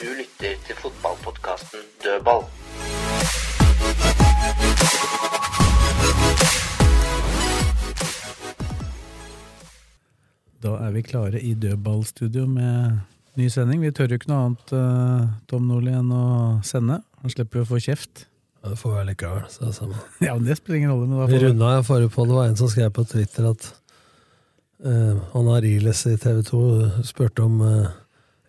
Du lytter til fotballpodkasten Dødball. Da er vi klare i dødballstudio med ny sending. Vi tør jo ikke noe annet, eh, Tom Nordli, enn å sende. Han slipper jo å få kjeft. Ja, Det får være likevel. Så det er samme. Ja, men Det spiller ingen rolle. men da Vi får runda jeg forrige på, det var en som skrev på Twitter at eh, han Ariles i TV 2 spurte om eh,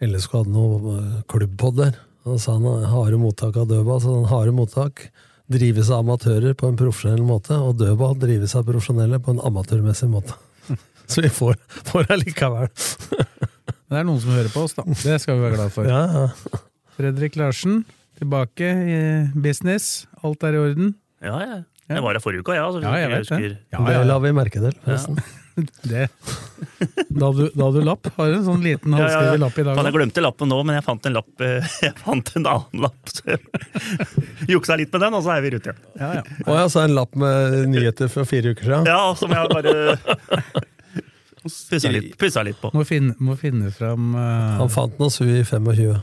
LSK hadde noe eh, klubbpod der. Han sa han har harde mottak av dødball, så han harde mottak drives av amatører på en profesjonell måte, og dødball drives av profesjonelle på en amatørmessig måte. Så vi får, får det likevel. Det er noen som hører på oss, da. Det skal vi være glad for. Ja, ja. Fredrik Larsen, tilbake i business. Alt er i orden. Ja, ja. Ja. Jeg var her forrige uka, ja, altså, så Ja, jeg vet husker. det. Ja, Det ja, la vi merke til, forresten. det. Da hadde du, da hadde du lapp. Har du en sånn liten Ja, ja, ja. halvskrevet lapp i dag? Faen, da? jeg glemte lappen nå, men jeg fant en lapp eh, Jeg fant en annen lapp. så jeg Juksa litt med den, og så er vi i rute. ja. Ja, ja. Og jeg sa en lapp med nyheter fra fire uker siden. Ja, som jeg bare pussa litt, pussa litt på. Må finne, må finne fram eh, Han fant noe sui i 25.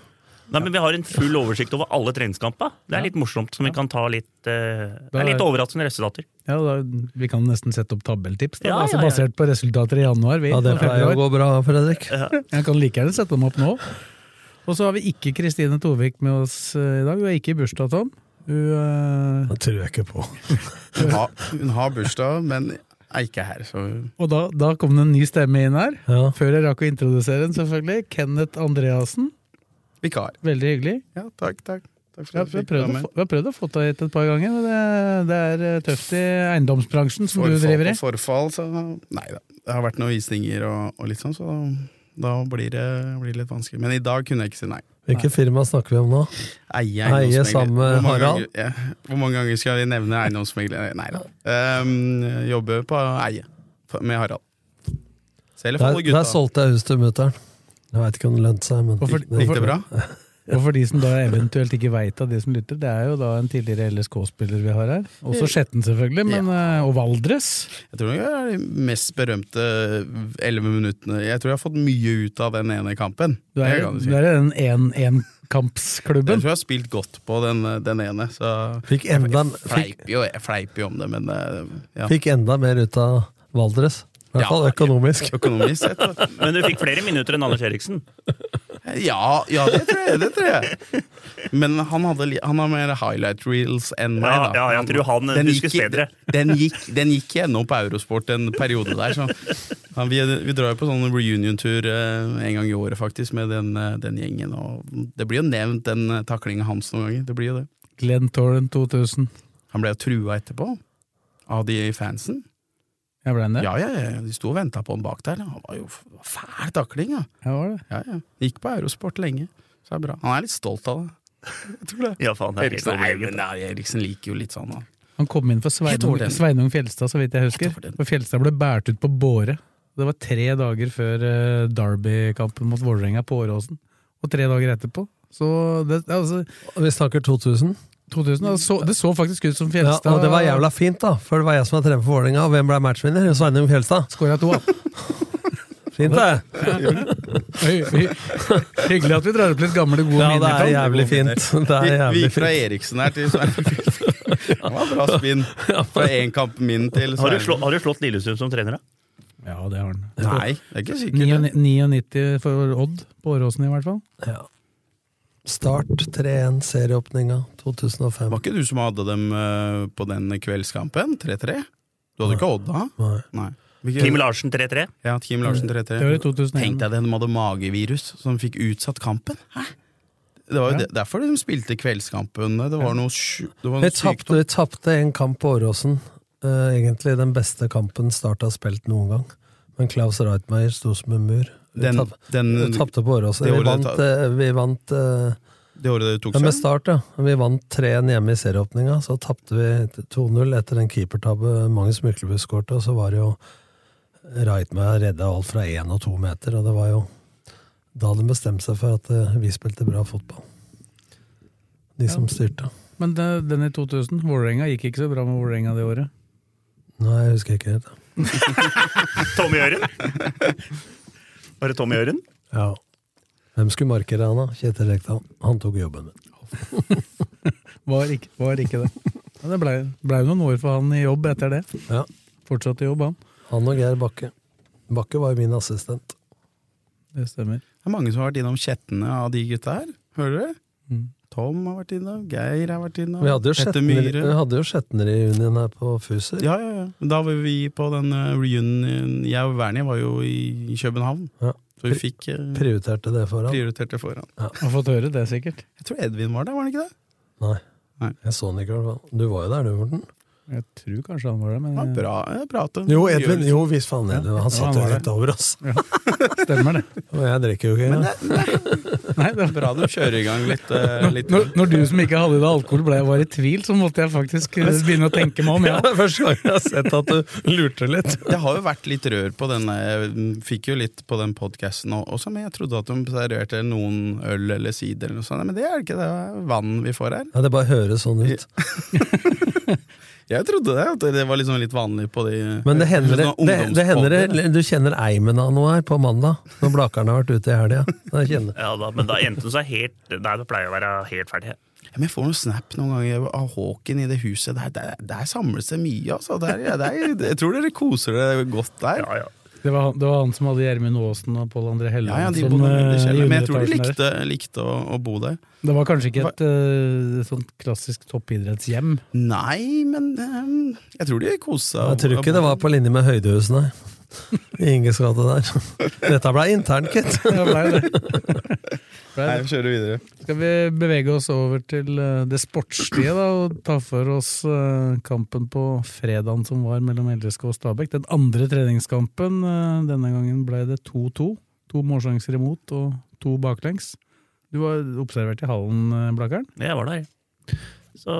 Nei, men Vi har en full oversikt over alle treningskamper. Det er litt morsomt, som vi kan ta litt eh, Det Da er- er litt overraskende resultater. ja, da, Vi kan nesten sette opp tabelltips, da. Ja, ja, altså ja. basert på resultater i januar. Vi, Ja, det og pleier februar. å gå bra, Fredrik. Jeg kan like gjerne sette dem opp nå. Og så har vi ikke Kristine Tovik med oss eh, i dag. Hun er ikke i bursdag, Tom. Hun, eh, Det tror jeg ikke på. Hun har, hun har bursdag, men er ikke her, så og da, da kom det en ny stemme inn her. Ja. Før jeg rakk å introdusere den, selvfølgelig. Kenneth Andreassen. vikar. Veldig hyggelig. Ja, takk, takk. Takk for Ja, vi, at du har fikk prøvd være å med. få, vi har prøvd å få deg hit et par ganger, men det, det er eh, tøft i eiendomsbransjen som du driver i. Forfall, forfall, så Nei da. Det har vært noen visninger og, og litt sånn, så da blir det blir det litt vanskelig. Men i dag kunne jeg ikke si nei. Hvilket firma snakker vi om nå? Eie Eie eiendomsmegler. sammen med Hvor mange Harald? ganger- ja, Hvor mange ganger skal jeg nevne eiendomsmegler? Nei da. Ehm, jobbe på eie på- med Harald. Selv Der, for der gutta. solgte jeg hus til mutter'n. Jeg veit ikke om det lønte seg, men Hvorfor- det- Gikk det bra? Og for de som da eventuelt ikke veit av de som lytter, det er jo da en tidligere LSK-spiller vi har her. Også Skjetten, selvfølgelig, men, eh, og Valdres. Jeg tror det er de mest berømte elleve minuttene. Jeg tror jeg har fått mye ut av den ene kampen. Du Det er, kan du si. du er i den Jeg én-én-kampsklubben. tror jeg har spilt godt på den, den ene, så Fikk enda, en- fikk, fleiper jo, jeg fleiper jo om det, men eh, ja. fikk enda mer ut av Valdres. I hvert Ja. fall økonomisk. Økonomisk sett. da. Men du fikk flere minutter enn Anders Eriksen. Ja, ja det, tror jeg, det tror jeg. Men han, hadde, li- han har mer highlight reels enn meg. Ja, da. ja, jeg tror han huskes gikk, bedre. Den gikk, den gikk gjennom på Eurosport en periode der. Så. Ja, vi, vi drar jo på sånn reunion-tur eh, en gang i året faktisk med den, eh, den gjengen. Og det blir jo nevnt den eh, taklingen hans noen ganger. Det blir jo det. Glenn Torren 2000. Han ble jo trua etterpå av de i fansen. Jeg ble en det? Ja, ja, ja, de sto og venta på han bak der. da. Han var jo f- fæl takling, ja. Jeg var det. ja, ja. Gikk på Eurosport lenge. Så det er bra. Han er litt stolt av det. Jeg tror det. Ja, faen, det er helt Eriksen, nei, men overlegent. nei, Eriksen liker jo litt sånn, da. Han kom inn for Jeg Sveinung, tror det. Sveinung Fjelstad, så vidt jeg Jeg husker. tror det. Og Fjelstad ble båret ut på båre. Det var tre dager før eh, Derby-kampen mot Vålerenga på Åråsen. Og tre dager etterpå. Så det, altså, Vi snakker 2000. 2000, det, så, det så faktisk ut som Ja, Fjelstad og det var jævla fint, da. For det var jeg som var trener for Vålerenga, og hvem ble matchvinner? Sveinung Fjelstad. skåra to. da. Fint, det! Hy- hy- Hyggelig at vi drar opp litt gamle, gode Ja, det minner. er Tom. jævlig fint. Det er Vi, vi jævlig gikk fra fint. Eriksen her til Sveinung. Det var bra spinn. Fra én kamp min til Har du, slå, Sveinung. har du slått Lillesund som trener, da? Ja, det har han. Nei, det er ikke sikkert. 99 99 for Odd på Åråsen, i hvert fall. Ja. Start 3-1, serieåpninga Var 2005. ikke du som hadde dem eh, på den kveldskampen? 3-3? Du hadde ikke Odd da? Nei. Nei. Hvilke- Kim Larsen 3-3. Ja, Kim Larsen 3-3. Det var i 2001. Tenk deg det, de hadde magevirus som fikk utsatt kampen. Hæ? Det var jo Ja. det- derfor de spilte kveldskampen. Det var noe, sju- det var noe Vi tapte, sykdom. vi tapte en kamp på Åråsen. Eh, egentlig den beste kampen Start har spilt noen gang. Men Klaus Reitmeier sto som en mur. Vi Den- tap- den- vi tapte på Åråsen. det Vi året vant, ta- eh, vi vant eh, Det året det tok ja, med seg? start, ja. Vi vant 3-1 hjemme i serieåpninga. Så tapte vi 2-0 etter en keepertabbe Magnus Myklebust skårte, og så var det jo Reitmeier redda alt fra én og to meter, og det var jo da de bestemte seg for at eh, vi spilte bra fotball. De som styrte. Men det, den i 2000, Vålerenga, gikk ikke så bra med Vålerenga det året. Nei, jeg husker ikke helt. Tommy Øren. Var det Tommy Øren? Ja. Hvem skulle markere han, da? Kjetil Rekdal. Han tok jobben min. Var ikke, var ikke det. Ja, det blei ble jo noen år for han i jobb etter det. Ja. Fortsatte i jobb, han. Han og Geir Bakke. Bakke var jo min assistent. Det stemmer. Det er mange som har vært innom kjettene av de gutta her. Hører dere? Mm. Tom har vært innom, Geir har vært innom, Vi hadde jo Petter Sjetner, Myhre. vi hadde jo Sjetner i junien her på Fuser. Ja, ja, ja. Men Da var vi på den eh, reunion Jeg og Wernie var jo i København, Ja. så vi fikk eh, Prioriterte det foran. prioritert det foran. Har fått høre det, sikkert. Jeg tror Edvin var der, var han ikke det? Nei. Nei. Jeg så den ikke, i hvert fall. Du var jo der, du, Morten. Jeg tror kanskje han var det, Ja, men bra eh, prate. Jo, Edvin. Jo, visst faen. Ja. Edvin. Ja, Han satt jo han var rett over oss. stemmer det. Og jeg drikker jo ikke engang. Nei, det var... Bra de kjører i gang litt. eh, litt. Når, når du som ikke hadde i deg alkohol ble, var i tvil, så måtte jeg faktisk eh, begynne å tenke meg om. Ja. Det er første gang jeg har sett at du lurte litt. Det har jo vært litt rør på den Jeg fikk jo litt på den podkasten også, men jeg trodde at de serverte noen øl eller sider eller noe sånt. Nei, Men det er det ikke, det er vann vi får her. Ja, Det bare høres sånn ut. Jeg trodde det, at det var liksom litt vanlig på de Men det hender, det, sånne det, det hender ungdomspodder. det- du kjenner eimen av noe her på mandag, når Blakeren har vært ute i helga. Da kjenner- Ja, da, men da endte hun seg helt Nei, det pleier å være helt ferdig. Ja, Men jeg får noen snap noen ganger av Håken i det huset. Der, der, der samles det mye, altså. Der, ja, der, jeg tror dere koser dere godt der. Ja, ja. Det, var han, det var han som hadde Gjermund Aasen og Pål André Ja, ja, Helleland de Sånn, som, bodde i eh, kjelleren, i men jeg tror de underetasjen der. likte, likte å, å bo der. Det var kanskje ikke et eh, sånt klassisk toppidrettshjem. Nei, men eh, jeg tror de koste seg. Jeg tror ikke det var på linje med Høydehusene i Inges gate der. Dette ble internt, gitt. Det ble det. Ble Nei, det. vi kjører videre. Skal vi bevege oss over til eh, det sportslige da, og ta for oss eh, kampen på fredagen som var mellom LSK og Stabæk. Den andre treningskampen. eh, Denne gangen ble det 2-2. To målsjanser imot og to baklengs. Du var observert i hallen, eh, Blakkaren. Jeg var der. Så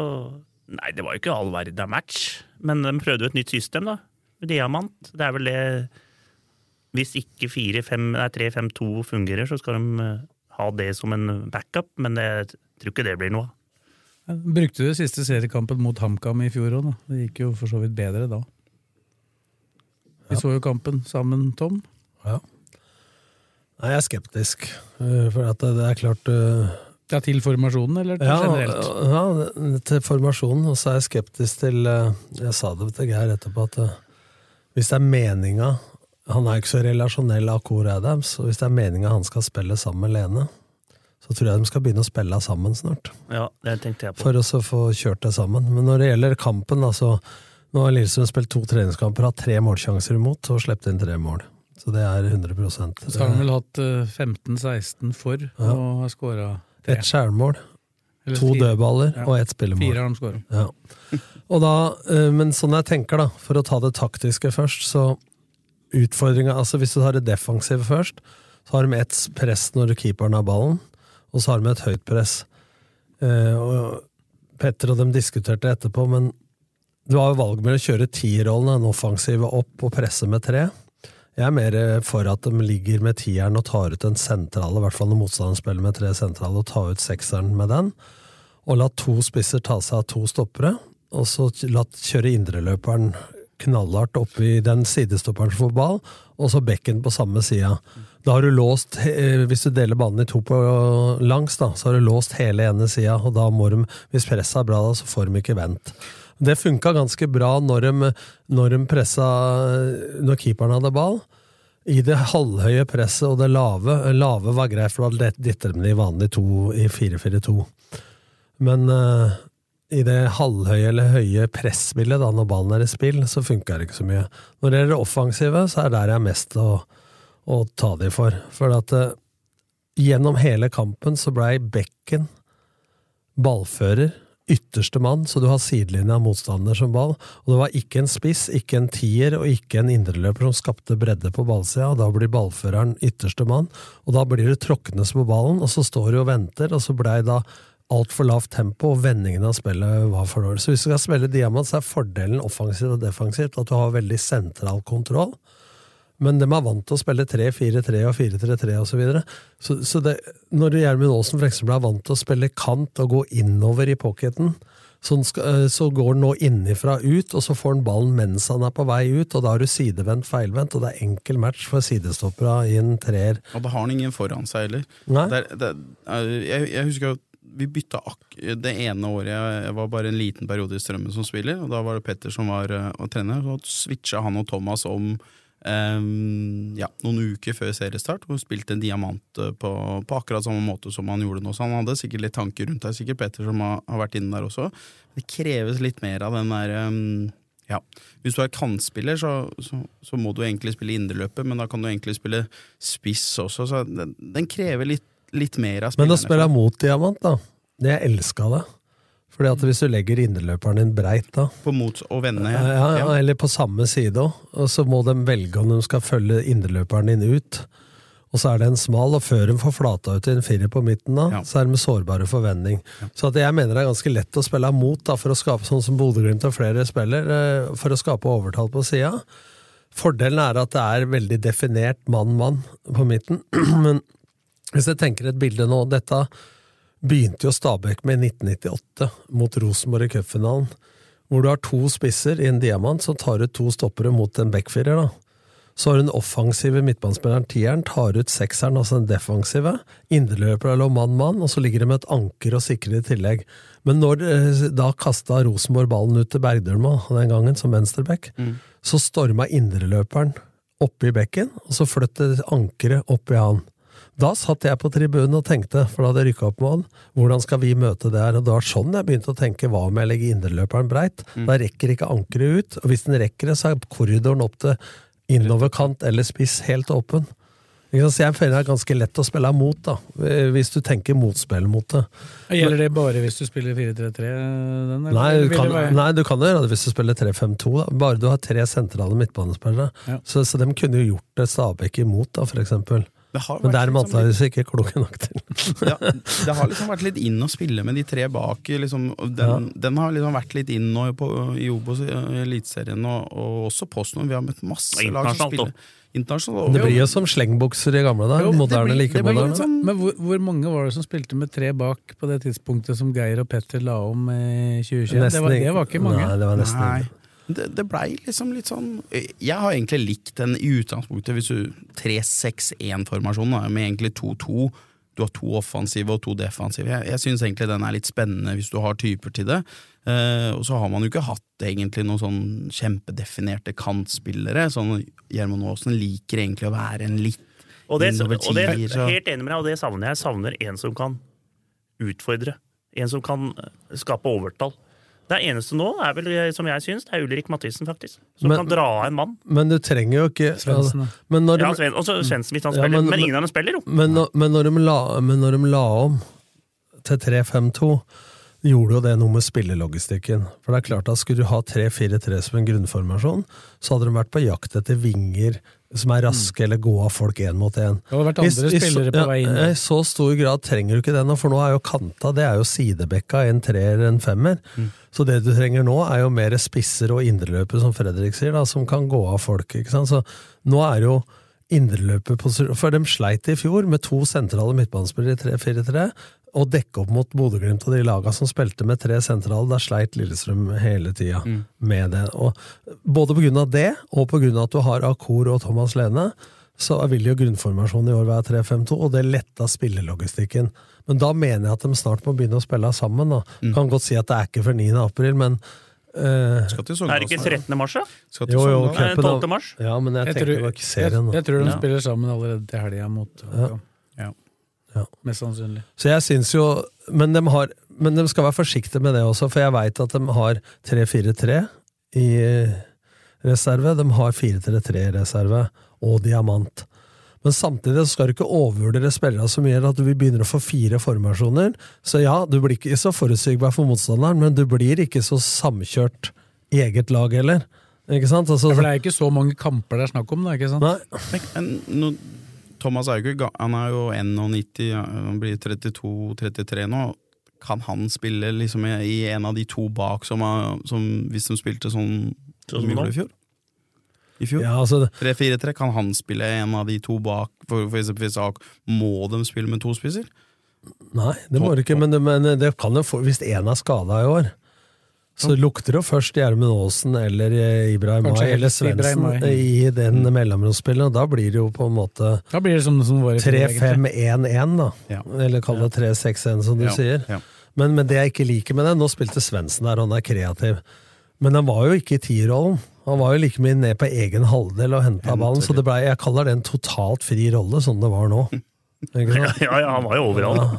Nei, det var jo ikke all verden av match. Men de prøvde jo et nytt system, da. Diamant. Det er vel det Hvis ikke 3-5-2 fungerer, så skal de eh, ha det som en backup, men jeg tror ikke det blir noe av. Ja, Eh, Brukte du siste seriekampen mot HamKam i fjor òg, da? Det gikk jo for så vidt bedre da. Vi så jo kampen sammen, Tom. Nei, jeg er skeptisk. eh, For at det det er klart eh, Ja, til formasjonen, eller til ja, generelt? ja, til formasjonen. Og så er jeg skeptisk til eh, Jeg sa det til Geir etterpå, at eh, hvis det er meninga Han er jo ikke så relasjonell av Core Adams, og hvis det er meninga han skal spille sammen med Lene, så tror jeg de skal begynne å spille sammen snart. Ja, det tenkte jeg på. for å så få kjørt det sammen. Men når det gjelder kampen, da, så nå har Lillestrøm spilt to treningskamper, hatt tre målsjanser imot og sluppet inn tre mål. Så det er 100 Så har han eh, vel hatt eh, 15-16 for, og har skåra Ett skjærmål, to dødballer Ja. og ett spillemål. Fire har de skåra. Ja. Og da, eh, men sånn jeg tenker, da, for å ta det taktiske først, så utfordringa altså Hvis du tar det defensive først, så har de ett press når keeperen har ballen, og så har de et høyt press. Eh, og Petter og dem diskuterte etterpå, men du har jo valg mellom å kjøre tierrollen, den offensive, opp og presse med tre. Jeg er mer eh, for at de ligger med tieren og tar ut den sentrale, i hvert fall når motstanderen spiller med tre sentrale, og tar ut sekseren med den og la to spisser ta seg av to stoppere, og så la kjøre indreløperen knallhardt oppi den sidestopperen som får ball, og så bekken på samme sida. Da har du låst, eh, hvis du deler banen i to på eh, langs, da, så har du låst hele ene sida, og da må de, hvis presset er bra, da, så får de ikke vendt. Det funka ganske bra når de, når de pressa Når keeperen hadde ball. I det halvhøye presset og det lave. Lave var greit, for da dytter de de vanlig to i 4-4-2. Men eh, i det halvhøye eller høye presspillet, da, når ballen er i spill, så funker det ikke så mye. Når det gjelder det offensive, så er det der jeg er mest å, å ta de for. For at eh, gjennom hele kampen så blei bekken ballfører ytterste mann, så du har sidelinja av motstander som ball. Og det var ikke en spiss, ikke en tier og ikke en indreløper som skapte bredde på ballsida, og da blir ballføreren ytterste mann. Og da blir det tråknes på ballen, og så står du og venter, og så blei da altfor lavt tempo, og vendingen av spillet var for dårlig. Så hvis du skal spille diamant, så er fordelen offensivt og defensivt at du har veldig sentral kontroll. Men de er vant til å spille 3-4-3 og 4-3-3 osv. Så videre. så, så det, når Gjermund Aasen for eksempel er vant til å spille kant og gå innover i pocketen, så, han skal, øh, så går han nå innifra ut, og så får han ballen mens han er på vei ut, og da er du sidevendt, feilvendt, og det er enkel match for sidestoppera i en treer. Og da har han ingen foran seg heller. Nei. Det er- det er- jeg, jeg husker jo at vi bytta akk det ene året jeg, jeg var bare en liten periode i Strømmen som spiller, og da var det Petter som var eh, og trener. Så switcha han og Thomas om eh, ja, noen uker før seriestart, og spilte en diamant eh, på, på akkurat samme måte som han gjorde nå. Så han hadde sikkert litt tanker rundt det, sikkert Petter som har, har vært inne der også. Det kreves litt mer av den der eh, ja. Hvis du er kantspiller, så, så, så må du egentlig spille indreløper, men da kan du egentlig spille spiss også, så den, den krever litt, litt mer av Men spillerne. å spille mot diamant, da. Det jeg elska det. Fordi at hvis du legger innerløperen din breit da, På mot og vende. ja, ja, eller på samme side òg, og så må de velge om de skal følge innerløperen din ut. Og så er det en smal, og før de får flata ut i en firer på midten, da, Ja. så er de sårbare for vending. Så at jeg mener det er ganske lett å spille mot, da, for å skape sånn som Bodø-Glimt og flere spiller, eh, for å skape overtall på sida. Fordelen er at det er veldig definert mann-mann på midten. Men hvis jeg tenker et bilde nå Dette begynte jo Stabæk med i 1998 mot Rosenborg i cupfinalen. Hvor du har to spisser i en diamant som tar ut to stoppere mot en backfirer. da. Så har du den offensive midtbanespilleren tieren, tar ut sekseren, altså den defensive. Indreløper eller mann-mann, og så ligger det med et anker og sikrer i tillegg. Men når eh, da kasta Rosenborg ballen ut til Bergdølma den gangen, som venstreback, så storma indreløperen opp i bekken, og så flyttet ankeret opp i han. Da satt jeg på tribunen og tenkte, for da hadde jeg rykka opp med han, hvordan skal vi møte det her? Og det var sånn jeg begynte å tenke, hva om jeg legger indreløperen breit? Mm. Da rekker ikke ankeret ut, og hvis den rekker det, så er korridoren opp til innoverkant eller spiss helt åpen. Ikke sant? Så jeg føler det er ganske lett å spille mot, da, eh, hvis du tenker motspill mot det. Gjelder det bare hvis du spiller 4-3-3? den, eller? Nei, Eller du vil kan, det være- nei, du kan jo gjøre det hvis du spiller 3-5-2, da. bare du har tre sentrale midtbanespillere. Ja. Så, så de kunne jo gjort det Stabæk imot, da, for eksempel. Det har Men det vært er de liksom sånn litt- sånn- antakeligvis ikke kloke nok til. ja, det har liksom vært litt inn å spille med de tre bak. Liksom, og den, den har liksom vært litt inn nå på, i Obos, i Eliteserien og, og også Posten. Vi har møtt masse Og lag internasjonalt som spiller også. internasjonalt. Men og- Det blir jo som slengbukser i gamle dager. Jo, det Moderne blir- like det blir moderne. litt sånn- Men hvor, hvor mange var det som spilte med tre bak på det tidspunktet som Geir og Petter la om i 2021? Det Nesten var, det ikke- var ikke mange. Nei, det var nesten Nei. ikke. Det, det blei liksom litt sånn Jeg har egentlig likt den i utgangspunktet, hvis du 3-6-1-formasjonen, da, med egentlig 2-2. Du har to offensive og to defensive. Jeg, jeg syns egentlig den er litt spennende hvis du har typer til det. Eh, og så har man jo ikke hatt egentlig noen sånn kjempedefinerte kantspillere. Sånn Gjermund Aasen liker egentlig å være en litt Og det, innover og det tier, så- helt enig med deg, og det savner jeg. Jeg savner en som kan utfordre. En som kan eh, skape overtall. Det eneste nå er vel, eh, som jeg syns, det er Ulrik Mathisen, faktisk. Som Men- kan dra av en mann. Men du trenger jo ikke altså, Svendsen, da. men når, de, Ja, Sven, også Svendsen, hvis han Ja, spiller. men- men, ingen av dem spiller, jo. men, når- men, når de la, men når de la om til 3-5-2, gjorde jo det noe med spillelogistikken. For det er klart at Skulle du ha 3-4-3 som en grunnformasjon, så hadde de vært på jakt etter vinger som er raske, eller gå av folk én mot én. Mm. Det hadde vært andre I- i så- spillere på vei inn. Ja, eh, I så stor grad trenger du ikke det nå, for nå er jo kanta det er jo sidebekka, en treer, en femmer. Så det du trenger nå, er jo mer spisser og indreløpere, som Fredrik sier, da, som kan gå av folk. ikke sant? Så nå er jo indreløperposisjon For de sleit i fjor med to sentrale midtbanespillere i 3-4-3. Og dekke opp mot Bodø-Glimt og de laga som spilte med tre sentrale. Da sleit Lillestrøm hele tida med det. Og både pga. det, og pga. at du har Akur og Thomas Lene, så vil jo grunnformasjonen i år være 3-5-2, og det letta spillelogistikken. Men da mener jeg at de snart må begynne å spille sammen. Da. Kan godt si at det er ikke før 9. april, men eh, Skal til Er det ikke 13. mars, da? Skal til jo, jo, Sogndal. Nei, cupen Sånn, da- 12. mars. Ja, men jeg, Jeg tenker tror, nok serien. jeg, da. jeg tror de Ja. spiller sammen allerede til helga mot Håkon. Ja. Ja. Altså- Mest sannsynlig. Så jeg syns jo men de, har, men de skal være forsiktige med det også, for jeg veit at de har 3-4-3 i reserve. De har 4-3-3 i reserve og diamant. Men samtidig så skal du ikke overvurdere spillere så mye at vi begynner å få fire formasjoner. Så ja, du blir ikke så forutsigbar for motstanderen, men du blir ikke så samkjørt i eget lag heller. Ikke sant? Altså, Ja, for det er jo ikke så mange kamper det er snakk om, da, ikke sant? Nei, Men nå- Thomas er jo ikke ga- Han er jo 91, ja, han blir 32-33 nå. Kan han spille liksom i i en av de to bak som, er, som hvis de spilte sånn Sånn som de nå? gjorde i fjor? I fjor? ja, altså, 3-4-3, kan han spille en av de to bak? For, for eksempel hvis AK må de spille med to spisser? Nei, det må du ikke, men, men det kan jo få, hvis én er skada i år, så lukter det jo først Gjermund Aasen eller eh, Ibrahim Kanskje Ay eller helst Ibrahim Svendsen Ay. i den mellomromsspillet, og da blir det jo på en måte Da blir det som, som våre egentlig. 3-5-1, da. Ja. Eller kall det 3-6-1, som du Ja, sier. ja. Men, men det jeg ikke liker med det Nå spilte Svendsen der, og han er kreativ. Men han var jo ikke i tierrollen. Han var jo like mye ned på egen halvdel og henta ballen, så det ble, jeg kaller det en totalt fri rolle, sånn det var nå. Ikke sant? Ja, ja, han var jo overalt.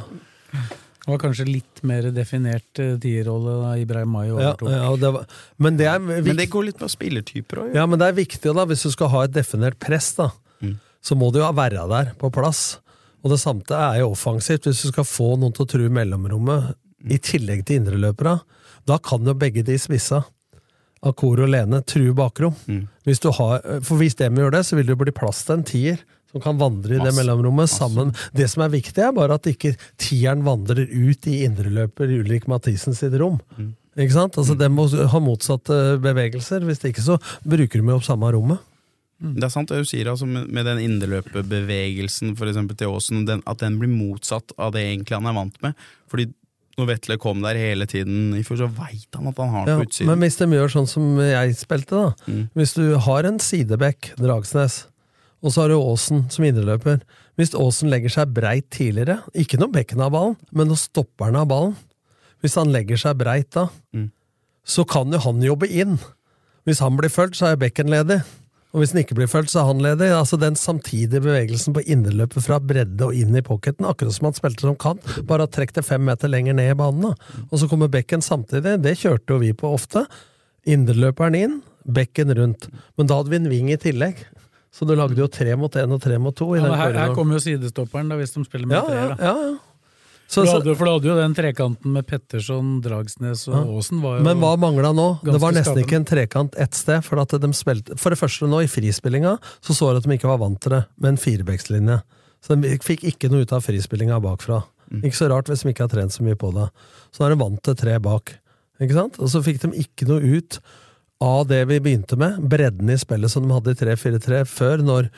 Det var kanskje litt mer definert eh, tierrolle da Ibrahim Mai Ja, overtok. ja, og det var, men det er Men viktig det går litt på spillertyper òg. Ja, men det er viktig da, hvis du skal ha et definert press, da, Mm. så må du jo være der på plass. Og det samme er jo offensivt. Hvis du skal få noen til å true mellomrommet, Mm. i tillegg til indreløperne, da kan jo begge de spissa, Akor og Lene, true bakrom. Mm. Hvis du har, for hvis dem gjør det, så vil det jo bli plass til en tier. Som kan vandre i det Masse. mellomrommet sammen. Det som er viktig, er bare at ikke tieren vandrer ut i indreløper Ulrik Mathisen sitt rom. Mm. Ikke sant? Altså, Den må ha motsatte bevegelser. Hvis ikke så bruker de jo opp samme rommet. Det er sant det du sier, altså, med med den indreløperbevegelsen for eksempel til Aasen, den, at den blir motsatt av det egentlig han er vant med. Fordi når Vetle kom der hele tiden i fjor, så veit han at han har den Ja, på utsiden. Mm. men hvis de gjør sånn som jeg spilte, da. Hvis du har en sidebekk, Dragsnes, og så har du Aasen som indreløper. Hvis Aasen legger seg breit tidligere, ikke når bekken har ballen, men når stopperen har ballen Hvis han legger seg breit da, så kan jo han jobbe inn. Hvis han blir fulgt, så er bekken ledig. Og hvis den ikke blir fulgt, så er han ledig. Altså Den samtidige bevegelsen på innerløpet fra bredde og inn i pocketen, akkurat som han spilte som kant, bare at trekk det fem meter lenger ned i banen. da. Og så kommer bekken samtidig. Det kjørte jo vi på ofte. Inderløperen inn, bekken rundt. Men da hadde vi en ving i tillegg. Så du lagde jo tre mot én og tre mot to. i Ja, den men her, her korridoren. kommer jo sidestopperen, da, hvis de spiller med ja, ja, treer. da. ja, ja. Så, For du så, hadde, for du hadde jo den trekanten med Petterson, Dragsnes og Aasen. Var jo, Men hva mangla nå? Det var ganske nesten skapende. ikke en trekant ett sted. For, at de spilte, for det første nå, i frispillinga, så så jeg at de ikke var vant til det, med en firebeckslinje. Så de fikk ikke noe ut av frispillinga bakfra. Mm. Ikke så rart hvis de ikke har trent så mye på det. Så nå er de vant til tre bak. Ikke sant? Og så fikk de ikke noe ut av det vi begynte med, bredden i spillet som de hadde i 3-4-3 før, når,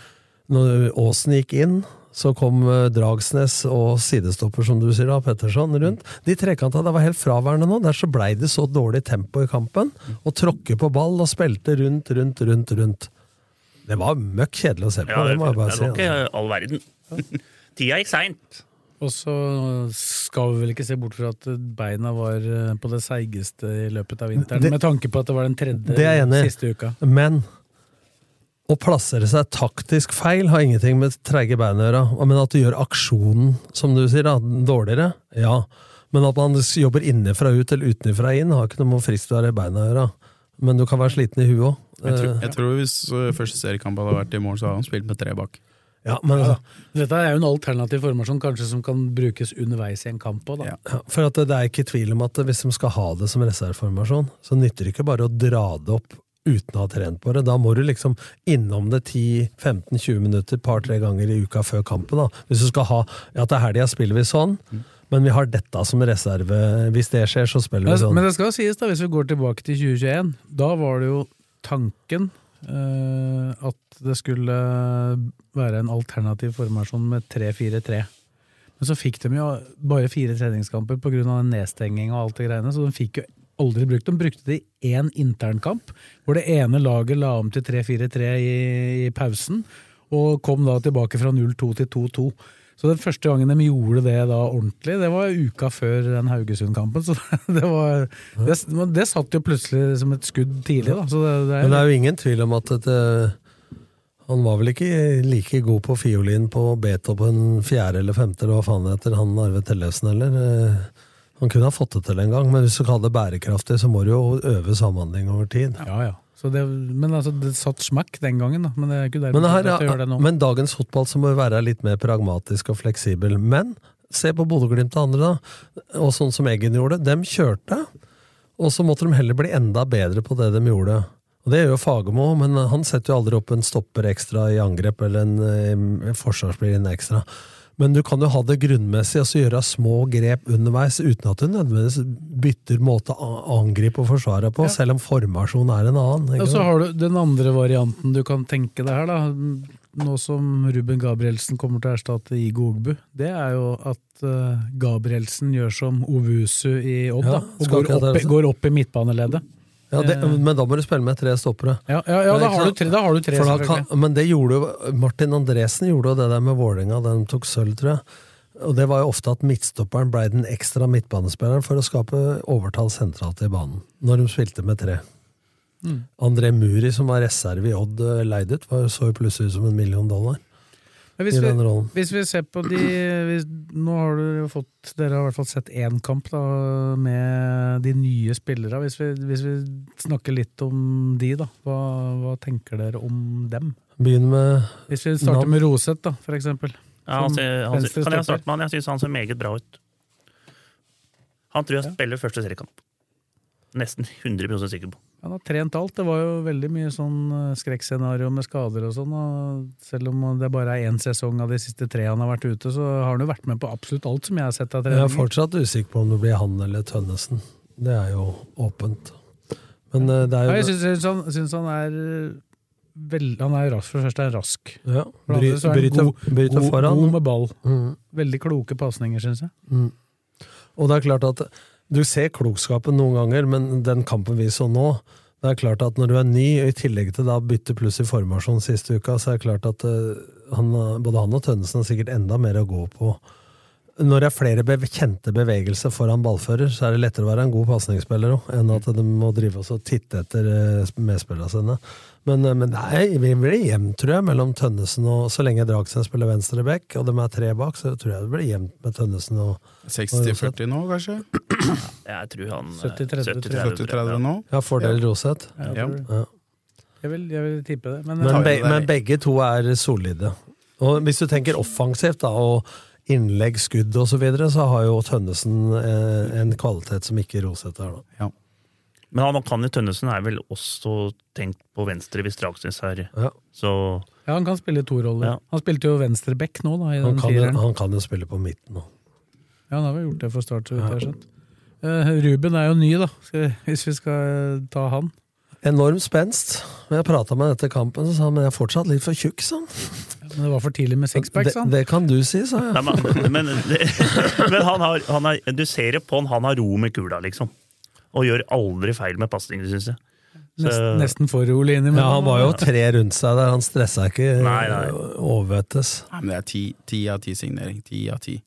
når Aasen gikk inn, så kom eh, Dragsnes og sidestopper, som du sier, da, Petterson rundt. De trekanta der var helt fraværende nå. Der så blei det så dårlig tempo i kampen. Og tråkke på ball og spilte rundt, rundt, rundt, rundt. Det var møkk kjedelig å se på, Ja, det det må jeg var bare si. altså. ikke all verden. Tida gikk seint. Og så skal vi vel ikke se bort fra at beina var eh, på det seigeste i løpet av vinteren, Det- med tanke på at det var den Det er jeg enig i. tredje siste uka. Men å plassere seg taktisk feil har ingenting med treige bein å gjøre. Men at du gjør aksjonen, som du sier, da, dårligere, ja. Men at man jobber innenfra ut eller utenfra inn, har ikke noe med å friskvære beina å gjøre. Men du kan være sliten i huet òg. Jeg tror, jeg tror Hvis eh, første seriekamp hadde vært i morgen, så hadde han spilt med tre bak. Ja, men altså, Dette er jo en alternativ formasjon kanskje som kan brukes underveis i en kamp òg, da. Ja. ja, for at det det er ikke tvil om at hvis de skal ha det som reserveformasjon, så nytter det ikke bare å dra det opp uten å ha trent på det. Da må du liksom innom det 10-15-20 minutter par-tre ganger i uka før kampen. da. Hvis du skal ha ja, til helga spiller vi sånn, Mm. men vi har dette som reserve. Hvis det skjer, så spiller Men, vi sånn. men det skal jo sies, da, hvis vi går tilbake til 2021, da var det jo tanken eh, at det skulle være en alternativ formasjon med 3-4-3. Men så fikk de jo bare fire treningskamper pga. nedstenging og alt det greiene, så de fikk jo aldri brukt dem. Brukte det i én internkamp, hvor det ene laget la om til 3-4-3 i, i pausen, og kom da tilbake fra 0-2 til 2-2. Så den første gangen de gjorde det da ordentlig, det var uka før den Haugesund-kampen. Så det, var, det, men det satt jo plutselig som et skudd tidlig, da. Så det, det Men det er, er jo ingen tvil om at et, eh, han var vel ikke like god på fiolin på Beethoven fjerde eller femte, eller hva faen det heter, han Arve Tellefsen heller. Eh, Han kunne ha fått det til en gang, men hvis du kaller det bærekraftig, så må du jo øve samhandling over tid. ja, ja. Så det, men altså, det satt smakk den gangen, da. Men det er ikke derfor Men, her, at jeg gjør det nå. men dagens fotball så må jo være litt mer pragmatisk og fleksibel. Men se på Bodø-Glimt og andre, da. Og sånn som Eggen gjorde. De kjørte, og så måtte de heller bli enda bedre på det de gjorde. Og Det gjør jo Fagermo, men han setter jo aldri opp en stopper ekstra i angrep eller en, eh, en forsvarsspiller inn ekstra. Men du kan jo ha det grunnmessig og så gjøre små grep underveis uten at du nødvendigvis bytter måte å angripe og forsvare på, selv om formasjonen er en annen. ikke Og så sant? har du den andre varianten du kan tenke deg her, da. Nå som Ruben Gabrielsen kommer til å erstatte Igo Ogbu, det er jo at eh, Gabrielsen gjør som Ovusu i Odd, Ja, da. Og skal går ikke opp, det- altså? i- går opp i midtbaneleddet. Ja, det, Eh. men da må du spille med tre stoppere. Ja, ja, ja da, har du tre, da har du tre, For da selvfølgelig. kan, men det gjorde jo Martin Andresen gjorde jo det der med Vålerenga, den tok sølv, tror jeg. Og det var jo ofte at midtstopperen blei den ekstra midtbanespilleren for å skape overtall sentralt i banen, når de spilte med tre. Mm. André Muri, som var reserve i Odd, eh, leid ut, var, så jo plutselig ut som en million dollar Men hvis i den vi, rollen. hvis vi ser på de hvis, Nå har dere jo fått Dere har i hvert fall sett én kamp da, med de nye spillere. Hvis vi, hvis vi snakker litt om de, da. Hva, hva tenker dere om dem? Begynn med Hvis vi starter med Roseth, da, for eksempel. Ja, han Som ser, han ser, venstre kan jeg stopper. starte med han? Jeg syns han ser meget bra ut. Han tror jeg spiller første seriekamp. Nesten 100 sikker på. Han har trent alt. Det var jo veldig mye sånn eh, skrekkscenario med skader og sånn. Og selv om det bare er én sesong av de siste tre han har vært ute, så har han jo vært med på absolutt alt som jeg har sett av Jeg er trening. fortsatt usikker på om det blir han eller Tønnesen. Det er jo åpent. Men eh, det er jo Ja, jeg syns, syns, han, syns han er eh, veld, Han er jo rask. For det første er han rask. ja, For det andre så er han bryter- god- bryter God, foran. god med ball. Mm. Veldig kloke pasninger, syns jeg. Og det er klart at du ser klokskapen noen ganger, men den kampen vi så nå Det er klart at når du er ny, og i tillegg til da bytte pluss i formasjon siste uka, så er det klart at eh, han, både han og Tønnesen har sikkert enda mer å gå på. Når det er flere be kjente bevegelser foran ballfører, så er det lettere å være en god pasningsspiller òg, enn at de må drive oss og titte etter eh, medspillerne sine. Men, eh, men nei, vi blir jevnt, tror jeg, mellom Tønnesen og Så lenge Dragsen spiller venstre back, og de er tre bak, så tror jeg det blir jevnt med Tønnesen og 60-40 nå, kanskje? Jeg tror han eh, 70-30, tror jeg. 70-30 nå? Ja, fordel Roseth. Jeg, Ja. tror- Ja. jeg, vil, jeg vil tippe det. Men, eh, Men, tar be jo det. men begge to er solide. Og hvis du tenker offensivt, da, og innlegg, skudd osv., så, videre, så har jo Tønnesen eh, en kvalitet som ikke Roseth har. da. Men han kan i Tønnesen er vel også tenkt på venstre hvis Dragsnes er Ja. Så ja, han kan spille to roller. Ja. Han spilte jo venstreback nå, da. I Han den kan, jo, fireren. han kan jo spille på midten òg. Ja, han har vel gjort det for Start, så vidt jeg har Ja. skjønt. Eh, Ruben er jo ny, da, skal, hvis vi skal ta han. Enorm spenst. Når jeg prata med han etter kampen, så sa han men jeg er fortsatt litt for tjukk. sa han. Men det var for tidlig med sixpack, Det, sa han. det kan du si, sa Nei, jeg. men, men, men han har, han har, du ser det på han, han har ro med kula, liksom. Og gjør aldri feil med pasningene, syns jeg. Så- Nesten, nesten for rolig innimellom. Ja, Han var jo tre rundt seg der, han stressa ikke eh, Nei, nei. overvettes. Nei, men det er ti, ti av ti signering. Ti av ti.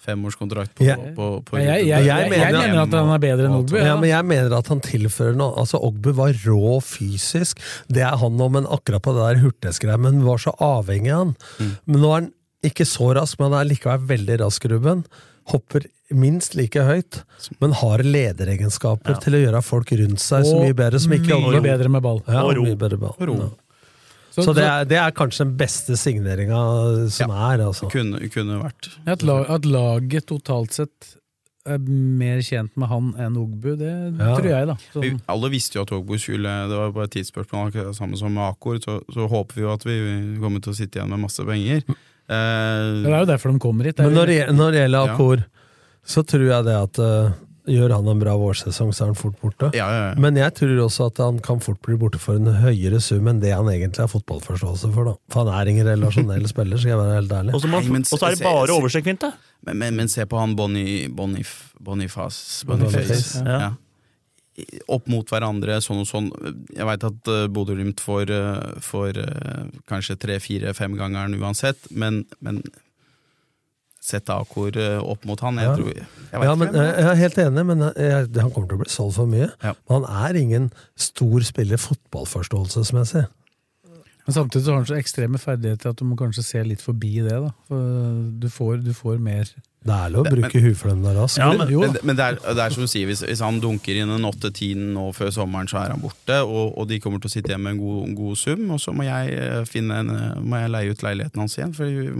Femårskontrakt på, Ja. på, på, på Men jeg, jeg, Jeg jeg, jeg mener- mener at han er bedre enn Ogbu. Ja, Ja, men jeg mener at han tilfører noe. Altså, Ogbu var rå fysisk. Det er han nå, men akkurat på det der hurtighetsgreia. Men vi var så avhengig av han. Men nå er han ikke så rask, men han er likevel veldig rask, Ruben. Hopper minst like høyt, men har lederegenskaper til å gjøre folk rundt seg så Og mye bedre. Som ikke mye bedre med ball. Ja, Og ro. mye bedre ball. ro. Ja. Så, Så det er, det er kanskje den beste signeringa som er, altså. Kunne, kunne vært. så at, la- at laget totalt sett er mer tjent med han enn Ogbu, det Ja. tror jeg, da. Vi, Sånn. alle visste jo at Ågbo skulle Det var bare et tidsspørsmål. akkurat det Samme som med Akor, så, så håper vi jo at vi kommer til å sitte igjen med masse penger. Men Det Eh, er jo derfor de kommer hit. Det Men når er, det, jo- når det gjelder Ja. Akor, så tror jeg det at eh, gjør han en bra vårsesong, så er han fort borte. ja, ja, ja. Men jeg tror også at han kan fort bli borte for en høyere sum enn det han egentlig har fotballforståelse for. da. For han er ingen relasjonell spiller, skal jeg være helt Og ærlig. så må- Nei, men og så er det se- bare se- overstrekksvinte! Men, men, men se på han Bonnie, Bonif, Boniface, Boniface. Boniface, ja. Ja. I- Opp mot hverandre, sånn og sånn. Jeg veit at uh, Bodø-Glimt får, eh, får eh, kanskje tre-fire-femgangeren uansett, men, men sett Akor eh, opp mot han, jeg Ja. tror Jeg, vet Ja, men, eh, ikke hvem. jeg jeg er helt enig, men jeg, han kommer til å bli solgt for mye. Ja. Men han er ingen stor spiller fotballforståelsesmessig. men samtidig så har han så ekstreme ferdigheter at du må kanskje se litt forbi det, da. For du får, du får mer Det er lov å bruke huflem der raskt. men, jo, men, men det, er, det er som du sier, hvis, hvis han dunker inn en 8-10 nå før sommeren, så er han borte. Og, og de kommer til å sitte igjen med en god, en god sum, og så må jeg, eh, finne en, eh, må jeg leie ut leiligheten hans igjen. For vi,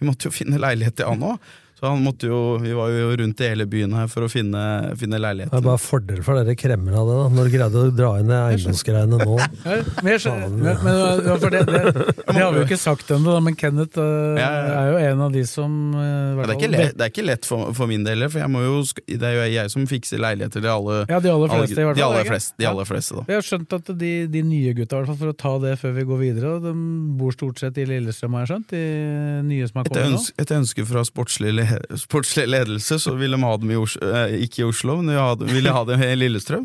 vi måtte jo finne leilighet til han òg. Så han måtte jo, vi var jo rundt i hele byen her for å finne, finne det er leiligheten. bare fordel for dere kremmer av det, da. Når du greide å dra inn de eiendomsgreiene nå. Ja, men jeg skjønner, men, men, ja, for det, det, det har vi jo ikke sagt ennå, da, men Kenneth eh, Ja, ja, ja. er jo en av de som eh, i hvert Ja, det, er ikke fall- lett, det er ikke lett for, for min del, for jeg må jo, sk- det er jo jeg som fikser leiligheter til alle. Ja, de aller fleste, i hvert fall. de aller ikke? fleste, de aller fleste da. Jeg har skjønt at de, de nye gutta, i hvert fall for å ta det før vi går videre, de bor stort sett i Lillestrøm, har jeg skjønt? De nye som har Etter kommet nå? ønske, etter ønske fra sportslig, le, sportslig ledelse så ville de ha dem i Oslo, eh, ikke i Oslo, men de ha- ville ha dem i Lillestrøm.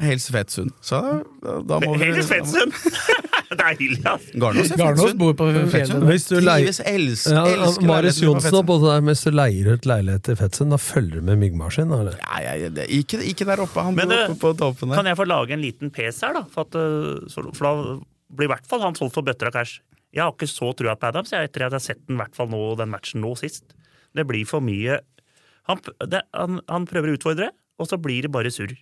Helst Fettsund. Så da, da må vi Helt Svendsen! Deilig, ass! Garnås er Garnås Fettsund. bor på Fettsund. fjellet. Hvis du leier Trives, elsker, ja, Marius elsker leiligheten på Johnsen og Fettsund. både der, hvis du leier ut leilighet i Fetsund, da følger du med myggmaskin? da, eller? Nei, jeg- det- ikke, ikke der oppe, han Men, bor eh, oppe på toppen der. Kan jeg få lage en liten PC her, da? For, at, eh, så- for da blir i hvert fall han solgt for bøtter av cash. Jeg har ikke så trua på Adams jeg, etter at jeg har sett den, i hvert fall nå, den matchen nå sist. Det blir for mye Han, p- det, han, han prøver å utfordre, og så blir det bare surr.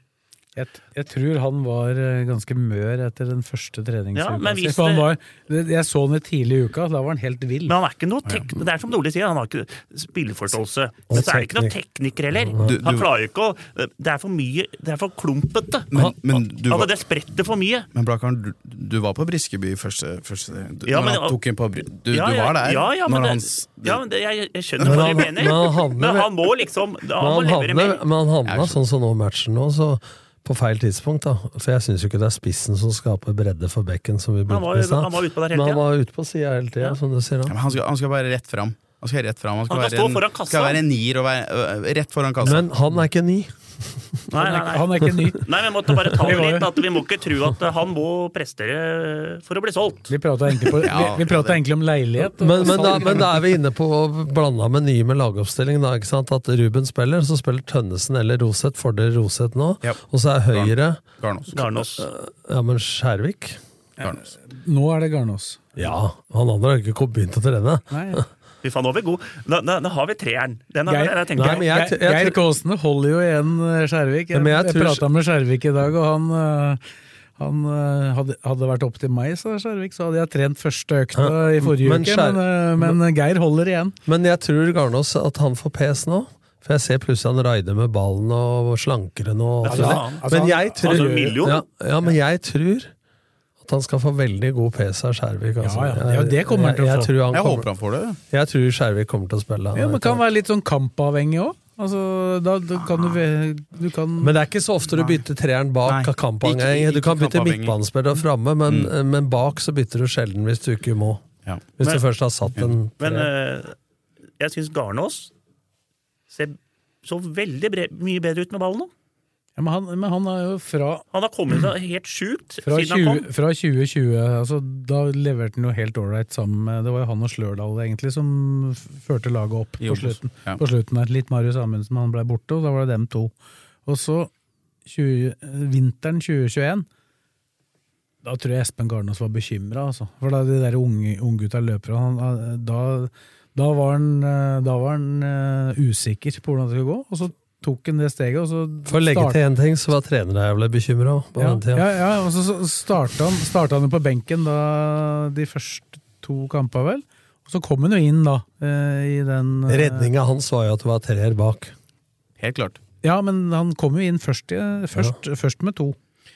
Jeg, jeg tror han var eh, ganske mør etter den første treningsuka. Ja, men si, hvis for han det- var, det- jeg så han i tidlig i uka, da var han helt vill. Men han er ikke noe tek det er som Nordli sier, han har ikke spilleforståelse. Men så er det ikke noe tekniker heller. Du- Han du- klarer ikke å eh, Det er for mye Det er for klumpete. Men- men du altså, var- det spretter for mye. Men Blakkaren, du, du var på Briskeby første, første du, Ja, når men- han tok inn på Bry... Du, Ja, du ja, var der? Ja, ja, når men, hans, det, ja, men det, jeg, jeg skjønner Men hva han- du mener. men han havner Men vel- han må liksom Han må Men han levere havner, mer. men han havna Jeg sånn som nå matchen nå, så på feil tidspunkt, da. For jeg syns jo ikke det er spissen som skaper bredde for bekken, som vi Han brukte var- i stad. han var ute på der hele Men tiden. han var ute på sida hele tida, Ja. som du sier. Ja, da. men han, skal, han skal bare rett fram. Han skal rett fram. Han skal, Han skal være, stå foran en, kassa. skal være en nier og være, øh, rett foran kassa. Men han er ikke ny. Nei, nei, nei. Han er ikke ny. nei, vi måtte bare ta Vi det var jo- litt. At vi må ikke tro at han må prestere for å bli solgt. Vi prata egentlig, på- Ja, vi, vi pratet egentlig om leilighet. og- Men, men, da, men da er vi inne på blanda med nye med lagoppstilling. Da, ikke sant? At Ruben spiller, så spiller Tønnesen eller Roseth. Fordel Roseth nå. Ja. Og så er Høyre Garnås. Garnås. Ja, men Skjærvik? Garnås. Nå er det Garnås. Ja, han andre har ikke kommet- begynt å trene. Nei, Fy faen, nå er vi gode. Da, da, da har vi treeren. Den er, Geir- den er tenkt Nei, på. men jeg, jeg, Geir jeg, Geir Kåsene holder jo igjen eh, Skjervik. Jeg, Men jeg jeg, tror- prata med Skjervik i dag, og han, eh, han eh, hadde, hadde det vært opp til meg, sa Skjervik, så hadde jeg trent første økta i forrige men uke. Skjer- Men, eh, men Geir holder igjen. Men jeg tror Garnås at han får pes nå. For jeg ser plutselig han raider med ballen og slankere nå. Ja, altså, men jeg han- tror, altså, en million? ja, ja, men jeg tror at han skal få veldig god pes av Skjærvik. Altså. Ja, ja. Ja, det kommer han til å jeg, jeg, få. tror han Jeg kommer, håper han får det. jeg tror Skjærvik kommer til å spille. Ja, men Kan være litt sånn kampavhengig òg. Altså, da, da kan du, ve- du kan Men det er ikke så ofte du bytter treeren bak Nei, kampavhengig. ikke- Du kan ikke bytte kampavhengig. midtbanespiller framme, men, Mm. eh, men bak så bytter du sjelden hvis du ikke må. Ja. Hvis Men- du først har satt en Men treer. eh, jeg syns Garnås ser så veldig bre mye bedre ut med ballen nå. ja, men, han, men han er jo fra, Han har kommet seg helt sjukt fra, siden han 20, kom. fra 2020 altså, Da leverte han jo helt ålreit sammen med Det var jo han og Slørdal egentlig som f- førte laget opp I på Obos. slutten. Ja. på slutten der. Litt Marius Amundsen, han ble borte, og da var det dem to. Og så 20, eh, vinteren 2021 da tror jeg Espen Garnås var bekymra, altså. For da de der unge- unggutta løpere han, eh, da, da var han, eh, da var han eh, usikker på hvordan det skulle gå, og så tok han det steget, og så For å legge start- til én ting, så var trenere jævlig bekymra. ja, ja, ja, og så så starta han, starta han jo på benken da de første to kampene, vel. Og så kom han jo inn, da, eh, i den eh, Redninga hans var jo at det var treer bak. Helt klart. Ja, men han kom jo inn først, i- først, først med to.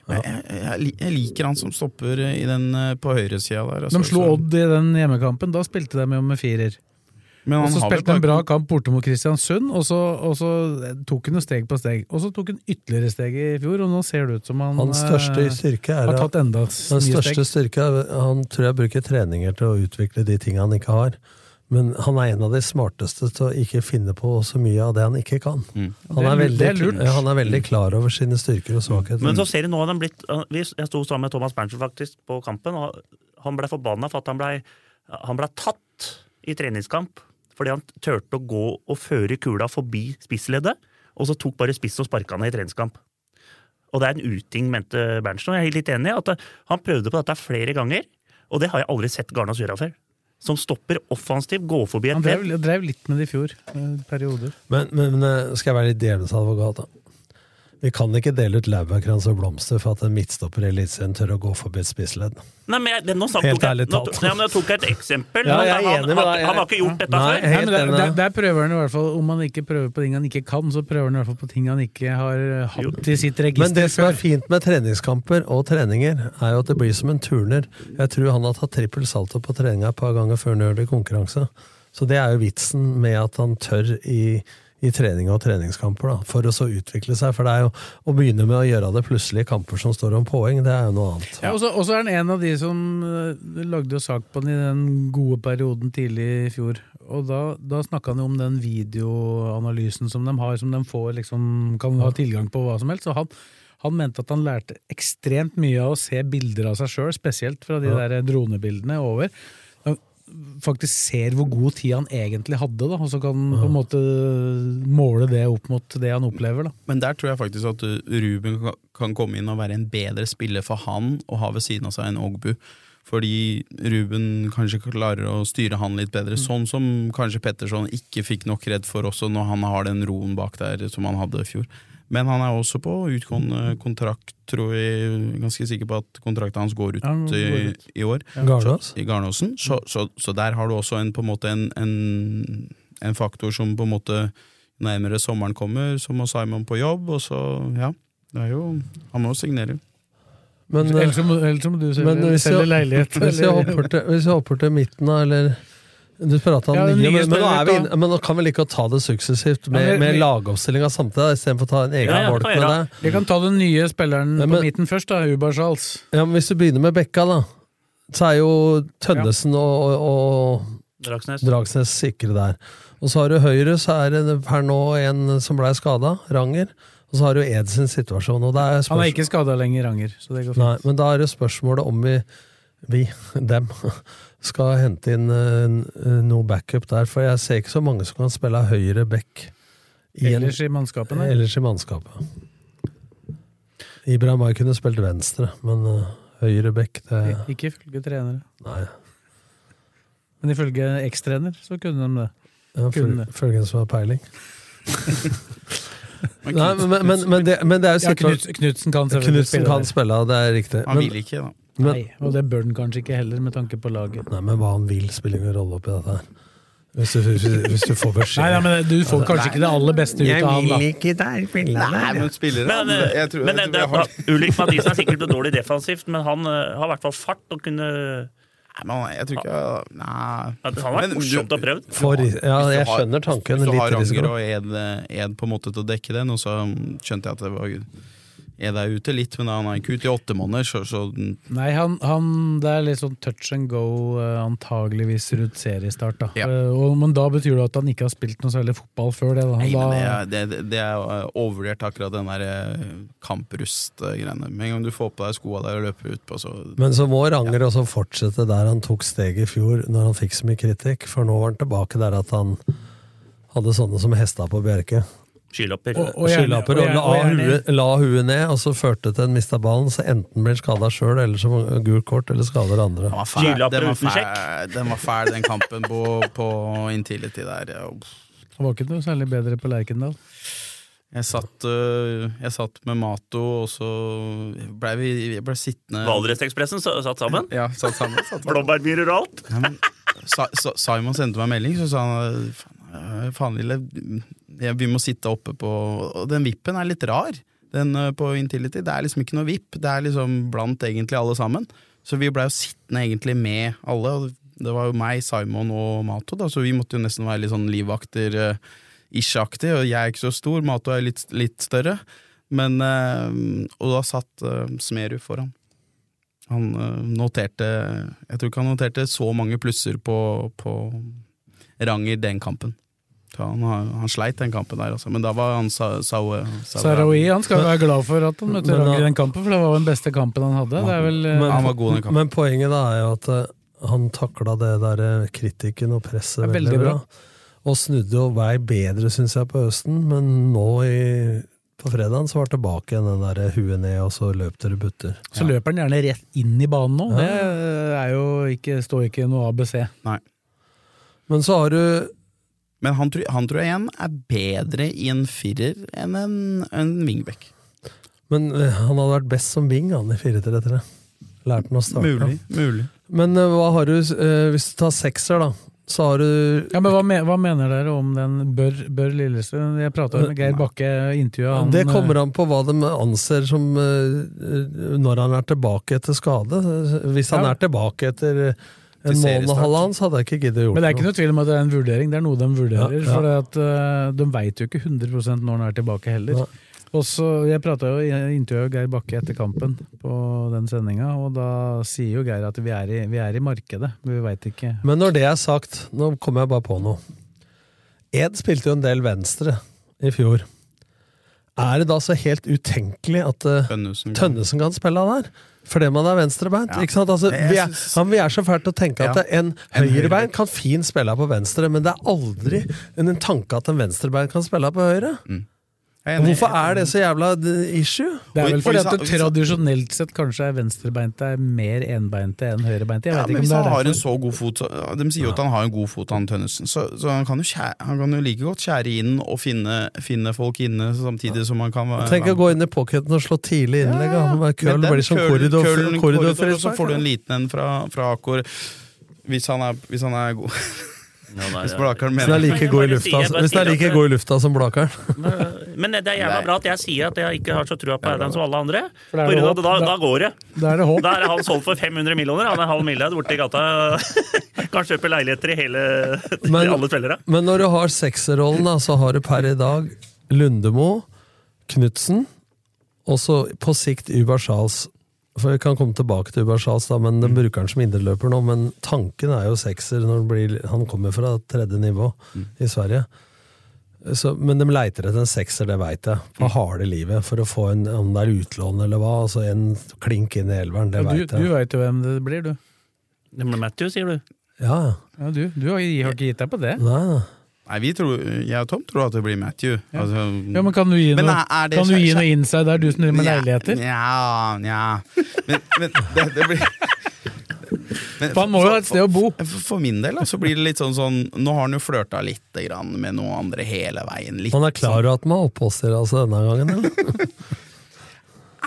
Men jeg, jeg, li- jeg liker han som stopper i den, eh, på høyresida der. altså. De slo Så- Odd i den hjemmekampen, da spilte de jo med firer. Men Og han så har vel spilte de en bra bare- kamp borte mot Kristiansund, og så, og så tok han jo steg på steg. Og så tok han ytterligere steg i fjor, og nå ser det ut som han Hans største eh, styrke er har at tatt enda den nye største steg. styrke er, Han tror jeg bruker treninger til å utvikle de tingene han ikke har. Men han er en av de smarteste til å ikke finne på så mye av det han ikke kan. Mm. Han, er Det er lurt, veldig, det er lurt. Ja, han er veldig klar over sine styrker og svakheter. Men så ser du nå at han blitt vi- Jeg sto sammen med Thomas Berntsen faktisk på kampen, og han ble forbanna for at han ble, han ble tatt i treningskamp fordi han turte å gå og føre kula forbi spissleddet, og så tok bare spissen og sparka han i treningskamp. Og det er en uting, mente eh, Berntsen. Og jeg er helt litt enig i at han prøvde på dette flere ganger, og det har jeg aldri sett Garnås gjøre før. som stopper offensivt, går forbi Han et drev, ledd. drev litt med det i fjor, eh, perioder. Men, men eh, skal jeg være litt djevelens advokat, da? Vi kan ikke dele ut laurbærkrans og blomster for at en midtstopper i Eliteserien tør å gå forbi et spissledd. Nei, men jeg, det, nå, sa- Helt tok jeg, ærlig nå, talt. nei, men jeg tok et eksempel. Ja, Han- jeg er han, enig med han, deg. han har ikke gjort dette Nei, før. jeg- Nei, men Helt der, enig. der, der prøver han i hvert fall, Om han ikke prøver på ting han ikke kan, så prøver han i hvert fall på ting han ikke har eh, hatt i sitt Men det register som er før. fint med treningskamper og treninger, er jo at det blir som en turner. Jeg tror han har tatt trippel salto på treninga et par ganger før han gjør det i konkurranse. Så det er jo vitsen med at han tør i, i trening og treningskamper, da, for å så utvikle seg. For det er jo å begynne med å gjøre det plutselig i kamper som står om poeng, det er jo noe annet. Ja, og så og så er han en av de som eh, lagde jo sak på han i den gode perioden tidlig i fjor. Og da, da snakka han jo om den videoanalysen som de har, som de får, liksom, kan ha tilgang på hva som helst. Så han, han mente at han lærte ekstremt mye av å se bilder av seg sjøl, spesielt fra de der dronebildene over. Han faktisk ser hvor god tid han egentlig hadde, da, og så kan han på en måte måle det opp mot det han opplever. da. Men der tror jeg faktisk at uh, Ruben ka- kan komme inn og være en bedre spiller for han å ha ved siden av seg en Ogbu. Fordi Ruben kanskje klarer å styre han litt bedre, Mm. sånn som kanskje Petterson ikke fikk nok redd for også når han har den roen bak der som han hadde i fjor. Men han er også på utgående kontrakt, tror jeg. Ganske sikker på at kontrakten hans går ut, Ja, den går i, ut. i år. Garnås? I Garnåsen. Mm. Så, så, så der har du også en, på en, måte en, en, en faktor som på en måte nærmere sommeren kommer, så må Simon på jobb, og så ja. Det er jo, han må jo signere. Men, eh, Ellers så må, ellers så må du men selge, hvis jeg- selge leilighet. Hvis jeg eller- hopper til, hvis jeg hopper til midten, da, eller du prata om Ja, den nye, nye men, men, nå er vi spilleren, inne, men nå kan vi like å ta det suksessivt med, Ja, men- med lagoppstillinga samtidig, da, istedenfor å ta en egen Ja, ja, bolk kan med gjøre. det. Vi kan ta den nye spilleren Ja, på men- midten først, da, Ubar Charles. Ja, men Hvis du begynner med Bekka, da, så er jo Tønnesen og, og, Dragsnes. og Dragsnes sikre der. Og så har du høyre, så er det per nå en som blei skada, Ranger. Og så har du Ed sin situasjon. Og det er Han er spørsmål, ikke skada lenger, Ranger. Så det går fint. nei, men da er det spørsmålet om vi, vi dem, skal hente inn eh, noe backup der. For jeg ser ikke så mange som kan spille høyre back i en, Ellers i mannskapene. ellers i mannskapet. Ibrahim Ay kunne spilt venstre, men eh, høyre back, det I- Ikke ifølge trenere. Nei. Men ifølge ekstrener så kunne de det. Ja, Kunne. Følgen som har peiling. Men Nei, Knut- men, men, men, det, men det er jo Ja, sikkert Knut, Knutsen kan selvfølgelig Knutsen kan spille. spille, det er riktig. han Men, vil ikke, da. der. men, Nei, og det bør den kanskje ikke heller, med tanke på laget. nei, men hva han vil, spiller ingen rolle oppi dette her. Hvis du, hvis, du- hvis du får beskjed. Nei, nei, men Du får kanskje ikke det aller beste ut av han, da. ikke der spille men spillere Men, eh, men det- det- Ulrik Mathisen er sikkert noe dårlig defensivt, men han eh, har i hvert fall fart og kunne Nei, men jeg tror ikke Nei. Ja, det hadde vært morsomt å prøve. For, ja, Altså, jeg skjønner tanken. Hvis du har Litt Ranger risiko. og Ed, Ed på en måte til å dekke den, og så skjønte jeg at det var Ed er ute litt, men han er ikke ute i åtte måneder, så, så Nei, han, han, det er litt sånn touch and go, eh, antageligvis rundt seriestart. da. Ja. Eh, og, men da betyr det at han ikke har spilt noe særlig fotball før det. Da. Han Nei, da, men det er, det, det- det er eh, overvurdert, akkurat den der eh, kamprust-greiene. Med en gang du får på deg skoa der og løper utpå, så Men så må Ranger også fortsette der han tok steget i fjor, når han fikk så mye kritikk. For nå var han tilbake der at han hadde sånne som hesta på Bjerke. skylapper. Og- og gjerne- Skylapper og og gjerne- la og gjerne- huet, la huet ned, og så førte det til en mista ballen, så enten blir han skada sjøl, eller så gult kort, eller skader andre. Den var fæl, Skylapper den, var uten fæl, den var fæl, den kampen på, på Intility der. Ja, uff. Han var ikke noe særlig bedre på Lerkendal. Jeg satt, øh, jeg satt med Mato, og så blei vi jeg ble sittende Valdresekspressen så- satt sammen. Ja, satt sammen. Satt sammen. Blåbærmyrer og alt. Nei, men, Sa- Sa- Simon sendte meg en melding, så sa han faen, øh, faen lille, ja, vi må sitte oppe på Og den vippen er litt rar, den øh, på Intility. Det er liksom ikke noe vipp, det er liksom blant egentlig alle sammen. Så vi blei jo sittende egentlig med alle. og Det var jo meg, Simon og Mato, da, så vi måtte jo nesten være litt sånn livvakter. øh, Ish-aktig, og jeg er ikke så stor, Mato er litt, litt større. Men, øh, og da satt øh, Smerud foran. Han øh, noterte Jeg tror ikke han noterte så mange plusser på, på Ranger den kampen. Så han, har- han sleit den kampen der, altså. Men da var han sa, sa, sa, Sarawi han skal jo være glad for at han møtte Men da- Ranger i den kampen, for det var jo den beste kampen han hadde. Det er vel, eh, han var god den kampen. Men poenget da er jo at eh, han takla det der eh, kritikken og presset Det er veldig, veldig bra. bra. Og snudde jo vei bedre, syns jeg, på høsten, men nå i, på fredagen så var det tilbake igjen den der huet ned, og så løp dere butter. så løper han gjerne rett inn i banen nå. Det eh, er er jo ikke, står ikke i noe ABC. Nei. Men så har du Men han, tror- han tror jeg igjen er bedre i en firer enn en, en wingback. Men eh, han hadde vært best som wing, han i 4-3-3. Lærte han å starte. Mulig. mulig. Men eh, hva har du, eh, hvis du tar sekser, da, så har du Ja, men hva, me- hva mener dere om den Bør, bør Lillesund? Jeg prata med Geir Bakke, intervjua han. eh, Det kommer an på hva de anser som eh, Når han er tilbake etter skade. Hvis han Ja. er tilbake etter en måned og seriestart. halvannen, så hadde jeg ikke giddet å gjort Men det er ikke noe tvil om at det er en vurdering. Det er noe de vurderer. Ja, ja. For at, eh, de veit jo ikke 100 når han er tilbake heller. Nei. Og så, Jeg prata jo jeg intervjuet Geir Bakke etter kampen på den sendinga, og da sier jo Geir at vi er i, vi er i markedet, men vi veit ikke. Men når det er sagt, nå kommer jeg bare på noe. Ed spilte jo en del venstre i fjor. Er det da så helt utenkelig at eh, Tønnesen. Tønnesen kan spille han her. Fordi man er venstrebeint. Mm. Ja. ikke sant? Altså, Jeg vi, er, synes- han, vi er så fælt å tenke at Ja. en høyrebeint kan fint spille på venstre, men det er aldri en en tanke at en venstrebeint kan spille på høyre. Mm. Jeg er enig. Hvorfor er det så jævla d- issue? Det er Og- vel og fordi hvis at han- det hvis han- tradisjonelt sett kanskje er venstrebeinte er mer enbeinte enn høyrebeinte. Jeg Ja, vet ikke men om hvis det han er har derfor. en sånn- så god fot så, De sier jo at han har en god fot, han Tønnesen. Så, så han, kan jo skjære, han kan jo like godt skjære inn og finne, finne folk inne samtidig som han kan være- Tenk å gå inn i pocketen og slå tidlig innlegg. Ja, ja. Køll Men den blir som køll- korridor, køllen- korridor, korridor, og Så får du en liten en fra, fra Akor. Hvis han er, hvis han er god. Hvis Blakaren Hvis den er mener like god i lufta, Jeg bare sier- jeg bare hvis den er sier like at- god i lufta som Blakeren. Men eh, det er jævla Nei. bra at jeg sier at jeg ikke har så trua på Adam som alle andre. er For det da, håp. da, Da- da går det. Da er det håp. Da er han solgt for 500 millioner. Han er halv milliard borte i gata. Kan kjøpe leiligheter i hele i Men- alle spillere. Men når du har sekserrollen, da, så har du per i dag Lundemo, Knutsen, og så på sikt Uber Charles. For Vi kan komme tilbake til Uber Charles, da, men den bruker han som indreløper nå. Men tanken er jo sekser. Når det blir, han kommer fra tredje nivå i Sverige. Så, men de leiter etter en sekser, det veit jeg, på harde livet. For å få en, om det er utlån eller hva, altså en klink inn i elveren, det Du, veit du jeg. veit jo hvem det blir, du. Det blir Matthew, sier du. Ja, ja. Ja, du, du har har ikke gitt deg på det. Nei, nei. Nei, vi tror, jeg og Tom tror at det blir Matthew. Altså, Ja, men Kan du gi Men noe, er- er det kan du skjær- gi noe inside der, du som driver med Nja, leiligheter? Nja, nja. Men, men det, det blir Men For han må jo ha et sted å bo. For, for min del da, så blir det litt sånn sånn Nå har han jo flørta litt grann, med noen andre hele veien. Litt, Han er klar over at han har oppholdsstyre altså, denne gangen, eller?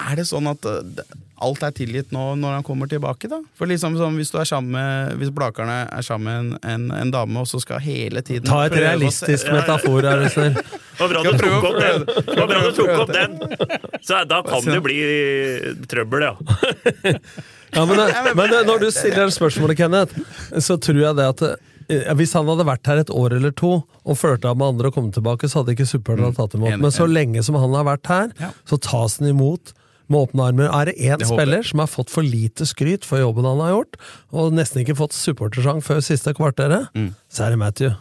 Er det sånn at uh, det- alt er tilgitt nå når han kommer tilbake, da? For liksom sånn, Hvis du er sammen med Hvis Blakerne er sammen med en, en, en dame, og så skal hele tiden Ta et prøve å se- realistisk metafor, er du snill. Det var bra du Skal tok prøve opp å den! prøve det. Det var bra du tok opp den. Så da kan det bli trøbbel, ja. Ja, men, men når du stiller spørsmålet, Kenneth, så tror jeg det at eh, hvis han hadde vært her et år eller to og flørta med andre og kommet tilbake, så hadde ikke supporterne tatt imot. Mm. enig, Men så enig. lenge som han har vært Ja. her, så tas han imot med åpne armer. Er det én Det håper spiller som har fått for lite skryt for jobben han har gjort, og nesten ikke fått supportersang før siste kvarteret, Mm. så er det Matthew.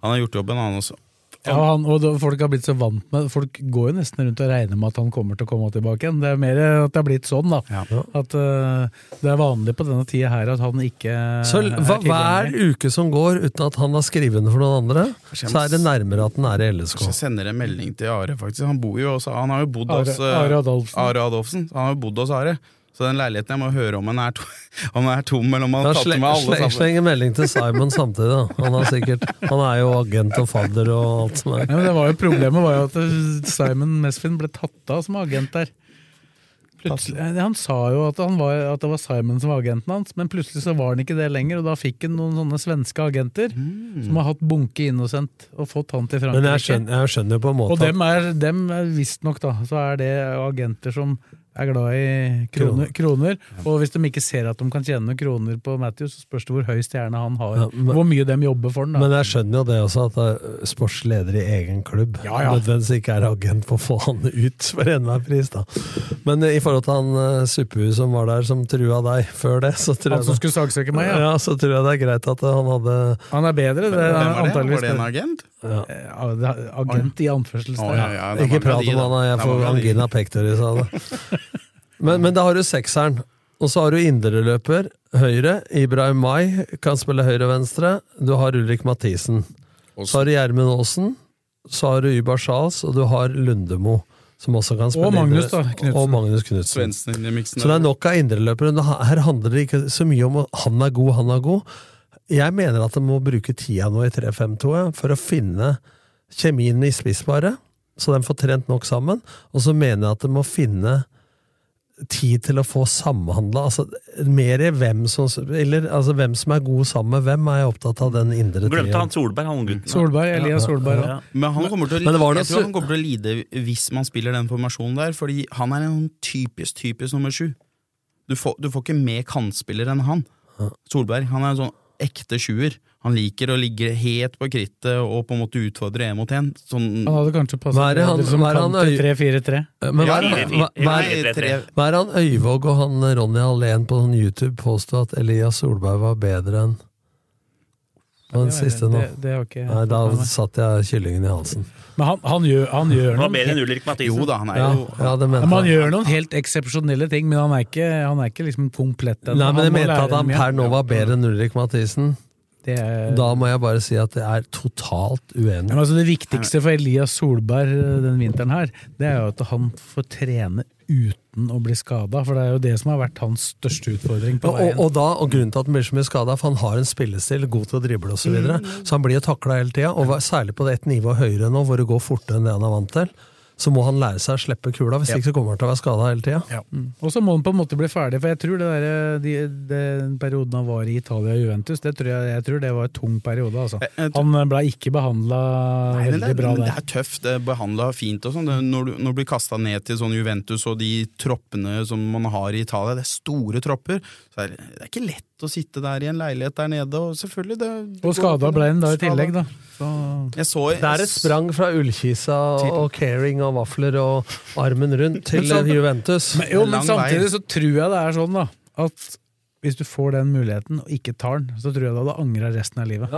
Han har gjort jobben, han også. Ja, Sånn. og han, og da- folk har blitt så vant med Folk går jo nesten rundt og regner med at han kommer til å komme tilbake igjen. Det er mer at det har blitt sånn, da. Ja. At eh, det er vanlig på denne tida her at han ikke Eh, Så er hva, hver tilgjengelig. uke som går uten at han har skrevet under for noen andre, Kanskje jeg så må er det nærmere at han er i LSK. Så jeg sender en melding til Are, faktisk. Han bor jo også, han har jo bodd Are- hos eh, Are Adolfsen. Are Adolfsen. Han har jo bodd hos Are. Så den leiligheten jeg må høre om den er, to, om den er tom, eller om han Ja, har tatt sle- med alle sle- sammen. Sleng en melding til Simon samtidig. da. Han er, sikkert, han er jo agent og fadder og alt som er. ja, men det var jo Problemet var jo at eh, Simon Mesfin ble tatt av som agent der. Plutselig, han sa jo at, han var, at det var Simon som var agenten hans, men plutselig så var han ikke det lenger. Og da fikk han noen sånne svenske agenter som har hatt bunke innocent og fått han til Frankrike. Mm. Men jeg skjønner, jeg skjønner på en måte Og dem er, dem er visstnok, da, så er det agenter som er glad i kroner, kroner. Og hvis de ikke ser at de kan tjene noen kroner på Matthew, så spørs det hvor høy stjerne han har. Ja, men- hvor mye de jobber for at, den, da. men jeg skjønner jo det også, at eh, sportsleder i egen klubb Ja, ja. nødvendigvis ikke er agent på å få han ut for enhver pris. da. Men eh, i forhold til han uh, suppehuet som var der, som trua deg før det, så tror han som jeg det, skulle saksøke meg, ja. altså- ja, så tror jeg det er greit at eh, han hadde Han er bedre, det er Hvem var det? antakeligvis Var det en agent? Ja, det er agent i anførselstegn. Å, ja, ja, det er Ikke mange av prat de, om da. han, jeg Det er får mange av de. angina pectoris av det. Men, men da har du sekseren, og så har du indreløper, høyre. Ibrahim Mai kan spille høyre og venstre. Du har Ulrik Mathisen. Så har du Gjermund Aasen. Så har du Ybar Charles, og du har Lundemo. Som også kan spille Og Magnus, da, indre- Knudsen. Og Magnus Knutsen. Svendsen inn i miksen. Så det er nok av indreløpere. men Her handler det ikke så mye om at han er god, han er god. Jeg mener at de må bruke tida nå i 3-5-2 jeg, for å finne kjemien i spissparet, så de får trent nok sammen. Og så mener jeg at de må finne tid til å få samhandla. Altså, mer i hvem som, eller, altså, hvem som er god sammen med hvem, er jeg opptatt av den indre Glemte tida. han Solberg, han gutten. Solberg, Elias Solberg Ja. ja. Men han kommer til å, Men det var noe jeg tror su- han kommer til å lide hvis man spiller den formasjonen der, fordi han er en typisk typisk nummer sju. Du får, du får ikke med kantspiller enn han. Solberg han er en sånn ekte sjuer. Han liker å ligge helt på krittet og på en måte utfordre én mot én. Sånn Han hadde kanskje Hva er passet det han- bedre som hva er det kant han til øy- 3-4-3. Men hva er, Ja, hva, hva er, Nei, Nei, tre, hva er han Øyvåg og han eh, Ronny Alén på sånn YouTube påstod at Elias Solberg var bedre enn den siste nå? Det, det har ikke jeg Nei, fått da med meg. satt jeg kyllingen i halsen. Men han, han gjør, han gjør Han var noen bedre enn Ulrik Mathisen. jo da, han er Ja, jo ja det Ja, men mente han jeg. gjør noen helt eksepsjonelle ting, men han er ikke, han er ikke liksom komplett ennå. Nei, men Han jeg må mente lære at han mye. per nå var bedre enn Ulrik Mathisen. Det er, Da må jeg bare si at jeg er totalt Ja, uenig. men altså det viktigste for Elias Solberg eh, den vinteren her, det er jo at han får trene uten å bli skada. For det er jo det som har vært hans største utfordring på Og, og, veien. og, da, og grunnen til at han blir så mye skada, for han har en spillestil, god til å drible osv. Så, videre, Mm. så han blir jo takla hele tida, og hva- særlig på det ett nivå høyere nå, hvor det går fortere enn det han er vant til. Så må han lære seg å slippe kula, hvis ikke så kommer han til å være skada hele tida. Mm. Og så må han på en måte bli ferdig, for jeg tror det der, eh, de, den perioden han var i Italia og Juventus, det tror jeg, jeg tror det var en tung periode. Altså. Jeg- jeg tror- Han ble ikke behandla Nei, men det, veldig er- bra men det der. er tøft. Det er behandla fint og sånn. Det- Når, du- når du blir kasta ned til sånn Juventus og de troppene som man har i Italia, det er store tropper, så er det, det er ikke lett å sitte der i en leilighet der nede. Og selvfølgelig det, det Og skada ble han da i Skada. tillegg, da. Så Jeg så, Det er et sprang fra ullkisa og caring og vafler og armen rundt til Juventus. Men, jo, Det men er lang samtidig vei. så tror jeg det er sånn, da, at hvis du får den muligheten og ikke tar den, så tror jeg du hadde angra resten av livet.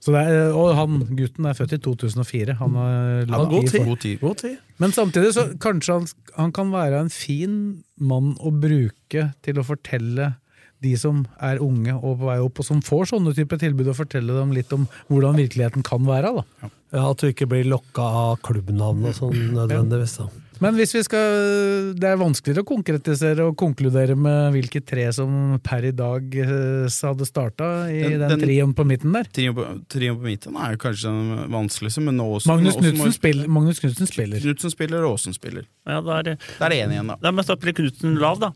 Så det er, og han gutten er født i 2004. Han har lang god tid. tid. for- God tid. God tid. Men samtidig så kanskje han, han kan være en fin mann å bruke til å fortelle de som er unge og på vei opp, og som får sånne type tilbud, og fortelle dem litt om hvordan virkeligheten kan være. da. Ja, At du ikke blir lokka av klubbnavn og sånn nødvendigvis. da. Men hvis vi skal Det er vanskeligere å konkretisere og konkludere med hvilke tre som per i dag eh, hadde starta i den, Den- den- trioen på midten der. Trio på, trio på midten er jo kanskje den vanskeligste, men nå også Magnus men også må- Knutsen spiller, Magnus Knudsen spiller. Knudsen spiller, og Aasen spiller. Ja, da er det Da er det én igjen, da. Da må jeg starte Knutsen lav, da.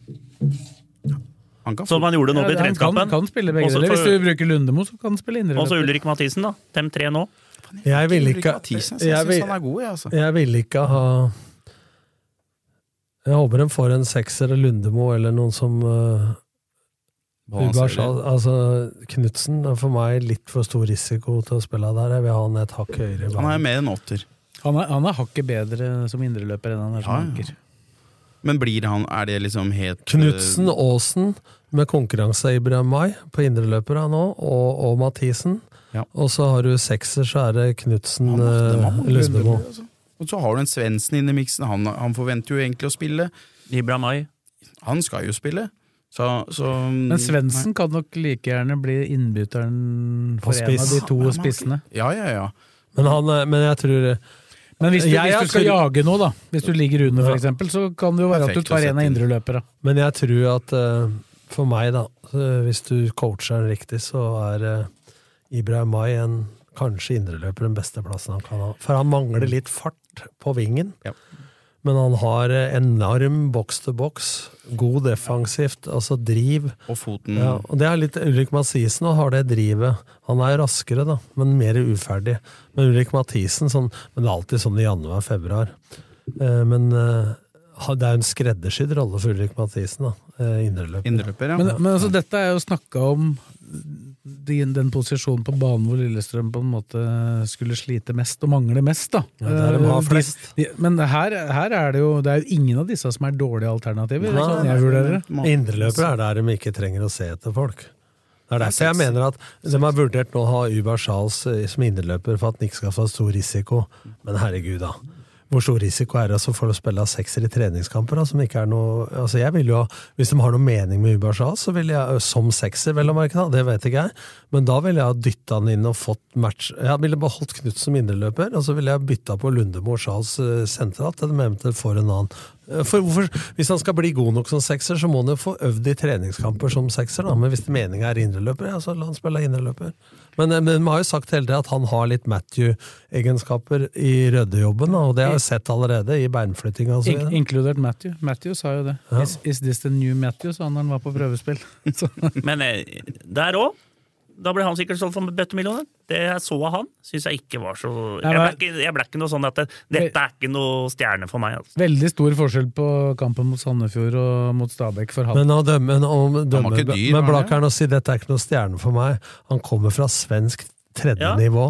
Han kan få Som han gjorde nå i Ja, han kan, treningskampen. kan spille begge Også deler. Hvis for- du bruker Lundemo, så kan han spille indre. Og så løper. Ulrik Mathisen, da. Dem tre nå. Jeg ville ikke, Jeg syns jeg vil, han er god, jeg, altså. jeg vil ikke ha Jeg håper de får en sekser eller Lundemo eller noen som uh, Ubar sa. Altså, Knutsen er for meg litt for stor risiko til å spille der. Jeg vil ha han et hakk høyere i Han er banen. mer enn åtter. Han er, han er hakket bedre som indreløper enn han er som Ja, ja. anker. Men blir han Er det liksom helt Knutsen eh, Aasen med konkurranse av Ibrahim Mai på indreløpere nå, og, og Mathisen. Ja. Og så har du sekser, så er det Knutsen eh, Han har- de har mange Lundemo. runder, altså. Og så har du en Svendsen inn i miksen. Han, han forventer jo egentlig å spille. Ibra Mai. Han skal jo spille. Så, så mm, Men Svendsen kan nok like gjerne bli innbytteren På for en av spiss. de to Nei, men han- spissene. Ja, ja, ja. Men, han, er- men jeg tror Men hvis du, Jeg har hvis du skal tro- jage nå, da, hvis du ligger under Ja. f.eks., så kan det jo være at du Perfekt å tar en sette av inn. indreløperne. Men jeg tror at eh, for meg, da, eh, hvis du coacher han riktig, så er uh, Ibrahim Mai en kanskje indreløper den beste plassen han kan ha. For han mangler litt fart på vingen. Ja. Men han har eh, enorm boks til boks, god defensivt, altså driv. Og foten Ja, og det er litt Ulrik Mathisen og har det drivet. Han er raskere, da, men mer uferdig. Men Ulrik Mathisen sånn, Men det er alltid sånn i januar-februar. Eh, men eh, ha- det er jo en skreddersydd rolle for Ulrik Mathisen, da. Eh, Indreløper. Indreløper, ja. Men, men altså, dette er jo snakka om den, den posisjonen på banen hvor Lillestrøm på en måte skulle slite mest og mangle mest. da. Ja, der de har Eh, flest. de, men her, her er det jo det er jo ingen av disse som er dårlige alternativer. Nei, sånn jeg vurderer det. Indreløpere er der de ikke trenger å se etter folk. Det er derfor jeg seks. mener at de har vurdert nå å ha Uber Charles eh, som indreløper for at han ikke skal få stor risiko. Men herregud, da. Hvor stor risiko er det altså for å spille av sekser i treningskamper? Da, som ikke er noe, altså jeg vil jo, ha- hvis de har noe mening med Ubashal, så vil jeg, eh, som sekser, vel å merke, da, det vet ikke jeg, men da ville jeg ha dytta han inn og fått match Jeg ville beholdt Knut som indreløper, og så ville jeg bytta på Lundemo og Charles eh, sentralt, eller eventuelt for en annen. Eh, For hvorfor, hvis han skal bli god nok som sekser, så må han jo få øvd i treningskamper som sekser, da, men hvis meninga er indreløper, ja, så la han spille indreløper. Men, eh, men de har jo sagt hele tida at han har litt Matthew-egenskaper i røddejobben, da, og det har jeg sett allerede i altså. beinflyttinga. og så In videre. inkludert Matthew. Matthew sa jo det. Ja. Is, is this the new Matthew? sa han når han var på prøvespill. Så, Men eh, der òg. Da ble han sikkert solgt for bøttemillioner. Det jeg så av han, syns jeg ikke var så Nei, Jeg ble men- ikke, jeg ble ikke noe sånn at det, dette er ikke noe stjerne for meg. Altså. veldig stor forskjell på kampen mot Sandefjord og mot Stabæk for han. Men å dømme, om dømme ikke dyr, Men var han Blakkern å si dette er ikke noe stjerne for meg. Han kommer fra svensk tredje Ja. nivå,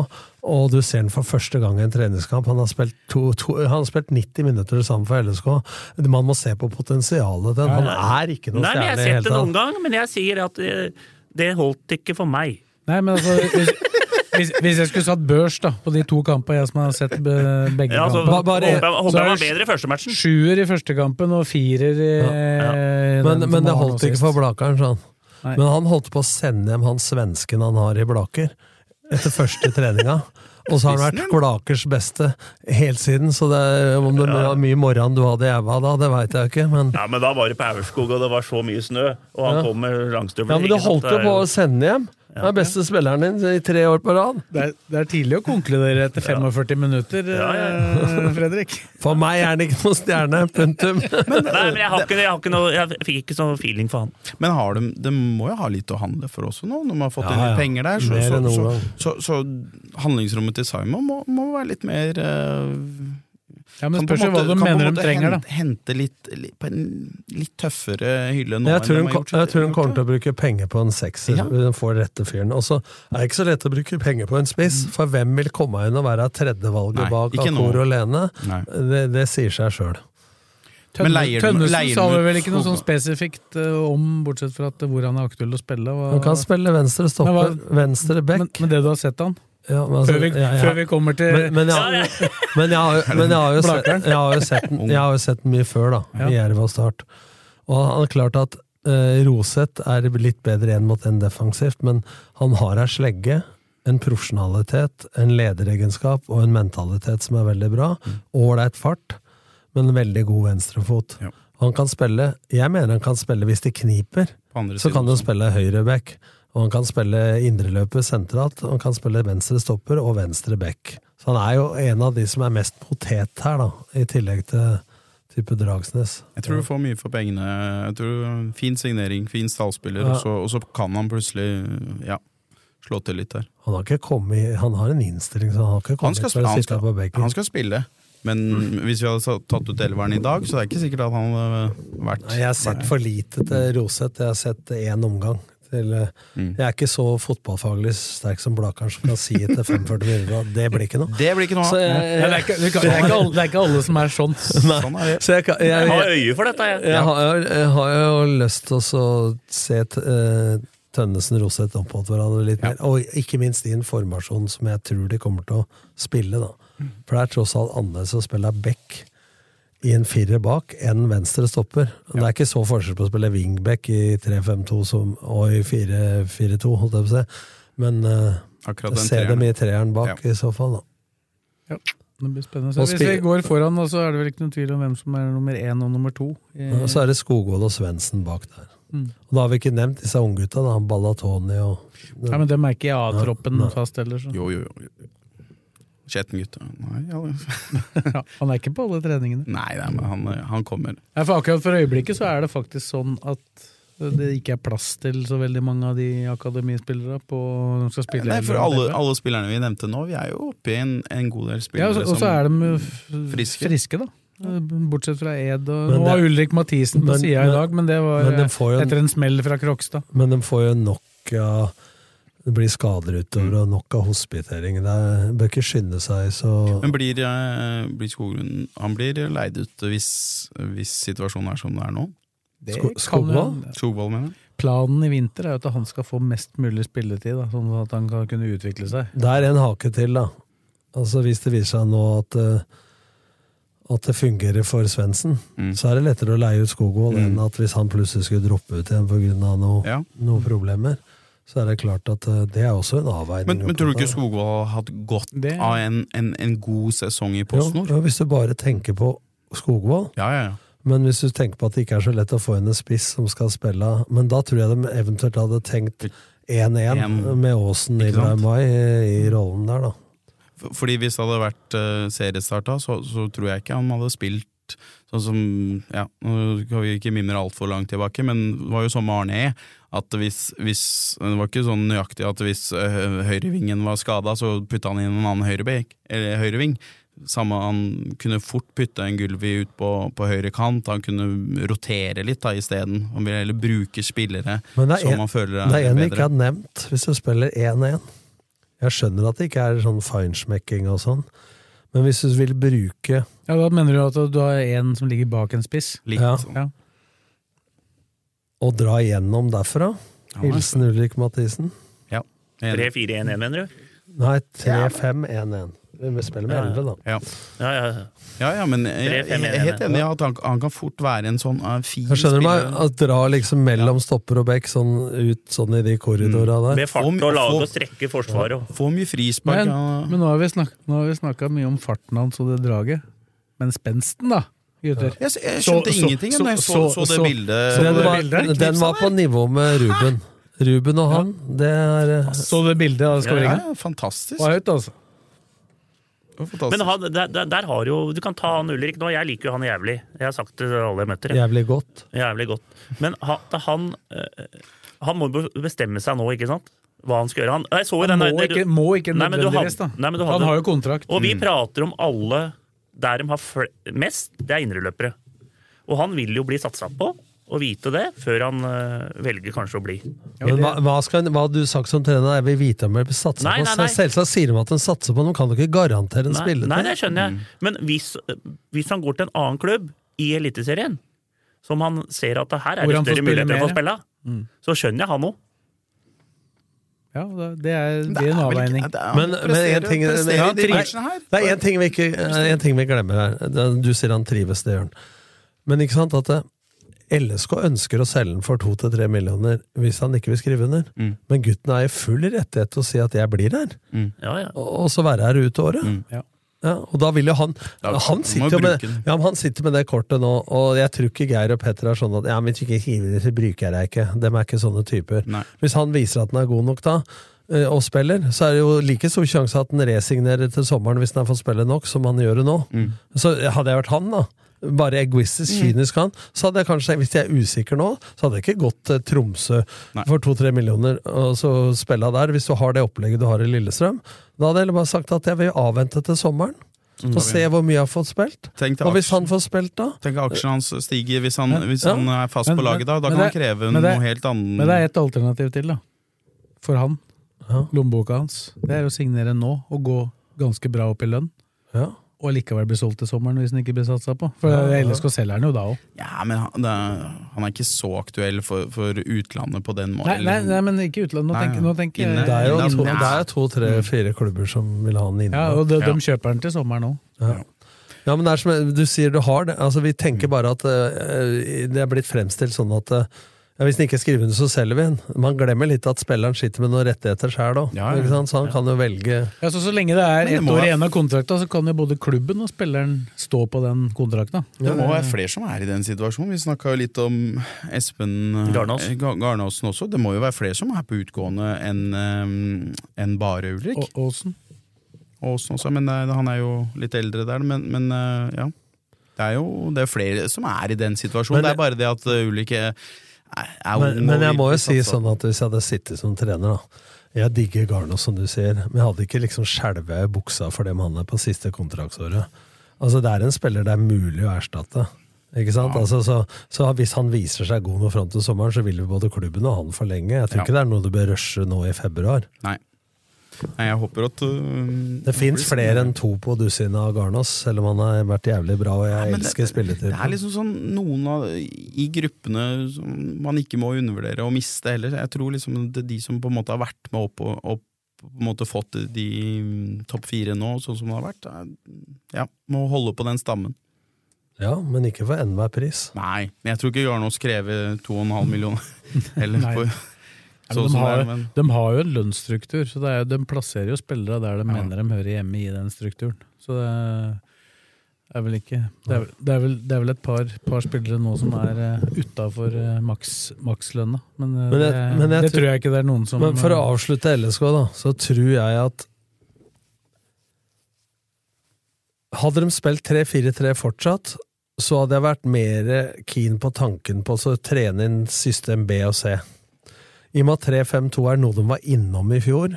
og du ser han for første gang i en treningskamp. Han har spilt, to, to, han har spilt 90 minutter sammen for LSK. Man må se på potensialet til han. Han er ikke noe Nei, men stjerne i Jeg har det sett det hele noen tatt. gang, men jeg sier at eh, det holdt ikke for meg. Nei, men altså, hvis, hvis, hvis jeg skulle satt børs da, på de to kampene jeg som har sett be- begge Ja, altså, kampene Ba- bare- håper jeg, håper jeg var så er det- bedre i første matchen. Sjuer i første kampen og firer i eh, den Men, som men det var nå holdt ikke sist. for Blakkern, sa han. Nei. Men han holdt på å sende hjem han svensken han har i Blaker, etter første treninga. Og så har han vært Blakers beste helt siden, så det, er- om det var mye morgen du hadde i æva da, det veit jeg ikke, men Ja, men Da var det på Aurskog, og det var så mye snø, og han Ja. kom med langstøvler. Ja, men du ikke sant? holdt jo Det er på å sende hjem. Den er beste spilleren din i tre år på rad. Det er, det er tidlig å konkludere etter 45 minutter, Ja, ja. eh, Fredrik. For meg er han ikke noen stjerne. Punktum. Nei, men jeg, har ikke, jeg, har ikke noe, jeg fikk ikke sånn feeling for han. Men har de, de må jo ha litt å handle for også nå, når man har fått Ja, inn ja. litt penger der. Så, Mer så, enn noen så, gang. så, så, handlingsrommet til Simon må, må være litt mer eh, Ja, men kan på en spørs jo hva måte- du kan på en mener måte de trenger, da. hente- Hente litt, litt på en litt tøffere hylle nå Jeg tror, hun, enn de har ko- gjort- jeg tror hun gjort kommer til det. å bruke penger på en sekser. Ja. Hun får rette fyren. Og så er det ikke så lett å bruke penger på en spiss, for hvem vil komme inn og være Mm. Nei, tredjevalget bak ikke nå. Akor og Lene? Nei. Det, det sier seg sjøl. Men Tønne, leier du- Tønnesen leier sa du ut vel ikke noe sånn Skog- spesifikt eh, om, bortsett fra at eh, hvor han er aktuell å spille. hva- Hun kan spille venstre stopper, Men venstre men, back. men det du har sett han? Ja, men altså- Før vi, ja, ja. Før vi kommer til Men, men, jeg, men, jeg, har jo- men jeg har jo sett, jeg har jo sett, den- jeg har jo sett den mye før, da. I Jerv og Start. Og han er klart at eh, Roseth er litt bedre én mot én defensivt, men han har ei slegge, en profesjonalitet, en lederegenskap og en mentalitet som er veldig bra. Ålreit fart, men veldig god venstrefot. Ja. Han kan spille, jeg mener han kan spille hvis det kniper. På andre Så siden kan du også. spille høyreback, og han kan spille indreløper sentralt, og han kan spille venstre stopper og venstre back. Så han er jo en av de som er mest potet her, da, i tillegg til type Dragsnes. Jeg tror du får mye for pengene. Jeg tror Fin signering, fin stallspiller, Ja. og, så, og så kan han plutselig ja, slå til litt der. Han har ikke kommet Han har en innstilling, så han har ikke Han kommet skal, for spille, å han, sitte skal, på benken. Mm. han skal spille, men hvis vi hadde sa- tatt ut elveren i dag, så er det ikke sikkert at han hadde vært Nei, jeg har sett for lite til Roseth. Jeg har sett én omgang. Til, eh, Mm. Jeg er ikke så fotballfaglig sterk som Blakeren som kan si etter 45 minutter at det blir ikke noe. Det blir ikke noe Så av! jeg, Ja, det, er ikke, det, kan, det, er ikke alle, det er ikke alle som er sånn. Nei, Sånn er det. så jeg, kan- jeg, Jeg jeg, har øye for dette, jeg. Jeg har, jeg har jo lyst til å så se t- eh, Tønnesen og Roseth opp mot hverandre litt mer. Og ikke minst i en formasjon som jeg tror de kommer til å spille, Mm. da. For det er tross alt annerledes å spille back i en firer bak enn venstre stopper. Det er ikke så forskjell på å spille wingback i 3-5-2 som- og i 4-4-2, holdt jeg på å si. Men eh, Akkurat den se dem treeren. i treeren bak, i så fall, da. Ja, det blir spennende. Og Så hvis vi spil- går foran, da, så er det vel ikke noen tvil om hvem som er nummer én og nummer to. i- Og så er det Skogvold og Svendsen bak der. Mm. Og da har vi ikke nevnt disse unggutta, da. Ballatoni og Nei, men dem er ikke i A-troppen fast heller. Så. Jo, jo, jo. Skjetten gutt. Nei, ja. Ja, han er ikke på alle treningene. nei, nei, men han, han kommer. Nei, for akkurat for øyeblikket så er det faktisk sånn at det ikke er plass til så veldig mange av de akademispillere på de skal spille. Nei, for alle, alle spillerne vi nevnte nå, vi er jo oppe i en, en god del ja, spillere og så- Og så er de jo f- friske. friske. da. Bortsett fra Ed og Men Nå var det- Ulrik Mathisen på men- sida i men- dag, men det var men de eh, får jo en- etter en smell fra Krokstad. Men de får jo nok av Det blir skader utover, og nok av hospitering. Det er- bør ikke skynde seg, så Men blir, eh, blir Skoglund Han blir leid ut hvis, hvis situasjonen er som den er nå? Det Sko- kan jo- Skogvold? Skogvold, mener jeg. Planen i vinter er jo at han skal få mest mulig spilletid, da, sånn at han kan kunne utvikle seg. Det er en hake til, da. Altså Hvis det viser seg nå at eh, at det fungerer for Svendsen, Mm. så er det lettere å leie ut Skogvold enn at hvis han plutselig skulle droppe ut igjen pga. Noe, Ja. noen problemer. Så er det klart at eh, det er også en avveining. Men, å men tror du ta. ikke Skogvold har hatt godt Det- av en, en, en god sesong i PostNord? Jo, jo, hvis du bare tenker på Skogvold, Ja, ja, ja. men hvis du tenker på at det ikke er så lett å få inn en spiss som skal spille Men da tror jeg de eventuelt hadde tenkt 1-1 En- med Aasen i Ikke sant? Braimai i rollen der, da. F- Fordi hvis det hadde vært uh, seriestart da, så, så tror jeg ikke han hadde spilt sånn som Ja, nå skal vi ikke mimre altfor langt tilbake, men det var jo sånn med Arne E. At hvis, hvis Det var ikke sånn nøyaktig at hvis øh, høyrevingen var skada, så putta han inn en annen høyrebek, eller høyreving. Samme, han kunne fort putte en Gulvi ut på, på høyre kant, han kunne rotere litt da isteden. Han ville heller bruke spillere Men det er en- som han føler er, Det er en vi bedre. ikke har nevnt, hvis du spiller 1-1. Jeg skjønner at det ikke er sånn feinschmecking og sånn, men hvis du vil bruke Ja, Da mener du at du har en som ligger bak en spiss? Litt, Ja. sånn. Ja. å dra igjennom derfra Ja, men- Hilsen Ulrik Mathisen. Enig. 3-4-1-1, mener du? Nei, 3-5-1-1. Vi spiller med Ja. 11, da. Ja. Ja, ja. ja. Ja, ja, men jeg, jeg, jeg er helt enig i at han, han kan fort være en sånn eh, fin Jeg skjønner meg spiller. at dra liksom mellom stopper og bekk sånn ut sånn i de korridora der. Mm. Med fart Om- og lage få- og strekke forsvaret. og- Får mye frispark. Men, ja. men nå har vi snak- nå har vi snakka mye om farten hans og det draget. Men spensten, da, gutter? jeg, jeg Så- skjønte så- ingenting så- da jeg så, så- så, det så- bildet. så Den det var, bildet? den var på nivå med Ruben. Ruben og han, det er eh, Så du bildet av ja, skåringa? ja, fantastisk. Var høyt, altså. fantastisk. Men han, der, der, der har jo Du kan ta han Ulrik nå. Jeg liker jo han jævlig. Jeg har sagt det til alle jeg møter. jeg. jævlig godt. Jævlig godt. Men han, han, eh, han må be- bestemme seg nå, ikke sant? Hva han skal gjøre. Han, jeg så jo Han den må der- ikke, Mm. må ikke Nei, men du nødvendigvis, da. hadde- nei, men du hadde- Han har jo kontrakt. Og vi prater om alle der de har fl mest, det er indreløpere. Og han vil jo bli satsa på, og vite det, før han eh, velger kanskje å bli. Men hva, hva, skal, hva har du sagt som trener? Jeg vil vite om de satser Nei, på nei, nei. Selvsagt sier de at de satser på, men de kan jo ikke garantere en Nei, spiller. nei, det skjønner jeg. Men hvis, hvis han går til en annen klubb i Eliteserien, som han ser at det her er Hvor det han får større spille muligheter for å mer. spille, så skjønner jeg han òg. Ja, da- det er, det er en avveining. Men, men en ting, presterer Nei, de matchene her? det er en ting, vi ikke, en ting vi glemmer her. Det- Du sier han trives, det gjør han. Men ikke sant at eh, LSK ønsker å selge den for to til tre millioner hvis han ikke vil skrive under. Mm. Men gutten er i full rettighet til å si at 'jeg blir her', Ja, ja. og og så være her ut året. Ja. Ja, og da vil jo han Mm. Da- han, må sitter jo med, bruke den. ja, men han sitter med det kortet nå, og jeg tror ikke Geir og Petter er sånn at ja, men hvis du ikke hiver det, så bruker jeg deg ikke. Dem er ikke sånne typer. Nei. Hvis han viser at han er god nok da, eh, og spiller, så er det jo like stor sjanse at han resignerer til sommeren hvis han har fått spille nok, som han gjør det nå. Mm. Så hadde jeg vært han, da. Bare egoistisk, kynisk han. Så hadde jeg kanskje, hvis jeg er usikker nå, så hadde jeg ikke gått til Tromsø Nei. for to-tre millioner og så spilla der. Hvis du har det opplegget du har i Lillestrøm, da hadde jeg heller bare sagt at jeg vil avvente til sommeren. Mm. Og se hvor mye jeg har fått spilt. Tenk deg Og hvis han aksjen. får spilt, da? Tenk at aksjene hans stiger hvis han, hvis Ja. han er fast Men- på laget da. Da men kan han det- kreve men noe det- helt annet. Men det er ett alternativ til, da. For han. Ja. Lommeboka hans. Det er å signere nå og gå ganske bra opp i lønn. Ja. Og likevel bli solgt til sommeren hvis den ikke blir satsa på. For LSK selger den jo da òg. Ja, men han, det er, han er ikke så aktuell for, for utlandet på den måten. Nei, nei, nei, men ikke utlandet. Nå, Nei, tenker- ja. nå tenker Inne. jeg Det er jo Innan- to, Ja. det er to tre, fire klubber som vil ha han inne. Ja, og de, Ja. de kjøper den til sommeren òg. Ja, men det er som du sier, du har det. Altså, vi tenker bare at eh, det er blitt fremstilt sånn at eh, ja, hvis den ikke skriver under, så selger vi den. Man glemmer litt at spilleren sitter med noen rettigheter sjøl òg. Ja, ja. Så han kan jo velge Ja, så, så lenge det er Men det ett må år være- igjen av kontrakta, så kan jo både klubben og spilleren stå på den kontrakta. Det må være flere som er i den situasjonen. Vi snakka jo litt om Espen eh, Garnås. Ga- Garnåsen også. Det må jo være flere som er på utgående enn eh, enn bare Ulrik. Og Aasen. Aasen også, men eh, han er jo litt eldre der. Men, men eh, ja. Det er jo det er flere som er i den situasjonen. Men- det er bare det at eh, Ulrik er, er er Men, ung men og jeg må jo virkelig si satsa. sånn at hvis jeg hadde sittet som trener, da Jeg digger Garnås, som du sier, men jeg hadde ikke liksom skjelvet i buksa for dem han er på siste kontraktsåret. Altså, det er en spiller det er mulig å erstatte. Ikke sant? Altså, så, så hvis han viser seg god nå fram til sommeren, så vil jo både klubben og han forlenge. Jeg tror Ja. ikke det er noe du bør rushe nå i februar. Nei. Nei, jeg håper at eh, Det fins blir flere spennende. enn to på dusinet av Garnås, selv om han har vært jævlig bra, og jeg men det- elsker spilletid. Det er liksom sånn noen av i gruppene som man ikke må undervurdere og miste heller. Jeg tror liksom det er de som på en måte har vært med opp og opp, på en måte fått de mm, topp fire nå, sånn som det har vært, er- ja, må holde på den stammen. Ja, men ikke for enhver pris. Nei, men jeg tror ikke Garnås krever 2,5 millioner. Eller Nei. for, Ja, sånn men de, som har, det er, men de har jo en lønnsstruktur, så det er, jo- de plasserer jo spillere der de mener de hører hjemme i den strukturen. Så det er vel ikke Det er, vel- det er, vel, det er vel et par, par spillere nå som er uh, utafor uh, maks, makslønna, men, eh, Men jeg- det, men jeg det tror- tror jeg ikke det er noen som Men for å avslutte LSK, da, så tror jeg at Hadde de spilt 3-4-3 fortsatt, så hadde jeg vært mer keen på tanken på å trene inn system B og C. I og med at 3-5-2 er noe de var innom i fjor,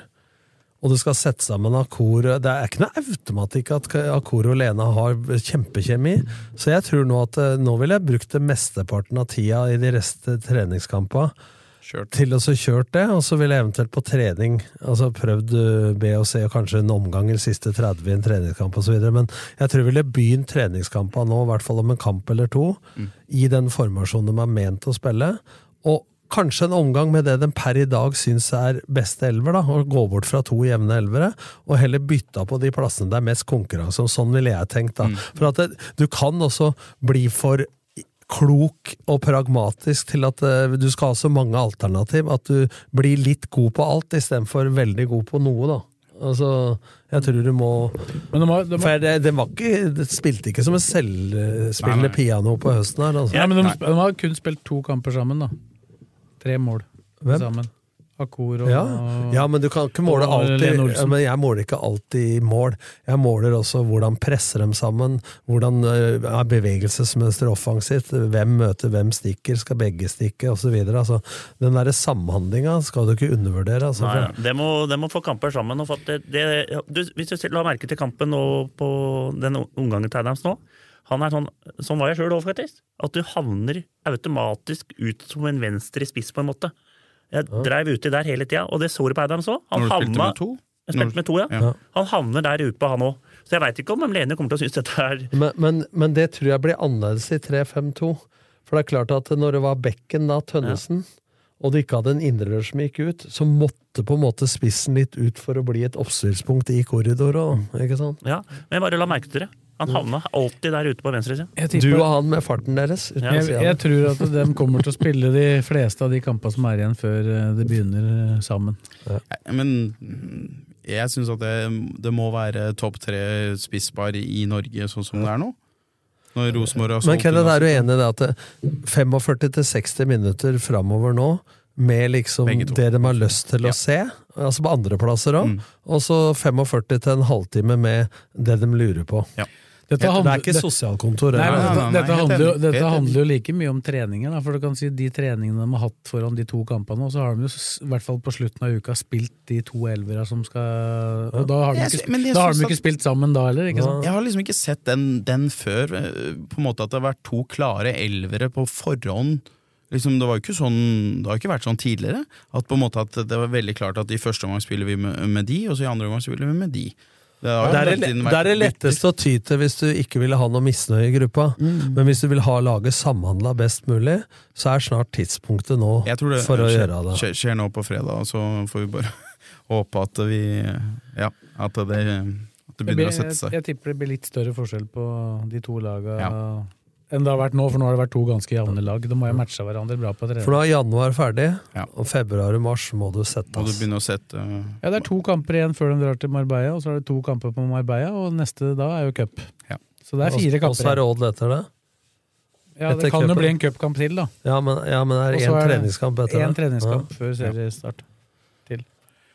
og du skal sette sammen Akor Det er ikke noe automatikk at Akor og Lena har kjempekjemi, så jeg tror nå at eh, nå ville jeg brukt det mesteparten av tida i de reste treningskampene kjørt. til og så kjørt det, og så ville jeg eventuelt på trening altså prøvd uh, B og C og kanskje en omgang eller siste 30 i en treningskamp osv. Men jeg tror jeg ville begynt treningskampene nå, i hvert fall om en kamp eller to, i den formasjonen de er ment å spille. Og kanskje en omgang med det de per i dag syns er beste elver, da, og gå bort fra to jevne elvere, og heller bytta på de plassene det er mest konkurranse om. Sånn ville jeg tenkt, da. For at det, du kan også bli for klok og pragmatisk til at eh, du skal ha så mange alternativ at du blir litt god på alt istedenfor veldig god på noe, da. Altså, jeg tror du må Men de har, de har, For det, det, var ikke, det spilte ikke som en Nei, nei. selvspillende piano på høsten her. Altså. ja, men de, de har kun spilt to kamper sammen, da. Tre mål Hvem? sammen. Akor og Ja. ja, men du kan ikke måle Og alltid Lene Olsen. ja, men Jeg måler ikke alltid mål. Jeg måler også hvordan presser dem sammen, hvordan eh, er bevegelsesmønsteret offensivt, hvem møter hvem stikker, skal begge stikke, osv. Altså, den derre samhandlinga skal du ikke undervurdere. Altså, Nei, for, det, må, det må få kamper sammen. Og for at det, det, du, hvis du ser- la merke til kampen nå på den omgangen til Adams nå han er sånn, Sånn var jeg sjøl òg, faktisk. At du havner automatisk ut som en venstre spiss, på en måte. Jeg dreiv uti der hele tida, og det så du på Adams òg. Han Når du spilte havna med to? jeg spilte med to, ja. Mm. Ja. Han havner der ute, han òg. Så jeg veit ikke om Lene kommer til å synes dette er men, men, men det tror jeg blir annerledes i 3-5-2. For det er klart at når det var Bekken, da, Tønnesen, og du ikke hadde en indreløper som gikk ut, så måtte på en måte spissen litt ut for å bli et oppstillspunkt i korridoren. Ikke sant? Ja, men bare la merke til det. Han havna alltid der ute på venstresida. Jeg Du tipper- og han med farten deres. Uten å Jeg, si jeg det. tror at de kommer til å spille de fleste av de kampene som er igjen, før eh, det begynner eh, sammen. Nei, Men mm, jeg syns at det, det må være topp tre spisspar i Norge, sånn som det er nå. Når Rosenborg Eh, har Men solgt Kenneth, unna er du enig i det at det- 45-60 minutter framover nå, med liksom Begge to. det de har lyst til Ja. Mm. å se, altså på andreplasser òg, og så 45 til en halvtime med det de lurer på. Ja. Dette Det handler- er ikke sosialkontor. Nei, men eller? nei, dette, nei, dette, helt handler jo, enig. dette Helt handler jo like mye om treninger. Da, for du kan si De treningene de har hatt foran de to kampene, og så har de jo s- i hvert fall på slutten av uka spilt de to elvera som skal Og da har de Jeg ikke, sy- men jeg sp- da har syns de ikke at- spilt sammen da heller, ikke sant? Jeg har liksom ikke sett den, den før, eh, på en måte at det har vært to klare elvere på forhånd. Liksom, det, var jo ikke sånn, det har ikke vært sånn tidligere. At på en måte at det var veldig klart at i første omgang spiller vi med, med de, og så i andre omgang spiller vi med de. Det har jo Det er, hele det, tiden det er det vært- letteste å ty til hvis du ikke ville ha noe misnøye i gruppa. Mm. Men hvis du vil ha laget samhandla best mulig, så er snart tidspunktet nå Jeg tror det for å skjer, gjøre det. Skjer, skjer nå på fredag, så får vi bare håpe at vi Ja, at det, at det Jeg, begynner jeg, å sette seg. jeg tipper det blir litt større forskjell på de to laga Ja. enn det har vært nå, for nå har det vært to ganske jevne lag. De må jo matche hverandre bra på For trening. nå er januar ferdig, Ja. og februar og mars må du sette Må du oss. begynne å sette Ja, Det er to kamper igjen før de drar til Marbella, og så er det to kamper på Marbella, og neste da er jo cup. Ja. Så det Og er fire så er kamper igjen. det Odd etter det. Ja, etter det kan jo cupen. bli en cupkamp til, da. Ja, men, ja, men er Og det så én er det treningskamp etter Én det? treningskamp før seriestart til.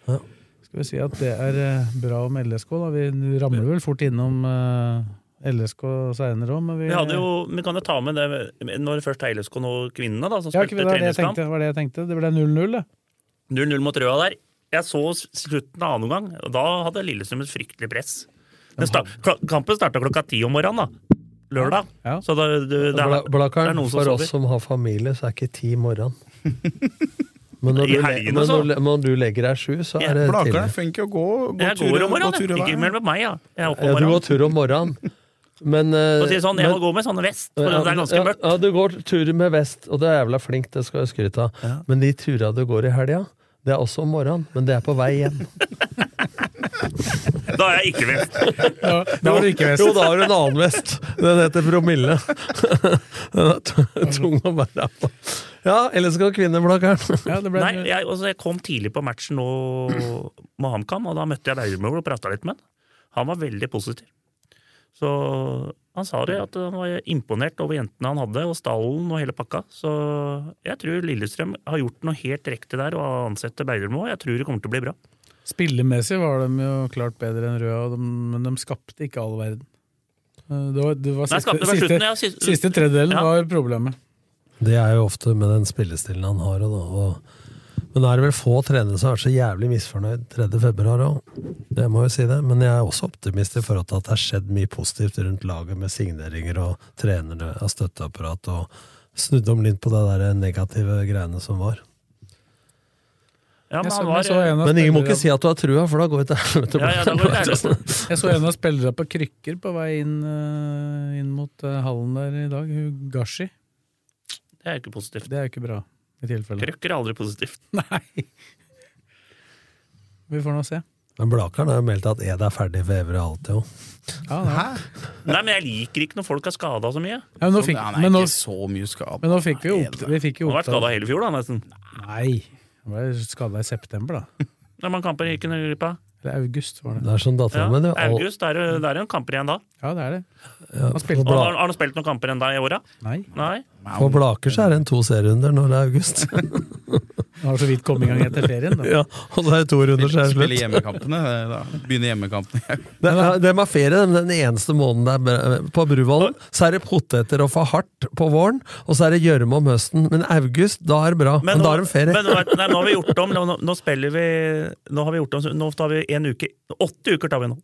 Ja. Skal vi si at det er eh, bra om LSK, da. Vi ramler vel fort innom eh, LSK seinere òg, men vi Vi, hadde jo, vi kan jo ta med det når det først er LSK nå, kvinnene, da, som ja, spilte ikke, det, var det, jeg treningskamp. tenkte, det var det jeg tenkte. Det ble 0-0, det. 0-0 mot Røa der. Jeg så s- slutten av annen omgang, og da hadde Lillestrøm et fryktelig press. Den sta kla- kampen starta klokka ti om morgenen, da. Lørdag. Ja. Så da, det, det, Bla, er- det er Blakkaren, noen som for oss sover. som har familie, så er ikke ti morgenen. Men når I du, helgene, men så. når, når du legger deg sju, så Ja, er det tidlig. Blakeren er flink til å gå, gå Jeg går om gå morgenen, turer jeg. ikke hver. mellom meg, ja. Jeg er oppe Ja, om du går morgenen. tur om morgenen, men eh, Og sier sånn, jeg men- må gå med sånne vest, for det er ganske ja, mørkt. Ja, du går turer med vest, og du er jævla flink, det skal jeg skryte av. Men de turene du går i helga, det er også om morgenen, men det er på vei hjem. Da er jeg ikke vest. Ja, det var det ikke vest. Jo, da har du en annen vest. Den heter promille. Den er t- tung å bære på. Ja, ellers skal kvinneplakkeren. Ja, det ble, Nei, jeg, altså, jeg kom tidlig på matchen nå med HamKam, og da møtte jeg Bauermøl og prata litt med han. Han var veldig positiv. Så han sa det, at han var imponert over jentene han hadde, og stallen og hele pakka. Så jeg tror Lillestrøm har gjort noe helt riktig der, og ansette Bauermøl. Jeg tror det kommer til å bli bra. Spillemessig var de jo klart bedre enn Røa, og de, men de skapte ikke all verden. Eh, Det var, det var Nei, siste, skapte det var slutten, siste, ja, siste- siste tredjedelen Ja. var problemet. Det er jo ofte med den spillestilen han har. og da- Og, men da er det vel få trenere som er så jævlig misfornøyd 3. februar òg. Det må jo si det. Men jeg er også optimist i forhold til at det har skjedd mye positivt rundt laget med signeringer og trenere av støtteapparat og snudd om litt på det der negative greiene som var. Ja, men Jeg så, han men var, så en av Men ingen må spillerne- ikke si at du har trua, for da går vi til helvete. ja, ja, da går det ærlig. Jeg så en av spillerne på krykker på vei inn, eh, inn mot eh, hallen der i dag. Hun Gashi. Det er jo ikke positivt. Det er jo ikke bra, i tilfelle. Krøkker er aldri positivt. Nei. Vi får nå se. Men Blakeren har jo meldt at Ed er ferdig for evig og alltid òg. Ja, nei. Nei, men jeg liker ikke når folk er skada så mye. Ja, men, nå Så fikk, han er men, nå, ikke så mye skadet. men nå fikk vi jo opp, vi fikk jo Han har vært opptak. skada hele fjor, da, nesten. Nei, han ble skada i september, da. Når man kamper gikk under gruppa. Eller august, var det. Det er som Ja, dattera mi. august, det er det det er jo en kamper igjen da. Ja, det er det. Han spilte Og Har, har han spilt noen kamper enda i åra? Nei, Nei. På Blaker så er det en to serierunder når det er august. han har så vidt kommet i gang etter ferien. Da. ja, og det er to runder, så er det Spille slutt. hjemmekampene. eh, Da. Begynne hjemmekampene. Det er, de har ferie den, den eneste måneden det er br- på Bruvollen. Så er det poteter og for hardt på våren, og så er det gjørme om høsten. Men august, da er det bra. Men, da er de ferie. Men, nå er- nei, nå har vi gjort om. Nå, nå- nå spiller vi Nå har vi gjort om, så nå tar vi en uke Åtte uker tar vi nå.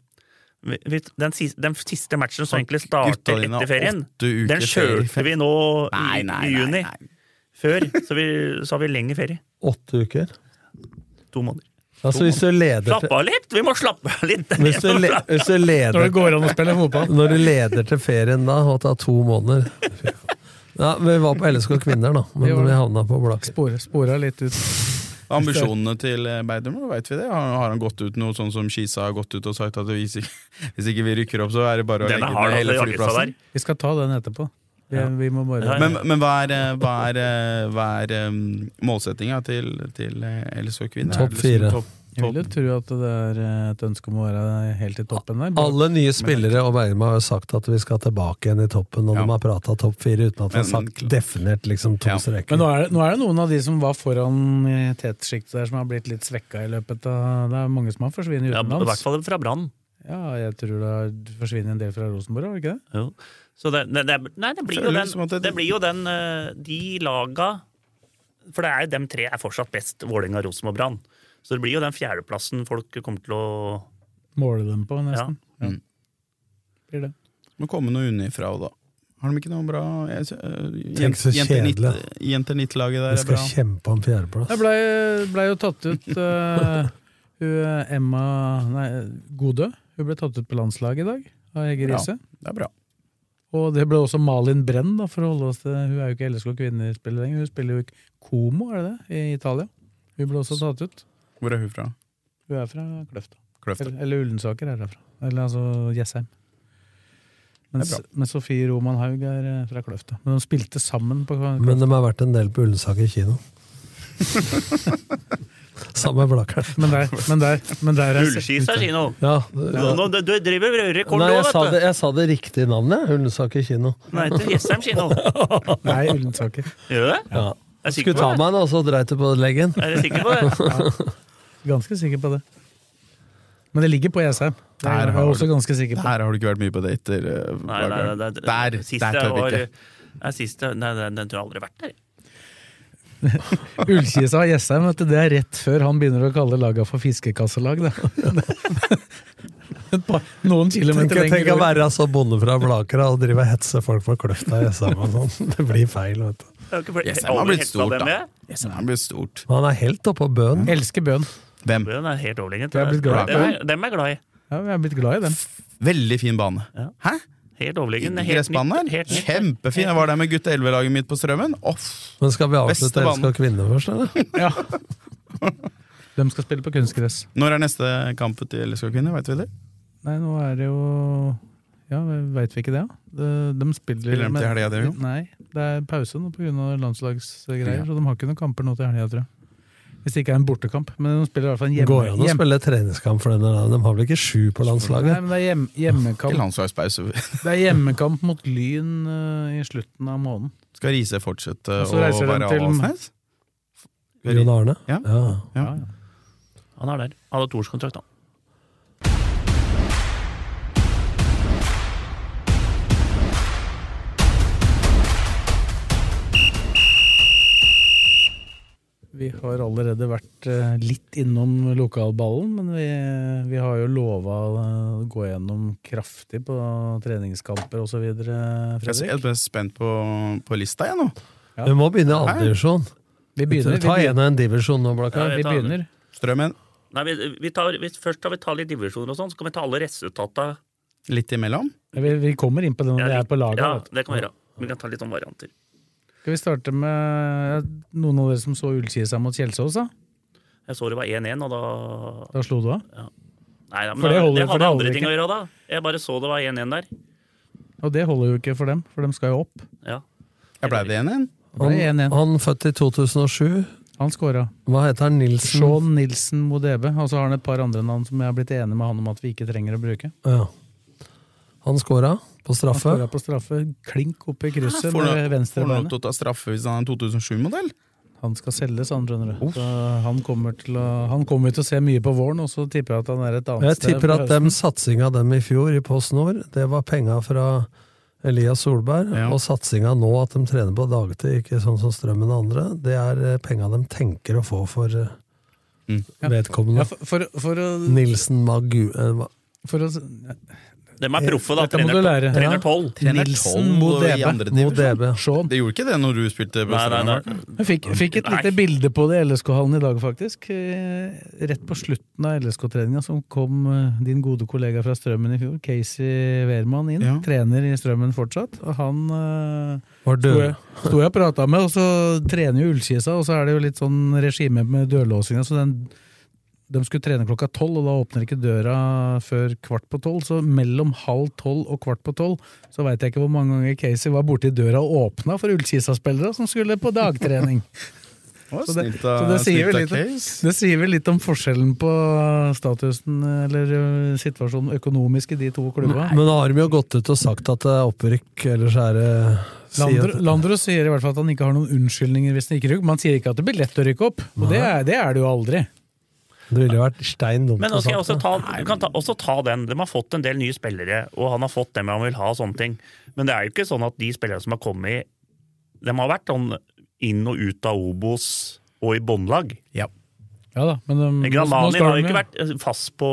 Vi, vi, den, siste, den siste matchen som egentlig Gutta starter dine har etter ferien, åtte uker den ferie. kjørte vi nå i, i juni. nei. Før så, vi, så har vi lengre ferie. Åtte uker. To måneder. Altså, hvis du leder Slapp til av litt! Vi må slappe av litt! hvis du, le, hvis du leder Når det går an å spille fotball. Når du leder til ferien da, og tar to måneder Fy faen. ja, Vi var på LSK Kvinner, da, Vi var men det. vi havna på Blaker. Spora, spora litt ut. Ambisjonene til Beidermo, veit vi det? Har, har han gått ut noe sånn som Skisa har gått ut og sagt at hvis ikke, hvis ikke vi rykker opp, så er det bare å legge Denne har ned du hele altså jakka flyplassen? der. Vi skal ta den etterpå. Vi, vi må bare Ja, ja. Men, men hva er, eh, hva er, eh, hva er målsettinga til, til eh, LSK Kvinner? Topp Er det liksom fire. Topp, Jeg vil jo tro at det er eh, et ønske om å være helt i toppen der. Alle nye spillere og Bergman har jo sagt at vi skal tilbake igjen i toppen, og Ja. de har prata topp fire uten at de har Men- sagt definert liksom to Ja. streker. Men nå er, det, nå er det noen av de som var foran i tetsjiktet der, som har blitt litt svekka i løpet av Det er mange som har forsvunnet Ja, I hvert utenlands. fall fra Brann. Ja, jeg tror det har forsvunnet en del fra Rosenborg, har det ikke det? Jo. Så det, det, det, nei, det blir jo Føler den, som at det, det- blir jo den eh, De laga For det er jo dem tre er fortsatt best, Vålerenga, Rosenborg og Brann. Så det blir jo den fjerdeplassen folk kommer til å Måle dem på, ja. nesten. Ja. Mm. Blir det. må komme noe unnifra, da. Har de ikke noe bra jeg ser, eh, Tenk så jenter nitt- kjedelig. Jenter nitt-laget Vi der er skal bra. kjempe om Jeg fjerdeplass. blei ble jo tatt ut eh, hun, eh, Emma Nei, Godø. Hun ble tatt ut på landslaget i dag av Hege Ja. Riise. Det er bra. Og det ble også Malin Brenn, da, for å holde oss til Hun er jo ikke LSK kvinnespiller lenger, hun spiller jo i Como, er det det, i Italia. Hun ble også tatt ut. Hvor er hun fra? Hun er fra Kløfta. Kløfta. Eller, eller Ullensaker er derfra. Eller altså Jessheim. Mens, Det er mens Sofie Roman Haug er eh, fra Kløfta. Men de spilte sammen på Men de har vært en del på Ullensaker kino. Sammen med Blakkeren. Men der, men der, men der er Ullskisa kino! Ja, Nå- nå- Du, du driver og rører kort Nei, nå, jeg sa, vet det, jeg sa det riktige navnet, jeg. Ullensaker kino. du! Nei, til Jessheim kino. Nei, Ullensaker. Gjør du det? Ja. Er du sikker Skulle ta på det? meg en, og så dreit du på leggen. Er du sikker på det? Ganske sikker på det. Men det ligger på Jessheim. Det Der er har jeg også du- ganske sikker Der på. har du ikke vært mye på dater. eh, Nei, nei, nei, Blaker. det- Der, der sist jeg tør vi var- ikke. Nei, sist jeg- Nei, den, den tror jeg aldri har vært der. Ullkisa og Jessheim, vet du, det er rett før han begynner å kalle laga for fiskekasselag. Det. Et par- Noen Tenk, kilometer tenk å lenger. være så bonde fra Blakera og drive og hetse folk fra Kløfta i Jessheim og sånn. Det blir feil, vet du. Jeg har ikke- jeg har Jessheim har aldri blitt hekta stort, dem, da. jeg. Jessheim har blitt stort. Men han er helt oppå bøen. Elsker bøen. Hvem? Den er helt overlegent. Jeg er blitt glad i Dem er- Dem er jeg glad i. Ja, jeg er blitt glad i den. Velveldig fin bane. Ja. Hæ? Helt overlegen. Helt nytt- Gressbanen her? helt nytt. Kjempefin! Jeg var der med gutta 11-laget mitt på Strømmen. Off. Men skal vi Beste avslutte banen. Elska kvinner først, eller? Ja. De skal spille på kunstgress. Når er neste kamp til LSK Kvinner? Vet vi det? Nei, nå er det jo Ja, veit vi ikke det, da? De, de spiller, Spiller de til men- helga, det, jo? Nei, det er pause nå pga. landslagsgreier, Ja. så de har ikke noen kamper nå til helga, tror jeg. Hvis det ikke er en bortekamp. Men de spiller i hvert fall en hjemme, Går det an å hjem- spille treningskamp for denne? da? De har vel ikke sju på Nei, landslaget? men det er hjem, Til hjemmekamp. landslagspause. Det er hjemmekamp mot Lyn eh, i slutten av måneden. Skal Riise fortsette Og så å reiser de være til- Avaldsnes? Jon Arne? Ja. Ja. Ja, ja. Han er der. Han har toårskontrakt, han. Vi har allerede vært eh, litt innom lokalballen, men vi, vi har jo lova å gå gjennom kraftig på treningskamper osv. Jeg er Fredrik. helt mest spent på, på lista, jeg nå. Ja. Vi må begynne i andre divisjon. Vi begynner. Vi Ta en begynner. og en divisjon nå, Blakkar. Ja, Vi jeg tar den. begynner. Strømmen Nei, vi, vi tar, vi, først skal vi ta litt divisjoner og sånn, så kan vi ta alle resultatene. litt imellom. Vi, vi kommer inn på det når vi er på laget. Ja, vet du. det kan vi gjøre. Vi kan ta litt sånn varianter. Skal vi starte med noen av dere som så Ullkisa seg mot Kjelsås? Da Jeg så det var 1-1, og da Da slo du av. Nei, da, men For det holder- for da- det hadde det holder andre ting ikke. å gjøre da. Jeg bare så det var 1-1 der. Og det holder jo ikke for dem, for de skal jo opp. Ja. Jeg blei det igjen igjen. Det er Han, 1-1. han født i 2007. Han scora. Hva heter han? Nilsen? Sean Nilsen Modebe. E Og så har han et par andre navn som jeg har blitt enig med han om at vi ikke trenger å bruke. Ja. Han scora på Han straffe. skåra på straffe. Klink opp i krysset med Får han- får han lov venstrebeinet. til å ta straffe hvis han er en 2007-modell? Han skal selges, han, skjønner du. Så han kommer til å Han kommer vi til å se mye på våren, og så tipper jeg at han er et annet Jeg tipper på at høsten. den satsinga dem i fjor i Post Nord, det var penga fra Elias Solberg. Ja. Og satsinga nå, at de trener på dagtid, ikke sånn som Strømmen og andre, det er eh, penga de tenker å få for eh, Mm. ja, vedkommende. for, for, for, å, Nilsen Magu... eh, hva- for å De er proffe, da. Dette må du lære. trener Ja. 12. Trener Nilsen 12 mot i DB. andre Mo divisjon. DB. Sean. Det gjorde ikke det når du spilte på Nei, nei, Strømmen? nei. Jeg fikk, fikk et lite Nei. bilde på det i LSK-hallen i dag, faktisk. Eh, Rett på slutten av LSK-treninga som kom eh, din gode kollega fra Strømmen i fjor, Casey Wehrmann, inn. Ja. Trener i Strømmen fortsatt. Og han eh, Var sto død. jeg, sto jeg og prata med, og så trener jo Ullkisa, og så er det jo litt sånn regime med dørlåsinga, så den de skulle trene klokka tolv, og da åpner ikke døra før kvart på tolv. Så mellom halv tolv og kvart på tolv så veit jeg ikke hvor mange ganger Casey var borti døra og åpna for Ullkisa-spillere som skulle på dagtrening. Å, Så det- Snilt av så det sier vel snilt av litt om- Case. Det sier vel litt om forskjellen på statusen eller ø, situasjonen økonomisk i de to klubba. Men nå har de jo gått ut og sagt at det er opprykk, ellers er det Landro, sier at- Landro sier i hvert fall at han ikke har noen unnskyldninger hvis han ikke rykker. Man sier ikke at det blir lett å rykke opp, og det er det, er det jo aldri. Det ville jo vært stein dumt Men nå å skal jeg altså, sagt også det. ta, du kan ta, også ta den. De har fått en del nye spillere, og han har fått dem han vil ha. og sånne ting. Men det er jo ikke sånn at de spillerne som har kommet, de har vært sånn inn og ut av Obos og i båndlag. Ja da, men ø, nå- nå Granani skal har jo de ikke vært eh, fast på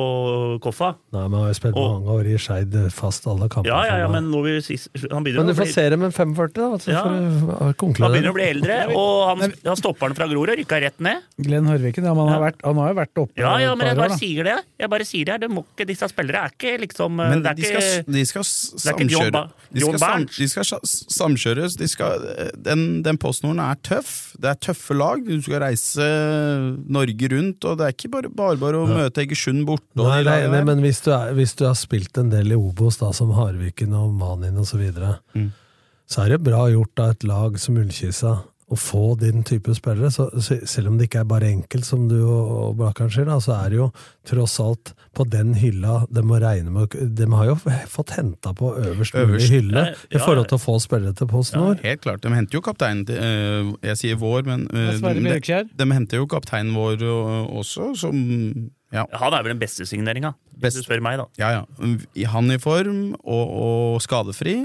Koffa. Nei, men han har jo spilt Og- mange år i Skeid eh, fast alle kamper. Ja, ja, ja, for meg. men nå vil sist, han Men begynner du å får bli se dem med 45, da. vet du, Ja. for å han konkludere. begynner å bli eldre, og han, han stopperen fra Grorud rykka rett ned. Glenn Hørviken, ja, men han, har Ja. vært, han har jo vært oppe Ja, ja, et men jeg par år, bare da. sier det. Jeg bare sier det. det må ikke, disse spillere er ikke liksom Men det er de skal, ikke, de skal s- er ikke John samkjøre Ba- De John skal, sam, Barnes. de skal sa- samkjøres. De skal, den den postnorden er tøff. Det er tøffe lag. Du skal reise Norge rundt, og det er ikke bare bare, bare å møte Egersund borte. og Nei, de det er jeg lagene enig, i, der. men hvis du, er, hvis du har spilt en del i Obos, da, som Harviken og Manin osv., så, videre, så er det bra gjort av et lag som Ullkisa å få din type spillere. Så, så, selv om det ikke er bare enkelt, som du og, og Blakkaren sier, da, så er det jo tross alt på den hylla de må regne med å- De har jo f- fått henta på øverst mulig Øverst. hylle Ja, i ja. forhold til å få spillere til Post Nord. Helt klart. De henter jo kapteinen til eh, Jeg sier vår, men eh, Ja, Sverre de, Bjørkjær. de henter jo kapteinen vår eh, også, som ja, Han er vel den beste signeringa, hvis Best. du spør meg, da. ja, ja. Han i form og, og skadefri.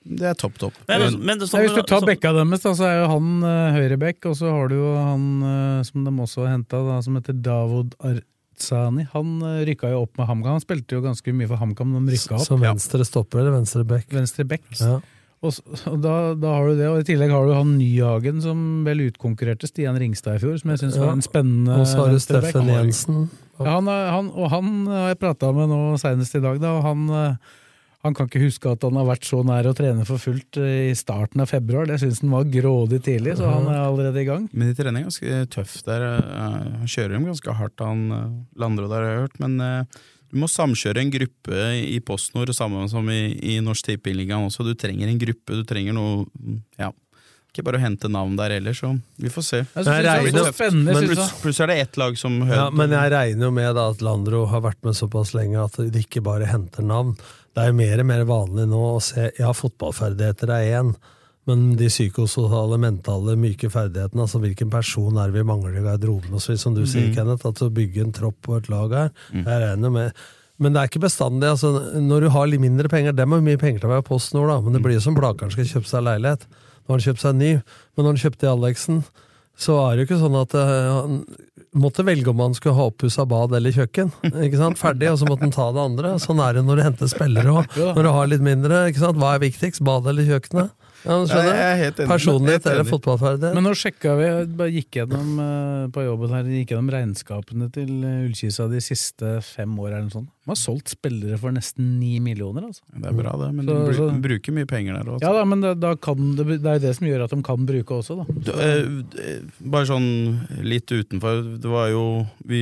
Det er topp, topp. Men, men det- Nei, hvis du tar som- bekka deres, da, så er jo han uh, høyrebekk, og så har du jo han eh, som de også har henta, som heter Davod Arzani. Han uh, rykka jo opp med HamKam. Han spilte jo ganske mye for HamKam, men de rykka opp. Som venstre stopper eller venstre back. Venstre bekk. Ja. Og, s- og da, da har du det, og i tillegg har du han Nyhagen, som vel utkonkurrerte Stian Ringstad i fjor, som jeg syns Ja. var en spennende Og så har du venstreback. Steffen Jensen. Ja, han, er- han, og han eh, har jeg prata med nå senest i dag, da, og han, eh, han kan ikke huske at han har vært så nær å trene for fullt eh, i starten av februar. Det syns han var grådig tidlig, så han er allerede i gang. Men de trener ganske tøft der. eh, Han kjører dem ganske hardt, han eh, Landro der, har jeg hørt. Men eh, Du må samkjøre en gruppe i PostNord, samme som i, i Norsk Tippeligaen også. Du trenger en gruppe, du trenger noe Ja. Ikke bare å hente navn der heller, så vi får se. Jeg synes det er så spennende, Men synes plutselig jeg. plutselig er det ett lag som Ja, hører men jeg regner jo med da at Landro har vært med såpass lenge at de ikke bare henter navn. Det er jo mer og mer vanlig nå å se Ja, fotballferdigheter er én, men de psykososiale, mentale, myke ferdighetene, altså hvilken person er det vi mangler i garderoben osv., som du sier, Kenneth, at å bygge en tropp og et lag her, jeg regner med men det er ikke bestandig. altså Når du har litt mindre penger Dem har mye penger til å være PostNord, da, men det blir jo som Blakeren skal kjøpe seg leilighet. Nå har han kjøpt seg en ny, men når han kjøpte Alexen, så er det jo ikke sånn at eh, han måtte velge om han skulle ha oppussa bad eller kjøkken. ikke sant? Ferdig, og så måtte han ta det andre. Sånn er det når du henter spillere òg. Når du har litt mindre. ikke sant? Hva er viktigst, badet eller kjøkkenet? Ja, men Ja, jeg er skjønner helt enig. Helt Personlighet enig. eller fotballferdighet? Men nå sjekka vi, jeg bare gikk gjennom eh, på jobben her, gikk gjennom regnskapene til eh, Ullkisa de siste fem år eller noe sånt. De har solgt spillere for nesten ni millioner, altså. Det er bra, det, men Så- du bru- så- bruker mye penger der også. Ja da, men det, da kan, det, det er jo det som gjør at de kan bruke også, da. Du, eh, eh, Bare sånn litt utenfor. Det var jo vi,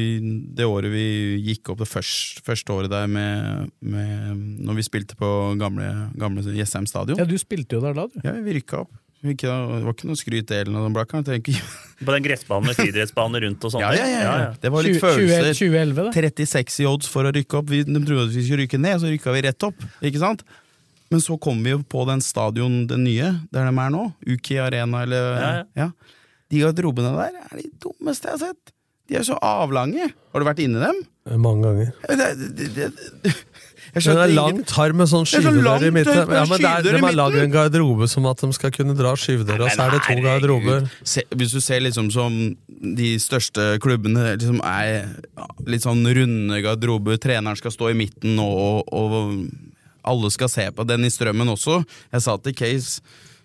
det året vi gikk opp, det første, første året der med, med Når vi spilte på gamle, gamle Jessheim stadion. Ja, du spilte jo der da, du. Ja, vi rykka opp. Vi ikke, det var ikke noe skryt eller noe sånt. Blakka. Jeg tenker- På den gressbanen med friidrettsbane rundt og sånn. Ja, ja, ja, ja. Det var litt 20- 20- følelser. 2011, da. 36 i odds for å rykke opp. Vi, de trodde at vi skulle rykke ned, så rykka vi rett opp. Ikke sant? Men så kom vi jo på den stadion, den nye, der de er nå. Uki Arena eller ja, Ja, De garderobene der er de dummeste jeg har sett. De er så avlange. Har du vært inni dem? Eh, Mange ganger. Det, det, det, det. Men det er Jeg skjønte ingen- langt harm med sånn Det er så langt, skyvedør i midten. det er Ja, men det er, skyvedør i de har midten. lagd en garderobe som at de skal kunne dra skyvedøra, og så er det to garderober. Se, hvis du ser liksom som de største klubbene liksom er ja, litt sånn runde garderober, treneren skal stå i midten og, og, og alle skal se på den i strømmen også. Jeg sa til Case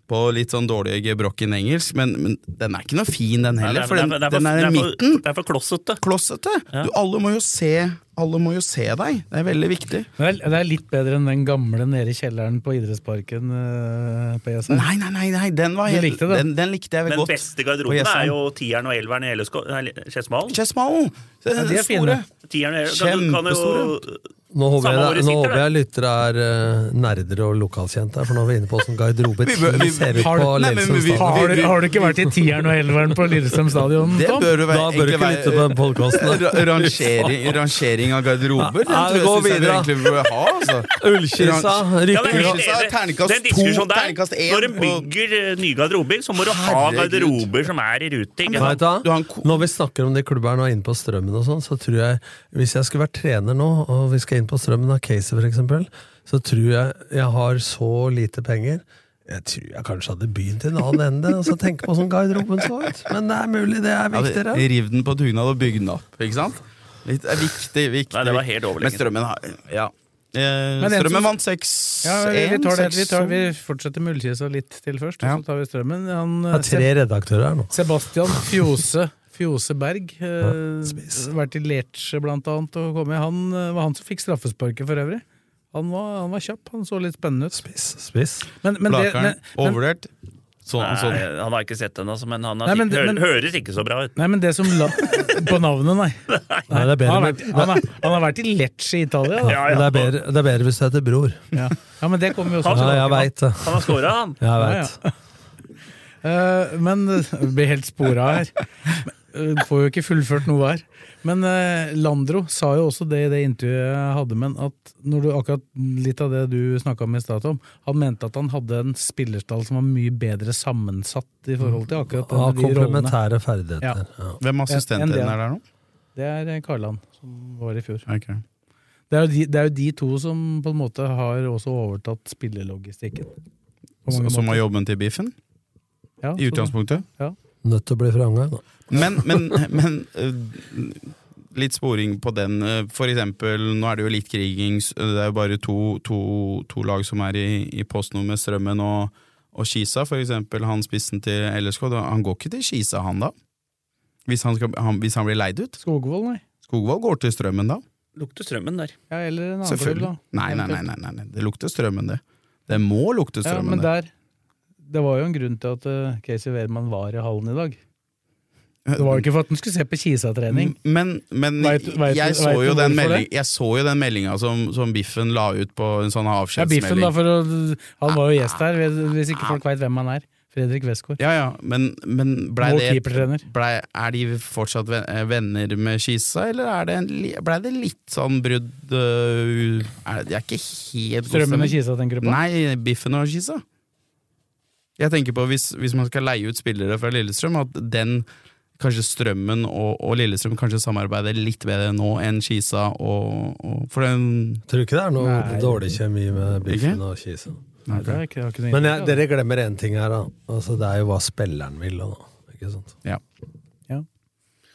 på litt sånn dårlig gebrokken engelsk, men, men den er ikke noe fin den heller, for den, den er i midten. Det er for klossete. Klossete! Du, alle, må jo se, alle må jo se deg, det er veldig viktig. Men Det er, det er litt bedre enn den gamle nede i kjelleren på idrettsparken eh, på ESR. Nei, nei, nei, nei den, var Du helt, likte den. den? Den, likte jeg vel Den godt. beste Og garderoben jeg sa- er jo tieren og elveren i Ellesko- nei, Skedsmalen. Skedsmalen! Det Ja, de er fine. Tieren og elveren kan, du- kan jo Nå håper, Samme hvor jeg, du nå sitter, håper jeg lyttere er eh, nerder og lokalkjente her, for nå er vi inne på åssen garderobe Vi bør- 10 vi- ser ut Har på du- Nei, men Lillestrøm vi- stadion. Har, du- har du ikke vært i tieren og elveren på Lillestrøm stadion? Det Tom? bør jo være Da bør du ikke lytte på den podkasten. Ra- Rangering, rangering av garderober, Nei, gå den tror jeg synes jeg vi videre. egentlig burde ha. Altså. Ullkisa Ja, rykker men jeg er ja, helt Sa enig. terningkast Den to, diskusjonen der, terningkast én Når en på- bygger eh, nye garderober, så må du ha Herregud. garderober som er i rute. ikke Vet sant? du Du hva? har en ko- Når vi snakker om de klubberne og inne på strømmen og sånn, så tror jeg Hvis jeg skulle vært trener nå, og vi skal inn på strømmen av Casey for eksempel, så tror jeg jeg har så lite penger jeg tror jeg kanskje hadde begynt i en annen ende og så tenke på sånn garderoben så ut. Men det er mulig, det er viktigere. Ja, riv den på dugnad og bygg den opp, ikke sant? Litt, det er viktig, viktig. Nei, det var helt overlegent. Men strømmen har ja. eh, Men en som- Strømmen vant 6-1. Ja, vi, vi, tar det, vi, tar, vi fortsetter med Ullkisa litt til først, og Ja. så tar vi strømmen. Han, Det er tre eh, redaktører her nå. Seb- Sebastian Fjose, Fjose Berg, eh, spis. vært i Lecce blant annet og kommet. Han eh, var han som fikk straffesparket for øvrig. Han var, han var kjapp, han så litt spennende ut. Spiss, spiss. Men, men det, Blakeren, men, men, overvurdert. Sånn, sånn. Nei, han har ikke sett den, altså, men han har Nei, men- sikkert- hører, men- høres ikke så bra ut. nei, men det som la, På navnet, nei. Nei, det er bedre Han har med vært, han har, han har vært i Lecce i Italia, da. Ja, Men ja. det, er bedre, det er bedre hvis du heter Bror. Ja, ja men det kommer jo Ja, også tilbake. jeg veit det. Han har scora, han. Jeg Ja, vet. ja. Eh, men vi blir helt spora her. Men, eh, får jo ikke fullført noe her. Men eh, Landro sa jo også det i det intervjuet jeg hadde med han, at når du akkurat litt av det du snakka om i stad, Tom, han mente at han hadde en spillerstall som var mye bedre sammensatt i forhold til Av akkurat den, de rollene. komplementære ferdigheter. Ja. Hvem er assistenten En- en din del. er der nå? Det er eh, Karland, som var i fjor. Ok. Det er, jo de, det er jo de to som på en måte har også overtatt spillelogistikken. På mange Som måter. har jobben til Biffen, Ja, i så- utgangspunktet? Nødt til å bli franga. da. Men, men, men eh, litt sporing på den. eh, For eksempel, nå er det jo litt kriging. s- eh, Det er jo bare to, to, to lag som er i, i postnummer med Strømmen og, og Kisa. For eksempel han spissen til LSK. da- Han går ikke til Kisa, han da? Hvis han, skal, han, hvis han blir leid ut? Skogvold, nei. Skogvold går til Strømmen da? Lukter strømmen der. Ja, eller en annen klubb, Selvfølgelig. da. Nei, nei, nei, nei, nei, nei. det lukter Strømmen, det. Det må lukte Ja, Strømmen. men der, det var jo en grunn til at eh, Casey Wehrmann var i hallen i dag. Det var jo ikke for at han skulle se på Kisa-trening. Men, men Vet- vet- jeg, vet så du jo den hvorfor melding, det? jeg så jo den meldinga som, som Biffen la ut på en sånn Ja, Biffen, da, avskjedsmelding. for å, han var jo gjest her, hvis ikke folk veit hvem han er. Fredrik Westgård. Ah. Ja, ja, men, men blei Vår det keepertrener. blei, Er de fortsatt ven- eh, venner med Kisa, eller er det en, li- blei det litt sånn brudd øh, er det, det er ikke helt god Strømmen og stemning. Kisa, tenker du på? Nei, Biffen og Kisa. Jeg tenker på hvis, hvis man skal leie ut spillere fra Lillestrøm, at den Kanskje Strømmen og, og Lillestrøm kanskje samarbeider litt bedre nå enn Kisa og, og For den Tror ikke det er noe Nei. dårlig kjemi med Biffen Ikke? og Kisa. Nei, det har jeg ikke- det har ikke noe Men jeg, inntrykk av. dere glemmer én ting her, da. Altså, det er jo hva spilleren vil. og Da. Ikke sant?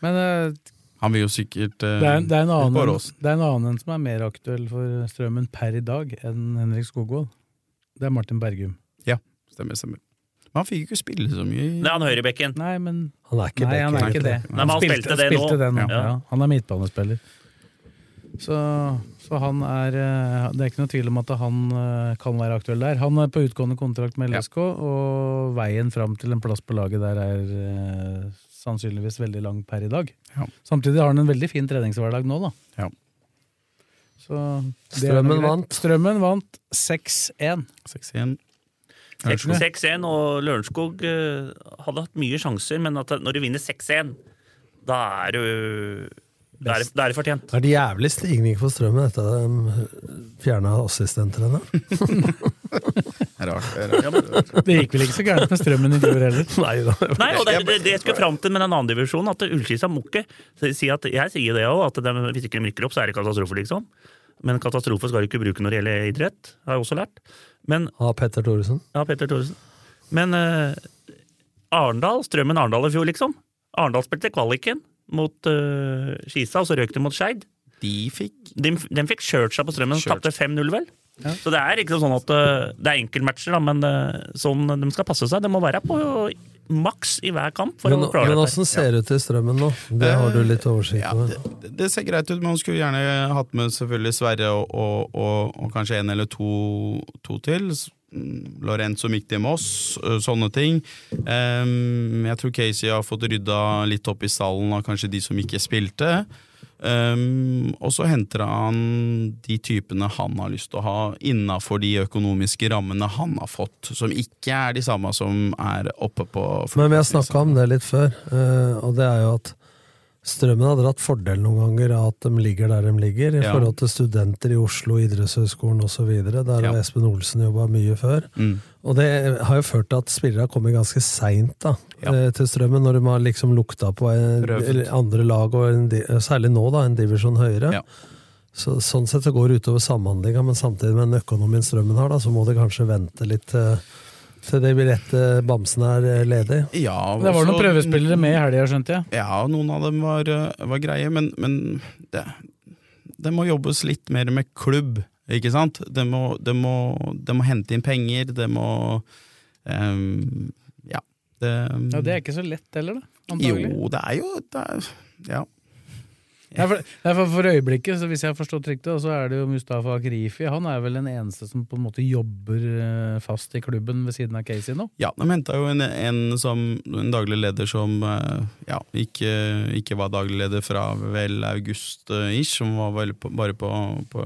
Men eh, Han vil jo sikkert eh, det, er, det, er en ut på annen, Åråsen. det er en annen som er mer aktuell for Strømmen per i dag enn Henrik Skogvold. Det er Martin Bergum. Stemmer, stemmer. Men han fikk jo ikke spille så mye. i- Nei, han høyrebekken. Nei, men Han er ikke Nei, han er backer. ikke det. Nei, men han spilte det nå. spilte nå. Ja. Ja. han er midtbanespiller. Så, så han er eh, Det er ikke noe tvil om at han eh, kan være aktuell der. Han er på utgående kontrakt med LSK, og veien fram til en plass på laget der er eh, sannsynligvis veldig lang per i dag. Ja. Samtidig har han en veldig fin treningshverdag nå, da. Ja. Så det er noe Strømmen greit. vant. Strømmen vant 6-1. 6-1. 6- 6-1, og Lørenskog eh, hadde hatt mye sjanser, men at når du vinner 6-1, da er du Da er det- da er det fortjent. Det er det jævlig stigning for Strømmen etter at de fjerna assistenttreneren. Rart. det er rart. Det gikk vel ikke så gærent med strømmen i fjor heller. Nei da. Nei, og det, det, det jeg skulle fram til med den andre divisjonen, at Ullskisa må ikke si- si at Jeg sier det òg, at de, hvis ikke de rykker opp, så er det katastrofe, liksom. Men katastrofe skal du ikke bruke når det gjelder idrett, har jeg også lært. Men Av Petter Thoresen. Ja, Petter Thoresen. Men eh, Arendal, Strømmen Arendal i fjor, liksom. Arendal spilte kvaliken mot eh, Skisa, og så røk de mot Skeid. De fikk De, de fikk kjørt seg på Strømmen og Kjørt. tapte 5-0, vel. Ja. Så det er liksom sånn at eh, det er enkeltmatcher, da, men eh, sånn de skal passe seg. De må være på maks i hver kamp for Men, å klare men dette. åssen ser det ut i Strømmen nå? Det har du litt oversikt Eh, ja, over. det, det ser greit ut, men man skulle gjerne hatt med selvfølgelig Sverre og, og, og, og kanskje en eller to, to til. S- mm, Lorenzo Mikti Moss, ø, sånne ting. Ehm, jeg tror Casey har fått rydda litt opp i stallen av kanskje de som ikke spilte. Ehm, og så henter han de typene han har lyst til å ha innafor de økonomiske rammene han har fått, som ikke er de samme som er oppe på Men vi har liksom. snakka om det litt før, eh, og det er jo at Strømmen har dratt fordel noen ganger av at de ligger der de ligger, i Ja. forhold til studenter i Oslo, Idrettshøgskolen osv. Der har Ja. Espen Olsen jobba mye før. Mm. Og det har jo ført til at spillere har kommet ganske seint eh, Ja. til Strømmen, når de har liksom lukta på en, Prøvd. eller andre lag, og en, di- særlig nå, da, en divisjon høyere. Ja. Så, sånn sett det går utover samhandlinga, men samtidig med den økonomien Strømmen har, da, så må de kanskje vente litt eh, til de rette bamsene er eh, ledig. Ja, Det var noen også- prøvespillere med i helga, skjønte jeg. Ja, noen av dem var, eh, var greie, men, men det, det må jobbes litt mer med klubb, ikke sant? Det må, det må, det må hente inn penger, det må ehm, Ja. Det, Ja, Det er ikke så lett heller, da. Antagelig. jo, det er jo det er, Ja. Nei, for, nei, for, for øyeblikket, så hvis jeg har forstått riktig, så er det jo Mustafa Akrifi. Han er vel den eneste som på en måte jobber eh, fast i klubben ved siden av Casey nå. ja de henta jo en, en, som, en daglig leder som eh, ja, ikke, ikke var daglig leder fra vel august-ish, som var vel på, bare på, på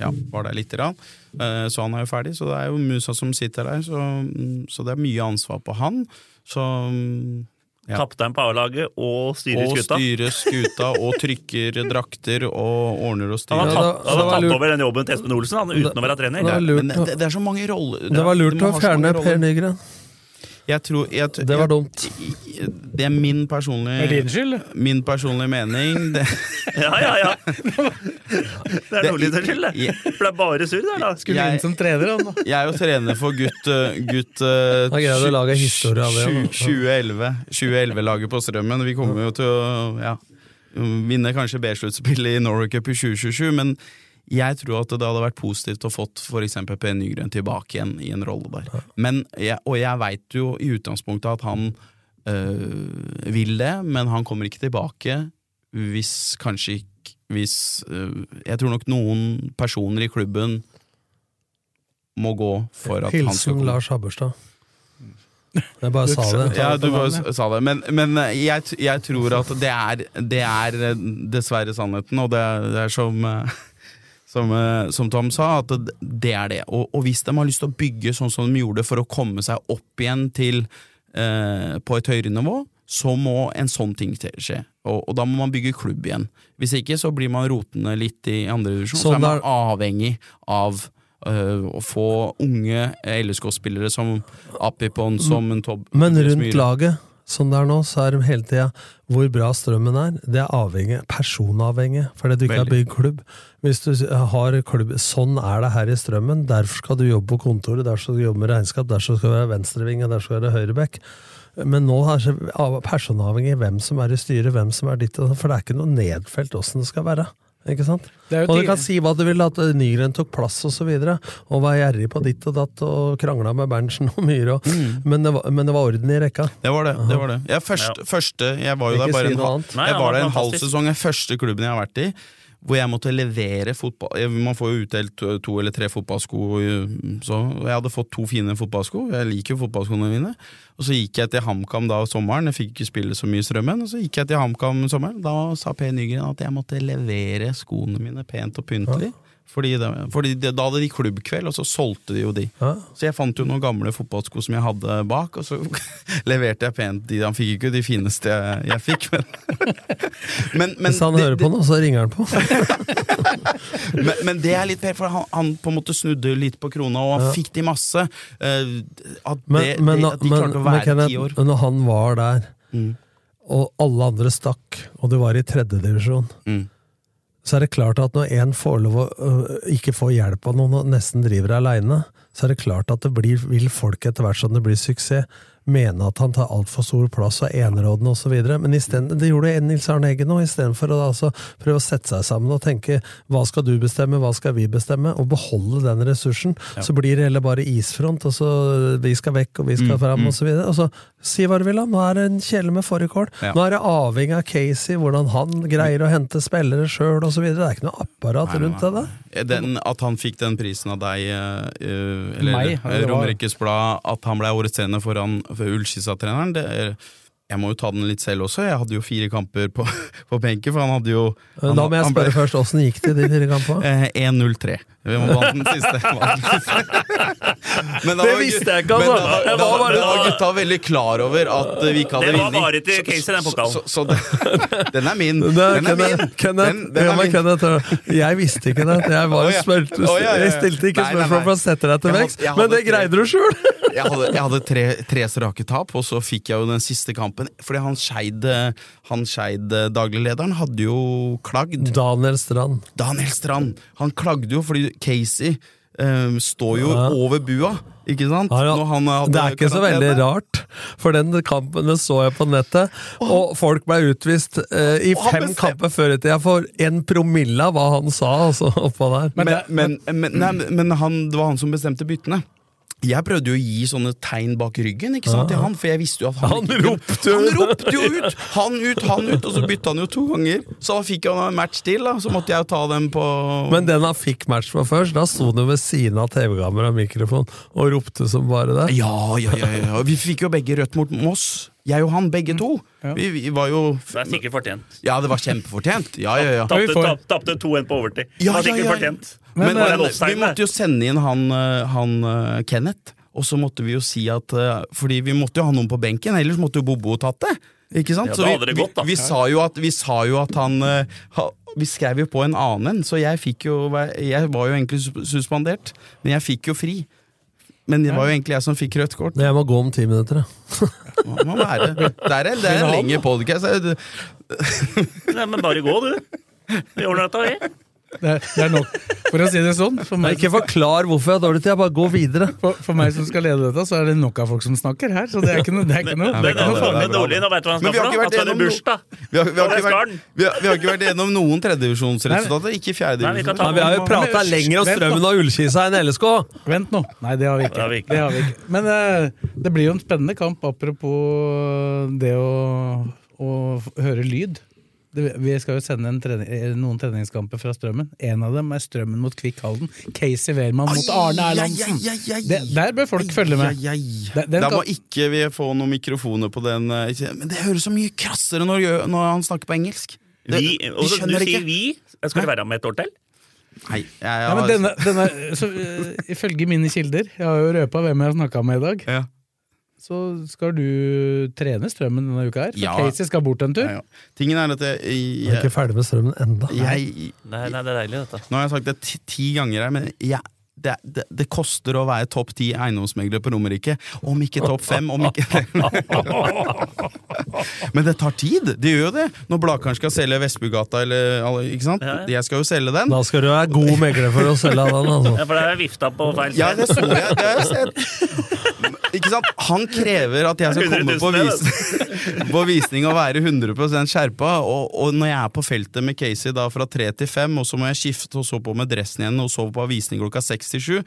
Ja, var der lite grann. Eh, Så han er jo ferdig, så det er jo Musa som sitter der, så, så det er mye ansvar på han. Så ja. Kaptein på A-laget og styrer og skuta. styrer skuta og trykker drakter og ordner og Han styrer. har Ja, da- tatt, han så har var tatt lurt- over den jobben til Espen Olsen han, uten å være trener. Da- Ja. var lurt Men å- det, det er så mange roller Det var lurt Du må å ha så fjerne mange roller. Per Nygren. Jeg tror, jeg, Det var dumt. Jeg, det er min personlige Det er din skyld! Min personlige mening det, Ja, ja, ja. Det er Det- Nordlys sin skyld, det. Ja. For det er bare sur der, da. Skulle Jeg- inn som trener, han da. Jeg er jo trener for gutt, eh, gutt eh, Da greier du å lage historie av det, altså. tju- da. 2011. 2011-laget på Strømmen. Vi kommer jo til å ja, vinne kanskje B-sluttspillet i Norway Cup i 2027, men jeg tror at det hadde vært positivt å fått f.eks. Per Nygren tilbake igjen i en rolle der. Men jeg, og jeg veit jo i utgangspunktet at han øh, vil det, men han kommer ikke tilbake hvis kanskje ikke hvis, øh, Jeg tror nok noen personer i klubben må gå for at han skal Hilsen komme. Lars Habberstad. Jeg bare sa det. Ja, du bare s- sa det. Men, men eh, jeg, t- jeg tror at det er, det er eh, dessverre sannheten, og det er, det er som eh, som, eh, som Tom sa, at det- det er det. Og, og hvis de har lyst til å bygge sånn som de gjorde for å komme seg opp igjen til eh, på et høyere nivå, så må en sånn ting til- skje. Og, og da må man bygge klubb igjen. Hvis ikke så blir man rotende litt i andre divisjon, så Sånn er man er- avhengig av eh, å få unge LSK-spillere som Apipon, Mm. som en Tob... Men Tobias rundt Myhre. laget, som det er nå, så er de hele tida hvor bra strømmen er. Det er avhengig, personavhengig, fordi du ikke har Veldig. bygd klubb. Hvis du har klubb, Sånn er det her i strømmen. Derfor skal du jobbe på kontoret, derfor skal du jobbe med regnskap, derfor skal du være venstreving, og derfor skal du være høyreback. Men nå er det av- personavhengig hvem som er i styret, hvem som er ditt, og datt, for det er ikke noe nedfelt åssen det skal være. Ikke sant? Det er jo Og du tidlig- kan si hva du vil, at Nygren tok plass og så videre, og var gjerrig på ditt og datt, og krangla med Berntsen og Myhre, og, Mm. men, det var, men det var orden i rekka. Det var det. det, var det. Jeg, først, første, jeg var jo Ikke der bare si en, noe hal- annet. Nei, jeg det var var der en halv fantastisk. sesong. Den første klubben jeg har vært i, hvor jeg måtte levere fotball jeg- Man får jo utdelt to- to eller tre fotballsko, eh, så jeg hadde fått to fine fotballsko. Jeg liker jo fotballskoene mine. Og så gikk jeg til HamKam da sommeren, jeg fikk ikke spille så mye i Strømmen. Og så gikk jeg til HamKam sommeren, da sa Per Nygren at jeg måtte levere skoene mine pent og pyntelig. Fordi, det, fordi det, Da hadde de klubbkveld, og så solgte de jo de. Ja. Så jeg fant jo noen gamle fotballsko som jeg hadde bak, og så leverte jeg pent de. Han fikk ikke de fineste jeg, jeg fikk, men, men, men, Hvis han det, hører på nå, så ringer han på. men, men det er litt per, for han, han på en måte snudde litt på krona, og han fikk de masse. Eh, at, Men, det, men, det, at de men, klarte å men være ti år. Mm. Kenneth, når han var der, og alle andre stakk, og du var i tredjedivisjon, Mm. så er det klart at når en får lov å øh, ikke få hjelp av noen og nesten driver aleine, så er det klart at det blir, vil folk etter hvert som det blir suksess, mene at han tar altfor stor plass og er enerådende osv. Men i stedet, det gjorde Nils Arne Eggen òg, istedenfor å da altså prøve å sette seg sammen og tenke hva skal du bestemme, hva skal vi bestemme, og beholde den ressursen. Så blir det heller bare isfront, og så vi skal vekk, og vi skal fram, og så videre. Og så si hva du vil, da. Nå er det en kjele med fårikål. Ja. Nå er det avhengig av Casey, hvordan han greier å hente spillere sjøl osv. Det er ikke noe apparat rundt det der. Den, at han fikk den prisen av deg, eh, eh, eller Meg, ja, det eh, var- Romerikes Blad, at han ble årets trener foran for Ullskissa-treneren det er- Jeg må jo ta den litt selv også. Jeg hadde jo fire kamper på, på benken, for han hadde jo han, Da må jeg han ble- spørre først, åssen gikk det i de fire kampene? Eh, 1-0-3. Vi må vant den siste. Vant den siste. Men da Det var gu- visste jeg ikke, altså. Men da, Jeg da, var bare- da var gutta veldig klar over at eh, vi ikke hadde Det var vinning. bare til Casey, den pokalen. Så, så, så den, den er min. Det er Den er min. Kenneth, Kenneth, Den, den ja, men er min. Kenneth, hør. jeg visste ikke det. Jeg, var Å, ja. spør, Å, ja, ja, ja. jeg stilte ikke Nei, nei, spørsmål nei. for å sette deg til Jeg hadde- veks, jeg men hadde det tre- greide du sjøl! jeg hadde, jeg hadde tre, tre strake tap, og så fikk jeg jo den siste kampen. Fordi han Skeid, eh, han Skeid eh, dagliglederen, hadde jo klagd. Daniel Strand. Daniel Strand! Han klagde jo fordi Casey eh, står jo Ja. over bua, ikke sant? Ja, ja. Når han hadde det er ikke så veldig karantene. rart, for den kampen den så jeg på nettet, og folk ble utvist eh, i Og han fem bestem- kamper før i tida for en promille av hva han sa altså, oppå der. Men, men, men, nei, men han, det var han som bestemte byttene. Jeg prøvde jo å gi sånne tegn bak ryggen ikke sant, til han, for jeg visste jo at han Ah. Han ropte jo. Han ropte jo ut! Han ut, han ut, og så bytta han jo to ganger. Så da fikk han en match til, da. Så måtte jeg jo ta dem på Men den han fikk match med først, da sto han jo ved siden av TV-kamera og mikrofon og ropte som bare det. Ja, ja, ja, ja. Og Vi fikk jo begge rødt mot Moss. Jeg og han, begge Mm, to. Vi, vi var jo Det er sikkert fortjent. Ja, det var kjempefortjent. Ja, ja, ja. vi Tapte får- tap- tapte 2-1 på overtid. Det Ja, var ja, sikkert ja. fortjent. Men, det var en men offside vi måtte jo sende inn han, eh, han eh, Kenneth, og så måtte vi jo si at eh, Fordi vi måtte jo ha noen på benken, ellers måtte jo Bobo tatt det. Ikke sant? Ja, da Så vi, hadde det vi, gått, da. vi, sa jo at, vi sa jo at han eh, ha- Vi skrev jo på en annen en, så jeg fikk jo væ- Jeg var jo egentlig sus- suspendert, men jeg fikk jo fri. Men det var jo egentlig jeg som fikk rødt kort. Jeg må gå om ti minutter, jeg. Det må være. Det er en, det er en lengre podkast. Nei, men bare gå, du. Vi ordner dette, vi. Det er, det er nok. For å si det sånn, for meg, Ikke forklar hvorfor jeg har dårlig tid, jeg bare går videre. for, for meg som skal lede dette, så er det nok av folk som snakker her. Så det er ikke noe, det er ikke noe. Det er bra, noe det er faglig bra, dårlig. det. Nå vet du hva han Men skal for vi har noe. Han ikke vært skal i gjennom bursdag. Vi har, vi, har Og ikke der skal vært, den. vi, har, vi har ikke vært gjennom noen tredjedivisjonsresultater, ikke Nei, vi kan fjerdedivisjon. ta Nei, vi har jo prata Men- lenger om Vent nå. strømmen og ullkisa enn LSK! Vent nå. Nei, det har vi Det har vi ikke. ikke. Det har vi ikke. Men eh, det blir jo eh, en spennende kamp, apropos det å, å høre lyd. Det, vi skal jo sende en trening, eh, noen treningskamper fra Strømmen. En av dem er Strømmen mot Kvikk Halden. Casey Wehrmann mot Arne Erlandsen! Ai, ai, ai, ai. Det, der bør folk følge med. Ai, ai, ai. Den- den Da må kan- ikke vi få noen mikrofoner på den. eh, ikke- Men det høres så mye krassere når, gjø- når han snakker på engelsk. Det, Vi, og så- du skjønner sier vi. Skal det være med et år til? Nei, jeg, jeg, Ja, men har- denne, denne, så, eh, ifølge mine kilder, jeg har jo røpa hvem jeg har snakka med i dag, ja. så skal du trene Strømmen denne uka her. For Ja. Casey skal bort en tur. Ja, ja. Tingen er at jeg, Jeg er jeg, ikke ferdig med strømmen enda. jeg Nei, nei, det er deilig, dette. Nå har jeg sagt det ti, ti ganger her, men jeg, det, det, det koster å være topp ti eiendomsmegler på Romerike. Om ikke topp fem, om ikke Men det tar tid! Det gjør jo det. Når Blakaren skal selge Vestbugata eller alle- Ikke sant? Ja, ja. Jeg skal jo selge den. Da skal du være god megler for å selge av den, altså. Ja, for det er vifta på feil Ja, sted. det så jeg. Det har jeg sett. Ikke sant? Han krever at jeg skal komme på, 100 000, vis på visning og være 100 skjerpa. Og, og når jeg er på feltet med Casey da fra tre til fem, og så må jeg skifte og så på med dressen igjen, og så på visning klokka seks til sju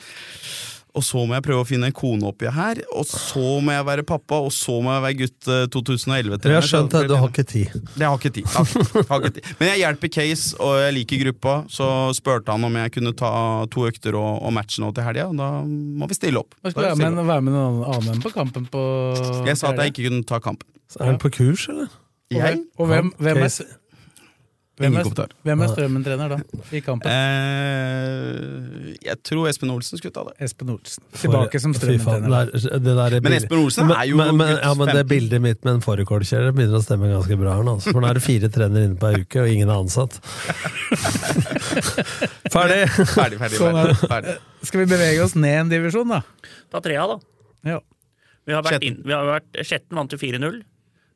og så må jeg prøve å finne en kone oppi her, og så må jeg være pappa, og så må jeg være gutt eh, 2011. Jeg har skjønt det, du har ikke tid. Det har ikke tid. Har ikke- har ikke tid. Men jeg hjelper Case, og jeg liker gruppa. Så spurte han om jeg kunne ta to økter og, og matche nå til helga, og da må vi stille opp. Hva Da skal være stiller med, vi være med noen annen på kampen på opp. Jeg sa at jeg ikke kunne ta kampen. Er han på kurs, eller? Jeg? Og hvem, hvem, er, Casey. hvem, Ingen er, kommentar. hvem er Strømmen-trener da, i kampen? Eh, jeg tror Espen Olsen skulle ta det. Espen Olsen. Tilbake som Fy faen, Strømmen-trener. det er- det der er Men bildet- Espen Olsen Men- er jo men, men, gutt ja, men det 15. bildet mitt med en fårikålkjære begynner å stemme ganske bra her nå. altså. For nå er det fire trenere inne på ei uke, og ingen er ansatt. Ferdig! Ferdig, ferdig. Sånn er ferdig, det. ferdig. Skal vi bevege oss ned en divisjon, da? Ta trea, da. Ja. Vi har vært Skjetten. inn, vi har vært, Skjetten vant jo 4-0.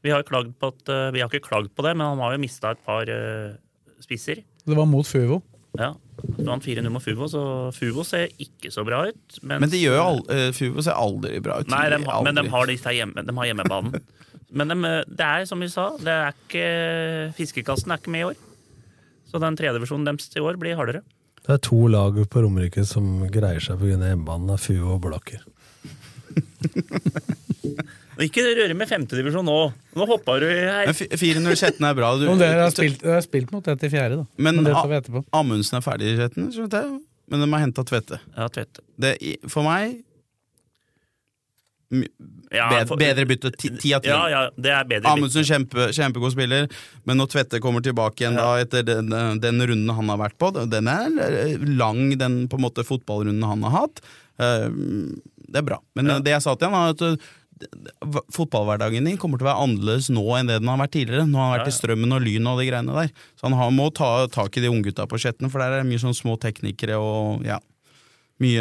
Vi har, klagd på at, eh, vi har ikke klagd på det, men han har jo mista et par eh, spisser. Det var mot Fuvo. Ja. Vi vant 4-0 mot Fubo, så Fubo ser ikke så bra ut. mens- Men det gjør jo aldri, Fubo ser aldri bra ut. Nei, de, har- men de Aldri. har, disse her hjemme, de har hjemmebanen. Men de, eh, det er som vi sa, det er ikke, fiskekassen er ikke med i år. Så den tredjevisjonen deres i år blir hardere. Det er to lag på Romerike som greier seg pga. hjemmebanen av Fuo og Blakker. Og Ikke røre med femtedivisjon nå! Nå hoppa du her. Men fi- 4-0 Skjetten er bra. Du, Om dere har spilt, dere har spilt mot det til fjerde, da. Men, Men det A- tar vi etterpå. Amundsen er ferdig i Skjetten, skjønte jeg. men de har henta Tvette. Ja, Tvedt. Det, i- for meg my- Ja, bed- for- Bedre bytte. ti- Ti av ti. Ja, ja, det er bedre. Amundsen kjempe, kjempegod spiller, men når Tvette kommer tilbake igjen da etter den, den runden han har vært på, den er eh, lang, den på en måte fotballrunden han har hatt. Eh, Det er bra. Men det jeg sa til han, er at eh, d- d- fotballhverdagen din kommer til å være annerledes nå enn det den har vært tidligere. Nå har han vært Ja, ja. i Strømmen og Lyn og de greiene der. Så han har, må ta tak i de unggutta på Skjetten, for der er det mye sånn små teknikere og ja. Mye,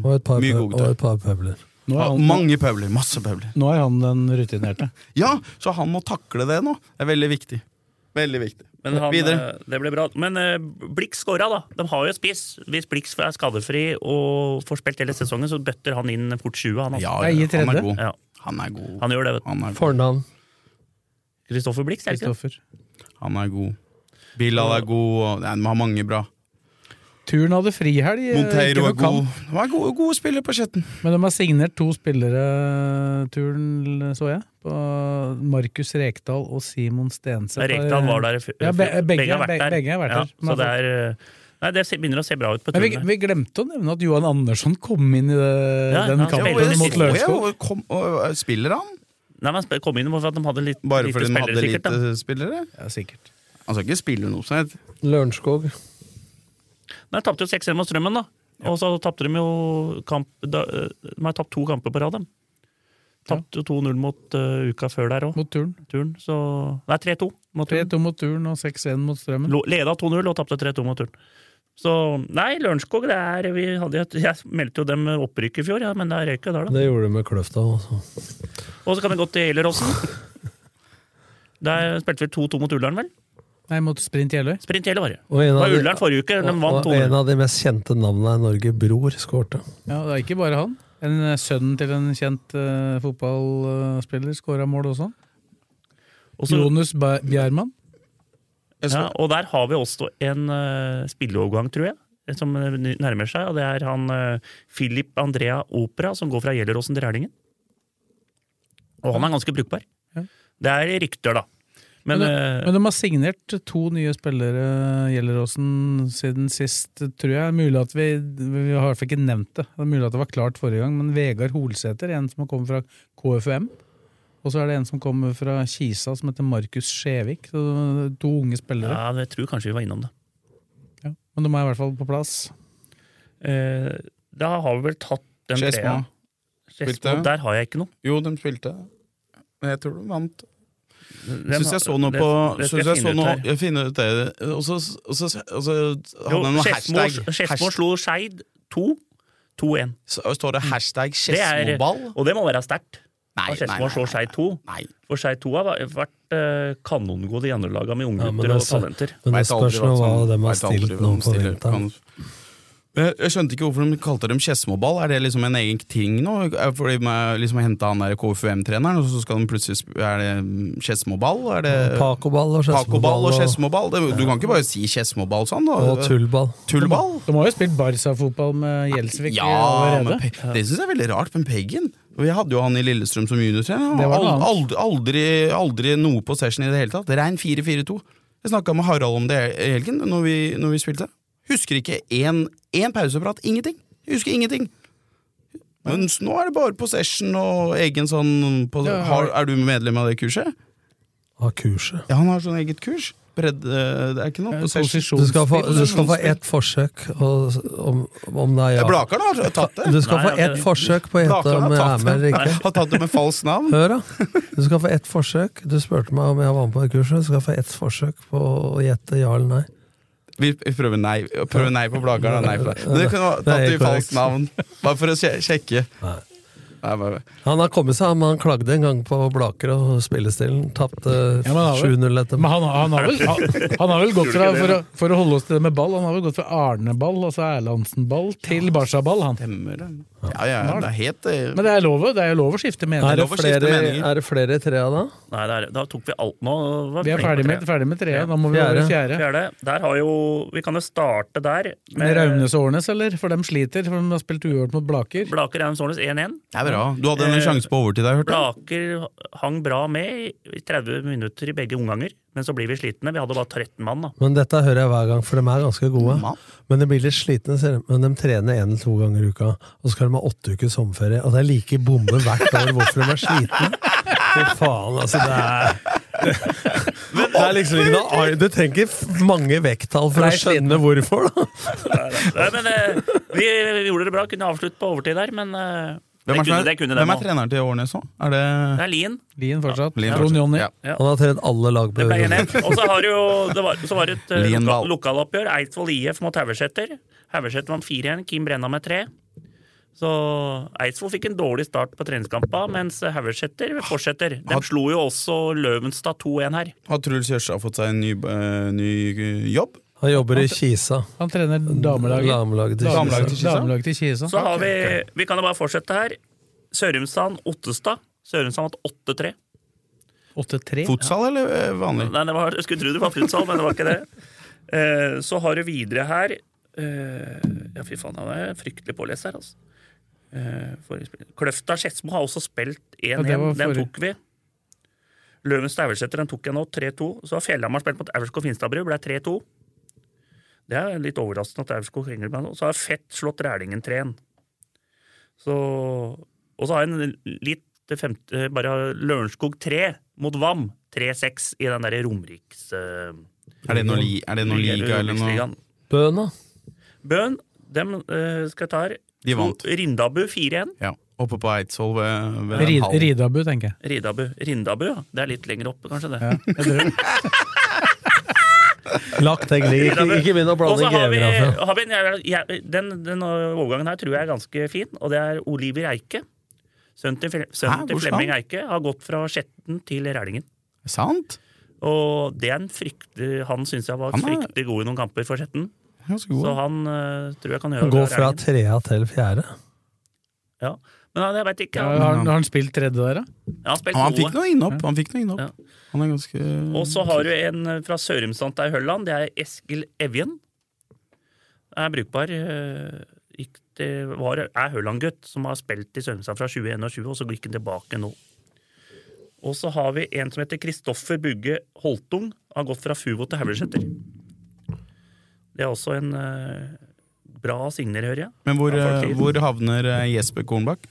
mm, Og et par, mye pøb- og gode gutter. et par pøbler. Nå er Ja, han, mange pøbler. Masse pøbler. nå er han den rutinerte. Ja, så han må takle det nå. Det er veldig viktig. Veldig viktig. Men han, Videre. eh, det ble bra. Men eh, Blix skåra, da. De har jo spiss. Hvis Blix er skadefri og får spilt hele sesongen, så bøtter han inn fort 20. Han, altså. Ja, Jeg gir ja, han tredje. er god. Ja, Han er god. han gjør det, vet du. Han er god. Fornavn. Kristoffer Blix, er det ikke det? Kristoffer. Han er god. Bilal er god. og- Nei, de har mange bra. Turen hadde frihelg. eh, ikke Monteiro noe er god. kamp, De er gode, gode spillere på Skjetten. Men de har signert to spillere, eh, Turen, så jeg. På Markus Rekdal og Simon Stenseth. Rekdal var der i fjor. Ja, be- begge- har vært be- der. begge har vært Ja, der. så det er eh, Nei, det ser- begynner å se bra ut på Men vi, turen. vi glemte å nevne at Johan Andersson kom inn i det, Ja, den han kampen spilte. mot Lørenskog. Ja, og kom- og- og Spiller han? Nei, men sp- kom inn for at de hadde litt, Bare lite fordi de hadde spillere, sikkert. Da. lite spillere? Ja, sikkert. Han skal ikke spille noe som heter Lørenskog. Nei, de tapte jo 6-1 mot Strømmen, da. Og så tapte de jo kamp da, eh, De har tapt to kamper på rad, de. Tapte jo 2-0 mot eh, uka før der òg. Mot Turen. Turen, så Nei, 3-2 mot Turen. 3-2 mot Turen og 6-1 mot Strømmen. Lo- Leda 2-0 og tapte 3-2 mot Turn. Så nei, Lørenskog det er vi hadde, jo et- Jeg meldte jo dem opprykk i fjor, ja, men det røyk jo der, da. Det gjorde du med altså. Kløfta. Også. Og så kan vi gå til Gjelleråsen. Der spilte vi 2-2 mot Ullern, vel? Nei, mot Sprint Jeløy. Sprint Gjelle var det. Og Det en var av de, Ullern forrige uke, de vant og, og en 2-0. av de mest kjente navnene i Norge, Bror, skårte. Ja, det er ikke bare han. En eh, Sønnen til en kjent eh, fotballspiller skåra mål også. Og så- Jonas Ba- Bjerman. Ja, og der har vi også en uh, spilleovergang, tror jeg, som eh, nærmer seg. Og det er han eh, Philip Andrea Opera, som går fra Gjelleråsen til Rælingen. Og han er ganske brukbar. Ja. Det er rykter, da. Men, Men, eh, men de har signert to nye spillere, Gjelleråsen, siden sist, tror jeg. Mulig at vi, vi har i hvert fall ikke nevnt det. Det er mulig at det var klart forrige gang, men Vegard Holsæter, en som har kommet fra KFUM. Og så er det en som kommer fra Kisa, som heter Markus Skjevik. Så det er To unge spillere. ja, jeg tror kanskje vi var innom det. Ja. Men de er i hvert fall på plass. Eh, da har vi vel tatt den Skedsmo. treeren. Skedsmo, Spilte. der har jeg ikke noe. Jo, de spilte. Men jeg tror de vant. Den Syns har- jeg så noe det- på det skal synes jeg så finne ut noe, her. Jeg finner ut det. Og så og så- og så Jo, hadde de noe Skedsmo- hashtag. Skedsmo hashtag slo Skeid 2. 2-1. så står det hashtag Mm. Det er- Skedsmoball? Og det må være sterkt. Nei, At Skedsmo slår Skeid 2. nei. For Skeid 2 har vært eh, kanongode i andre laga med Ja, men unggutter det og er så- talenter. Men det Vet aldri spørs nå hva som- de har vet aldri stilt hva nå de på stiller. vinteren. Kan- Jeg jeg skjønte ikke hvorfor de kalte dem Skedsmoball. Er det liksom en egen ting nå? Er- Fordi de har liksom henta han der KFUM-treneren, og så skal de plutselig sp- Er det mm, Skedsmoball? Er det Pacoball og Pacoball Eh, og Skedsmoball og, Skedsmoball? Det- Du kan ikke bare si Skedsmoball sånn, da. og tullball. Tullball? De har jo spilt Barca-fotball med Gjelsvik eh, Ja, men allerede. Pe det syns jeg er veldig rart, men Peggen Vi hadde jo han i Lillestrøm som juniortrener. Det Han var noe Ald annet. aldri, aldri, aldri noe på session i det hele tatt. Rein 4-4-2. Jeg snakka med Harald om det i helgen når vi, når vi spilte. Husker ikke én én pauseprat. Ingenting. Jeg Husker ingenting. Men s- nå er det bare possession og egen sånn på, Ja, ja. har, Er du medlem av det kurset? Av kurset. Ja, han har sånn eget kurs. Bredde, det er ikke noe Ja, posisjonsspill. possession. Du skal få, du skal få ett forsøk, og, om, om det er ja. Blakeren har tatt det. Du skal Nei, få jeg har ett ikke- forsøk på å gjette Blakeren om jeg har er med tatt eller det. ikke. Har tatt det med falskt navn. Hør, da. Du skal få ett forsøk. Du spurte meg om jeg var med på det kurset. Du skal få ett forsøk på å gjette ja eller nei. Vi vi prøver nei, prøver nei på Blakaren og nei på deg. Men det kunne vært Det er tatt i korrekt. falskt navn, bare for å sje- sjekke. Nei. Nei, bare. Han har kommet seg, men han klagde en gang på Blaker og spillestilen. Tapte Ja, men han har vel- 7-0 etter Men han, han, har vel, han, han har vel gått fra, for å, for å holde oss til det med ball, han har vel gått fra Arneball, altså Erlandsen-ball, til Barca-ball, han. Stemmer det. Ja, ja, ja, det er helt eh, Men det er lov, det er lov å skifte Er mening. det, lov å skifte flere, meninger. er det flere i trea da? Nei, der, da tok vi alt nå. Var Vi er flinke på ferdig med, tre. ferdig med trea, da må vi være fjerde. Fjerde. Der har jo Vi kan jo starte der. Med Raunes og Årnes, eller? For de sliter, for de har spilt uavgjort mot Blaker. Blaker Eivind Sårnes 1-1. Det er bra. Du hadde Eh, en sjanse på overtid der, hørte jeg. Blaker hang bra med i 30 minutter i begge omganger, men så blir vi slitne. Vi hadde bare 13 mann, da. Men dette hører jeg hver gang, for de er ganske gode. Mann. Men de blir litt slitne, ser de. men de trener én eller to ganger i uka. Og så skal de ha åtte ukers sommerferie, og det er like bombe hvert år hvorfor de er slitne. Fy faen, altså. Det er, det er liksom ikke noe ar- Du trenger f- mange vekttall for å skjønne hvorfor, da. Nei, men eh, vi, vi gjorde det bra. Kunne avslutte på overtid der, men eh, det, Hvem er, kunne, som det er, kunne hvem dem er òg. treneren til Årnes nå? Er det Det er Lien. Lien fortsatt. Lien Trond fortsatt. Jonny. Ja. Han har trent alle lag på Det ble Eurovision. 1-1. Og så har jo, det var, så var det et eh, Lien loka, Dahl. lokaloppgjør. Eidsvoll IF mot Haugeseter. Haugeseter vant 4-1, Kim Brenna med 3. Så Eidsvoll fikk en dårlig start på treningskampa, mens Haugeseter fortsetter. De Had- slo jo også Løvenstad 2-1 her. Har Truls Jørstad fått seg en ny, eh, ny eh, jobb? Han jobber i Kisa. Han trener damelaget. Damelaget til Damelaget Kisa. til Kisa. Damelaget til Kisa. Så har vi Vi kan jo bare fortsette her. Sørumsand-Ottestad. Sørumsand vant 8-3. 8-3. Fotsal eller eh, vanlig? Nei, det var, jeg skulle tro det var futsal, men det var ikke det. Eh, så har du videre her eh, Ja, fy faen, han er fryktelig pålest her, altså. Eh, forrige spill. Kløfta Skedsmo har også spilt 1-1. det var den forrige. tok vi. Løvenstad Aursæter, den tok jeg nå, 3-2. Så har Fjellhamar spilt mot Aurskog Finstadbru, ble 3-2. Det er litt overraskende at Aurskog ringer meg nå. Så har Fett slått Rælingen 3-1. Så Og så har jeg en litt femte, bare Lørenskog 3 mot Vam. 3-6 i den derre Romeriks... eh, Er det noe, li, er det noe liga eller noe? Romeriksligaen. Bøna. Bøen, dem eh, skal jeg ta her. De vant. Rindabu 4-1. Ja. Oppe på Eidsvoll ved, ved den Rid, hallen. Ridabu, tenker jeg. Ridabu. Rindabu, ja. Det er litt lenger oppe, kanskje, det. Lagt den ligge. Ikke, ikke begynn å Og så blande altså. har vi, geografi. altså. har vi en, jævla- jæ- den, den overgangen her tror jeg er ganske fin, og det er Oliver Eike. Sønnen til, Fle- sønnen Hæ, til hvor skal Flemming han? Eike har gått fra Skjetten til Rælingen. Sant? Og det er en fryktelig, han syns jeg var Han er- fryktelig god i noen kamper for Skjetten. Ganske Så god. han eh, tror jeg kan gjøre Han går fra Rælingen. trea til fjerde. Ja. Men han- jeg veit ikke. Ja, Han, har, han- har han spilt tredje der, da? han har spilt Og han fikk gode. noe innopp. Han fikk noe Ja. innopp. Han er ganske Og Mm, så har du en eh, fra Sørumsand til Hølland. Det er Eskil Evjen. Er brukbar. eh, Gikk til, var, er Hølland-gutt som har spilt i Sørumsand fra 2021, og så gikk han tilbake nå. Og så har vi en som heter Kristoffer Bugge Holtung. Har gått fra Fuvo til Haugleseter. Det er også en eh, bra signer, hører jeg. Men hvor, Ja, eh, faktisk. hvor havner eh, Jesper Kornbakk?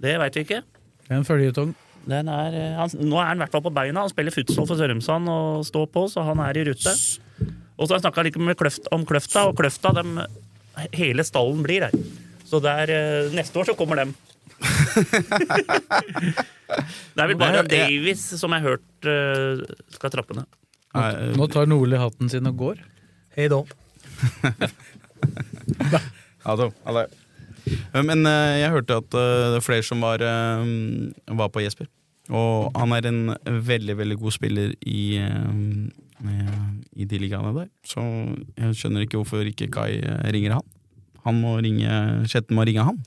Det veit vi ikke. Det er en føljetong. Den er, eh, han, nå er han i hvert fall på beina. Han spiller futsal for Sørumsand og står på, så han er i rute. Og så har jeg snakka litt med kløft, om Kløfta, og Kløfta dem, Hele stallen blir her. Så det er, eh, neste år så kommer dem. det er vel bare Det- det- Davies som jeg har hørt eh, skal trappe ned. Eh, Nå tar Nordli hatten sin og går. Hei da. Ja, da. Ja, da. Eh, Men eh, jeg hørte at eh, det er flere som var, eh, var på Jesper. Og han er en veldig, veldig god spiller i, eh, eh, i de ligaene der. Så jeg skjønner ikke hvorfor ikke Kai eh, ringer han. Han må ringe, Kjetten må ringe han.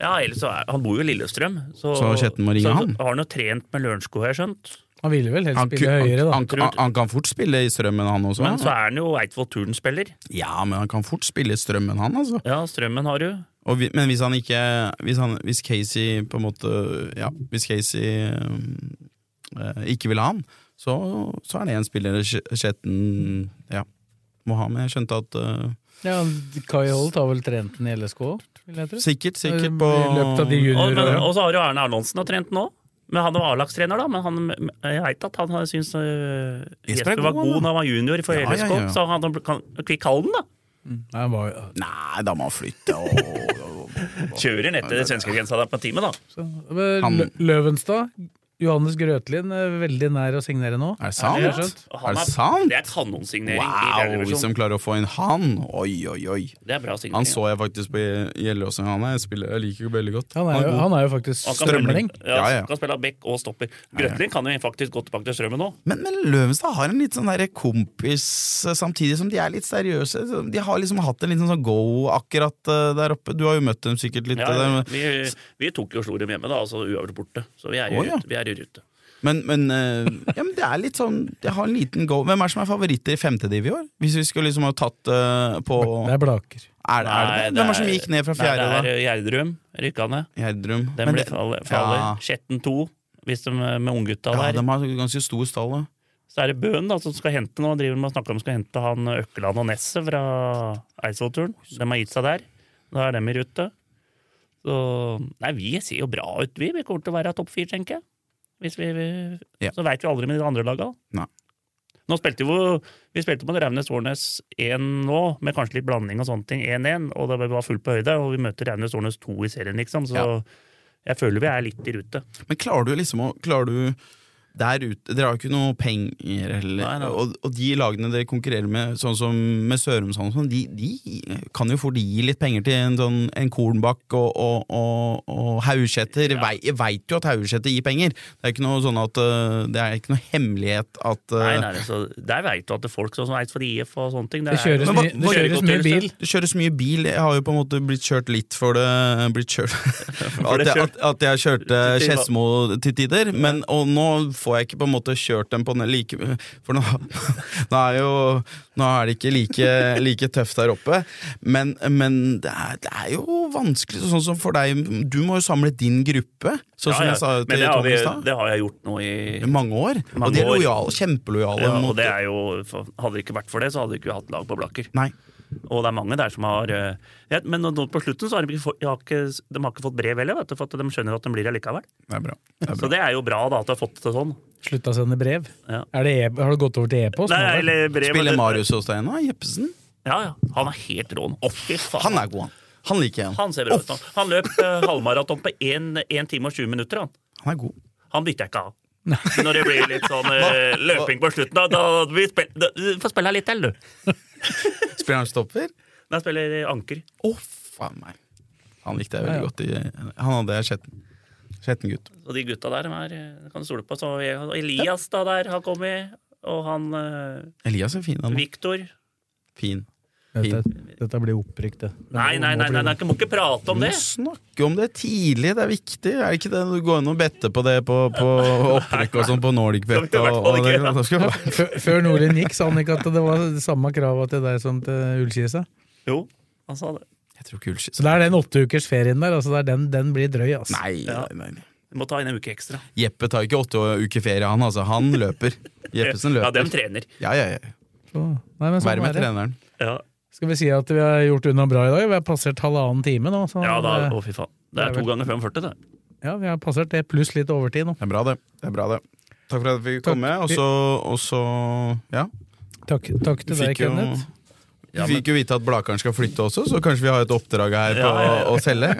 Ja, ellers så er, Han bor jo i Lillestrøm, så, Så Kjetten må ringe så han. har han jo trent med Lørenskog, har jeg skjønt. Han ville vel helst Han, ku- spille høyere, da. han, han, han kan fort spille i Strømmen, han også. Men så er han jo Eidsvoll Turn-spiller. Ja, men han kan fort spille i Strømmen, han, altså. Ja, Strømmen har du. Og vi, men hvis han ikke hvis, han, hvis Casey på en måte Ja, hvis Casey øhm, eh, ikke vil ha han, så, så er det en spiller Sk- Skjetten ja, må ha med. Jeg skjønte at øh, Ja, Kai Holt har vel trent den i LSK, vil jeg tro. Sikkert, sikkert på I løpet av de Og, men, junioråra. og så har du Arne Arnonsen har trent nå. Men han var A-lagstrener, da. Men han, jeg veit at han har syntes øh, Jesper er Jesper var god, god han, da. da han var junior for Ja, ja, LSK, ja, ja. så han han kan kvikk halden, da. Nei, han var jo- Nei, da må han flytte. Og, Kjører ned til svenskegrensa der på en time, da. så- Men Han- Lø- Løvenstad, Johannes Grøtlin, er veldig nær å signere nå. er det sant? Ja, det er skjønt. Og Er han det sant? Det er kanonsignering. i fjerde Wow, hvis divisjon. de klarer å få inn han! Oi, oi, oi. Det er bra Han signering. så jeg faktisk på Gjelleråsen. Han er en spiller jeg liker veldig godt. Han er jo, god. han er jo faktisk Han kan strømling. spille- Ja, Ja, ja. Kan spille av bekk og stopper. Grøtling kan jo faktisk gå tilbake til strømmen nå. Men, men Løvenstad har en litt sånn der kompis, eh, samtidig som de er litt seriøse. De har liksom hatt en liten sånn go akkurat eh, der oppe. Du har jo møtt dem sikkert litt. Ja, eh, ja. der, vi, vi tok jo og slo dem hjemme, da, altså uavgjort borte. Så vi er i Å, ja. rute. Vi er i rute. Men, men, eh, ja, men det er litt sånn De har en liten go. Hvem er det som er favoritter i femtediv i år? Hvis vi skulle liksom ha tatt eh, på Det er Blaker. er det, er det, Nei, Hvem er det som gikk ned fra fjerde, Nei, da? Det er Gjerdrum rykka ned. Gjerdrum. Den Men ble det- faller. Ja. Skjetten 2, hvis de eh, med unggutta Ja, der. de har ganske stor stall, da. Så er det Bøen da, som skal hente nå, driver med å snakke om skal hente han Økkeland og Nesset fra Eidsvollturen. De har gitt seg der. Da er dem i rute. Så Nei, vi ser jo bra ut, vi. Vi kommer til å være topp fire, tenker jeg. Hvis vi, vi, Ja. Så veit vi aldri med de andre laga. Nei. Nå spilte vi, jo- vi spilte mot Raunes Årnes 1 nå, med kanskje litt blanding og sånne ting. 1-1, og det var fullt på høyde. Og vi møter Raunes Årnes 2 i serien, liksom. Så jeg føler vi er litt i rute. Men klarer du liksom å klarer du der ute, Dere har jo ikke noe penger heller. Nei, nei. Og, og de lagene dere konkurrerer med, sånn som med Sørumsand, og sånn, de, de kan jo fort gi litt penger til en, sånn, en Kornbakk og, og, og, og Haugsæter. Vei- Jeg veit jo at Haugsæter gir penger. Det er ikke noe sånn at øh, Det er ikke noe hemmelighet at øh, Nei, nei, altså, Der veit du at det er folk som eier for IF og sånne ting. Det kjøres, Men mye, hva- det hva- kjøres mye bil. Det kjøres mye bil. Jeg har jo på en måte blitt kjørt litt for det blitt kjørt. At, det jeg, kjørt. at, at jeg kjørte Til- til- Skedsmo til tider. Men, og nå får jeg ikke på en måte kjørt dem på den like For nå, nå er jo Nå er det ikke like, like tøft der oppe. Men, men det, er, det er jo vanskelig, sånn som for deg. Du må jo samle din gruppe, sånn som jeg sa Men til det har, Tom vi, i stad. det har jeg gjort nå i I Mange år. Mange og de er år. lojale, kjempelojale. ja, og mot- det er jo, for Hadde det ikke vært for det, så hadde vi ikke hatt lag på Blaker. Nei. Og det er mange der som har eh, ja, Men nå på slutten så har de ikke, fått- de har ikke, de har ikke fått brev heller, vet du, for at de skjønner at de blir her likevel. Det er bra. Det er Så bra. det er jo bra da at de har fått det sånn. Slutta å sende brev. Ja. Er det e har du gått over til e-post? Nei, nå, vel? eller brev, Spiller eller- Marius hos deg nå? Jeppesen? Ja, ja. Han er helt rå nå. Å, fy faen. Han er god, han. Han liker jeg. Han ser bra ut nå. Han løp eh, halvmaraton på 1 time og 20 minutter, han. Han er god. Han bytter jeg ikke av. Når det blir litt sånn eh, løping på slutten, da, da, vi spil, da Du får spille litt til, du. Spiller han stopper? Når jeg spiller anker. Å, faen meg. Han likte jeg veldig godt. I, han hadde skjetten. Skjetten gutt. Og de gutta der de er, eh, kan du stole på. Så og Elias da der har kommet, og han eh, Elias er fin, han. Viktor. Fin. Dette, dette blir opprykk, det. Nei, nei, nei, nei, nei, du må ikke prate om Du det! må snakke om det tidlig, det er viktig. Er det ikke det du går inn og better på det på, på opprykk og sånn på Nordic Bet? Skal vi i hvert Og, fall og det, ikke, ja. da skal vi Før- bare- Før Nordlien gikk, sa han ikke at det var samme krava til deg som til Ullkisa. Jo, han sa det. jeg tror ikke Ullskis Så det er den åtteukers ferien der, altså det er den, den blir drøy, altså. Nei, nei, nei. Vi må ta inn en uke ekstra. Jeppe tar ikke åtte uker ferie, han altså. Han løper. Jeppesen løper. Ja, dem trener. Ja, ja, ja. Så, nei, men sånn Vær med er det. treneren. Ja, Skal vi si at vi har gjort unna bra i dag? Vi har passert halvannen time nå. Så, ja da, å fy faen. Det det er er to ganger 45, det. ja, vi har passert det, pluss litt overtid nå. Det er bra, det. det, er bra, det. Takk for at vi fikk Takk. komme. Og så, og så ja. Takk, takk til Vi deg, fikk jo- Kenneth. Vi fikk jo vite at Blakeren skal flytte også, så kanskje vi har et oppdrag her på Ja, ja, ja. å selge.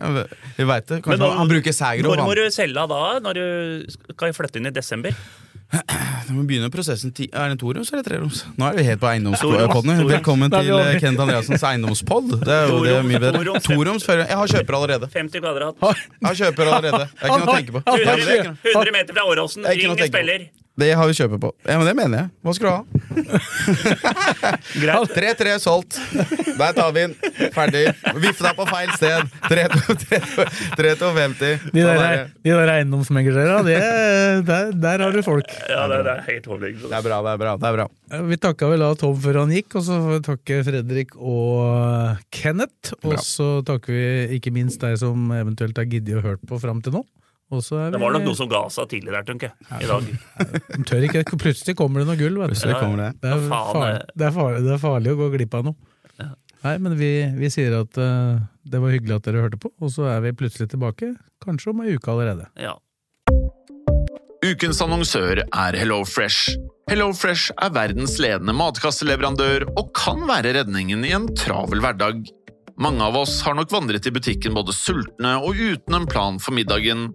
Vi vet det. Men Kanskje da- han, han bruker Når Sægrov. må Han. du selge av da? Når du skal flytte inn i desember? Da må vi begynne prosessen ti Er det toroms eller treroms? Nå er vi helt på Toroms, eiendomspodden. toroms. Velkommen Da er vi til over. eh, Kenneth Andreassens eiendomspodd. Det er jo det er mye bedre. Toroms. Toroms før Jeg har kjøper allerede. 50 kvadrat. Jeg har kjøper allerede. Det er ikke noe å tenke på. Ja, men det er ikke 100, noe- 100 meter fra Åråsen, Det er ikke noe ring å tenke på. spiller. Det har vi kjøper på. Ja, men det mener jeg. Hva skal du ha? Greit. 3-3 solgt. Der tar vi den. Ferdig. Vifta på feil sted. 3-2-50. De der, de der eiendomsmeglere, det, der, der har du folk. Ja, det, det er helt overliggende. Det er bra, det er bra. det er bra Vi takka vel av Tom før han gikk, og så får vi takke Fredrik og eh, Kenneth. Og Bra. så takker vi ikke minst deg som eventuelt har giddet å hørt på fram til nå. Og så er Det var nok noen som ga seg tidligere, tenker jeg. I dag. De tør ikke. Plutselig kommer det noe gull, vet du. Plutselig kommer det. Det er, Ja, faen, farlig, det, er farlig, det er farlig å gå glipp av noe. Nei, men vi, vi sier at eh, det var hyggelig at dere hørte på, og så er vi plutselig tilbake, kanskje om ei uke allerede. Ja. Ukens annonsør er HelloFresh. HelloFresh er verdens ledende matkasseleverandør og kan være redningen i en travel hverdag. Mange av oss har nok vandret i butikken både sultne og uten en plan for middagen,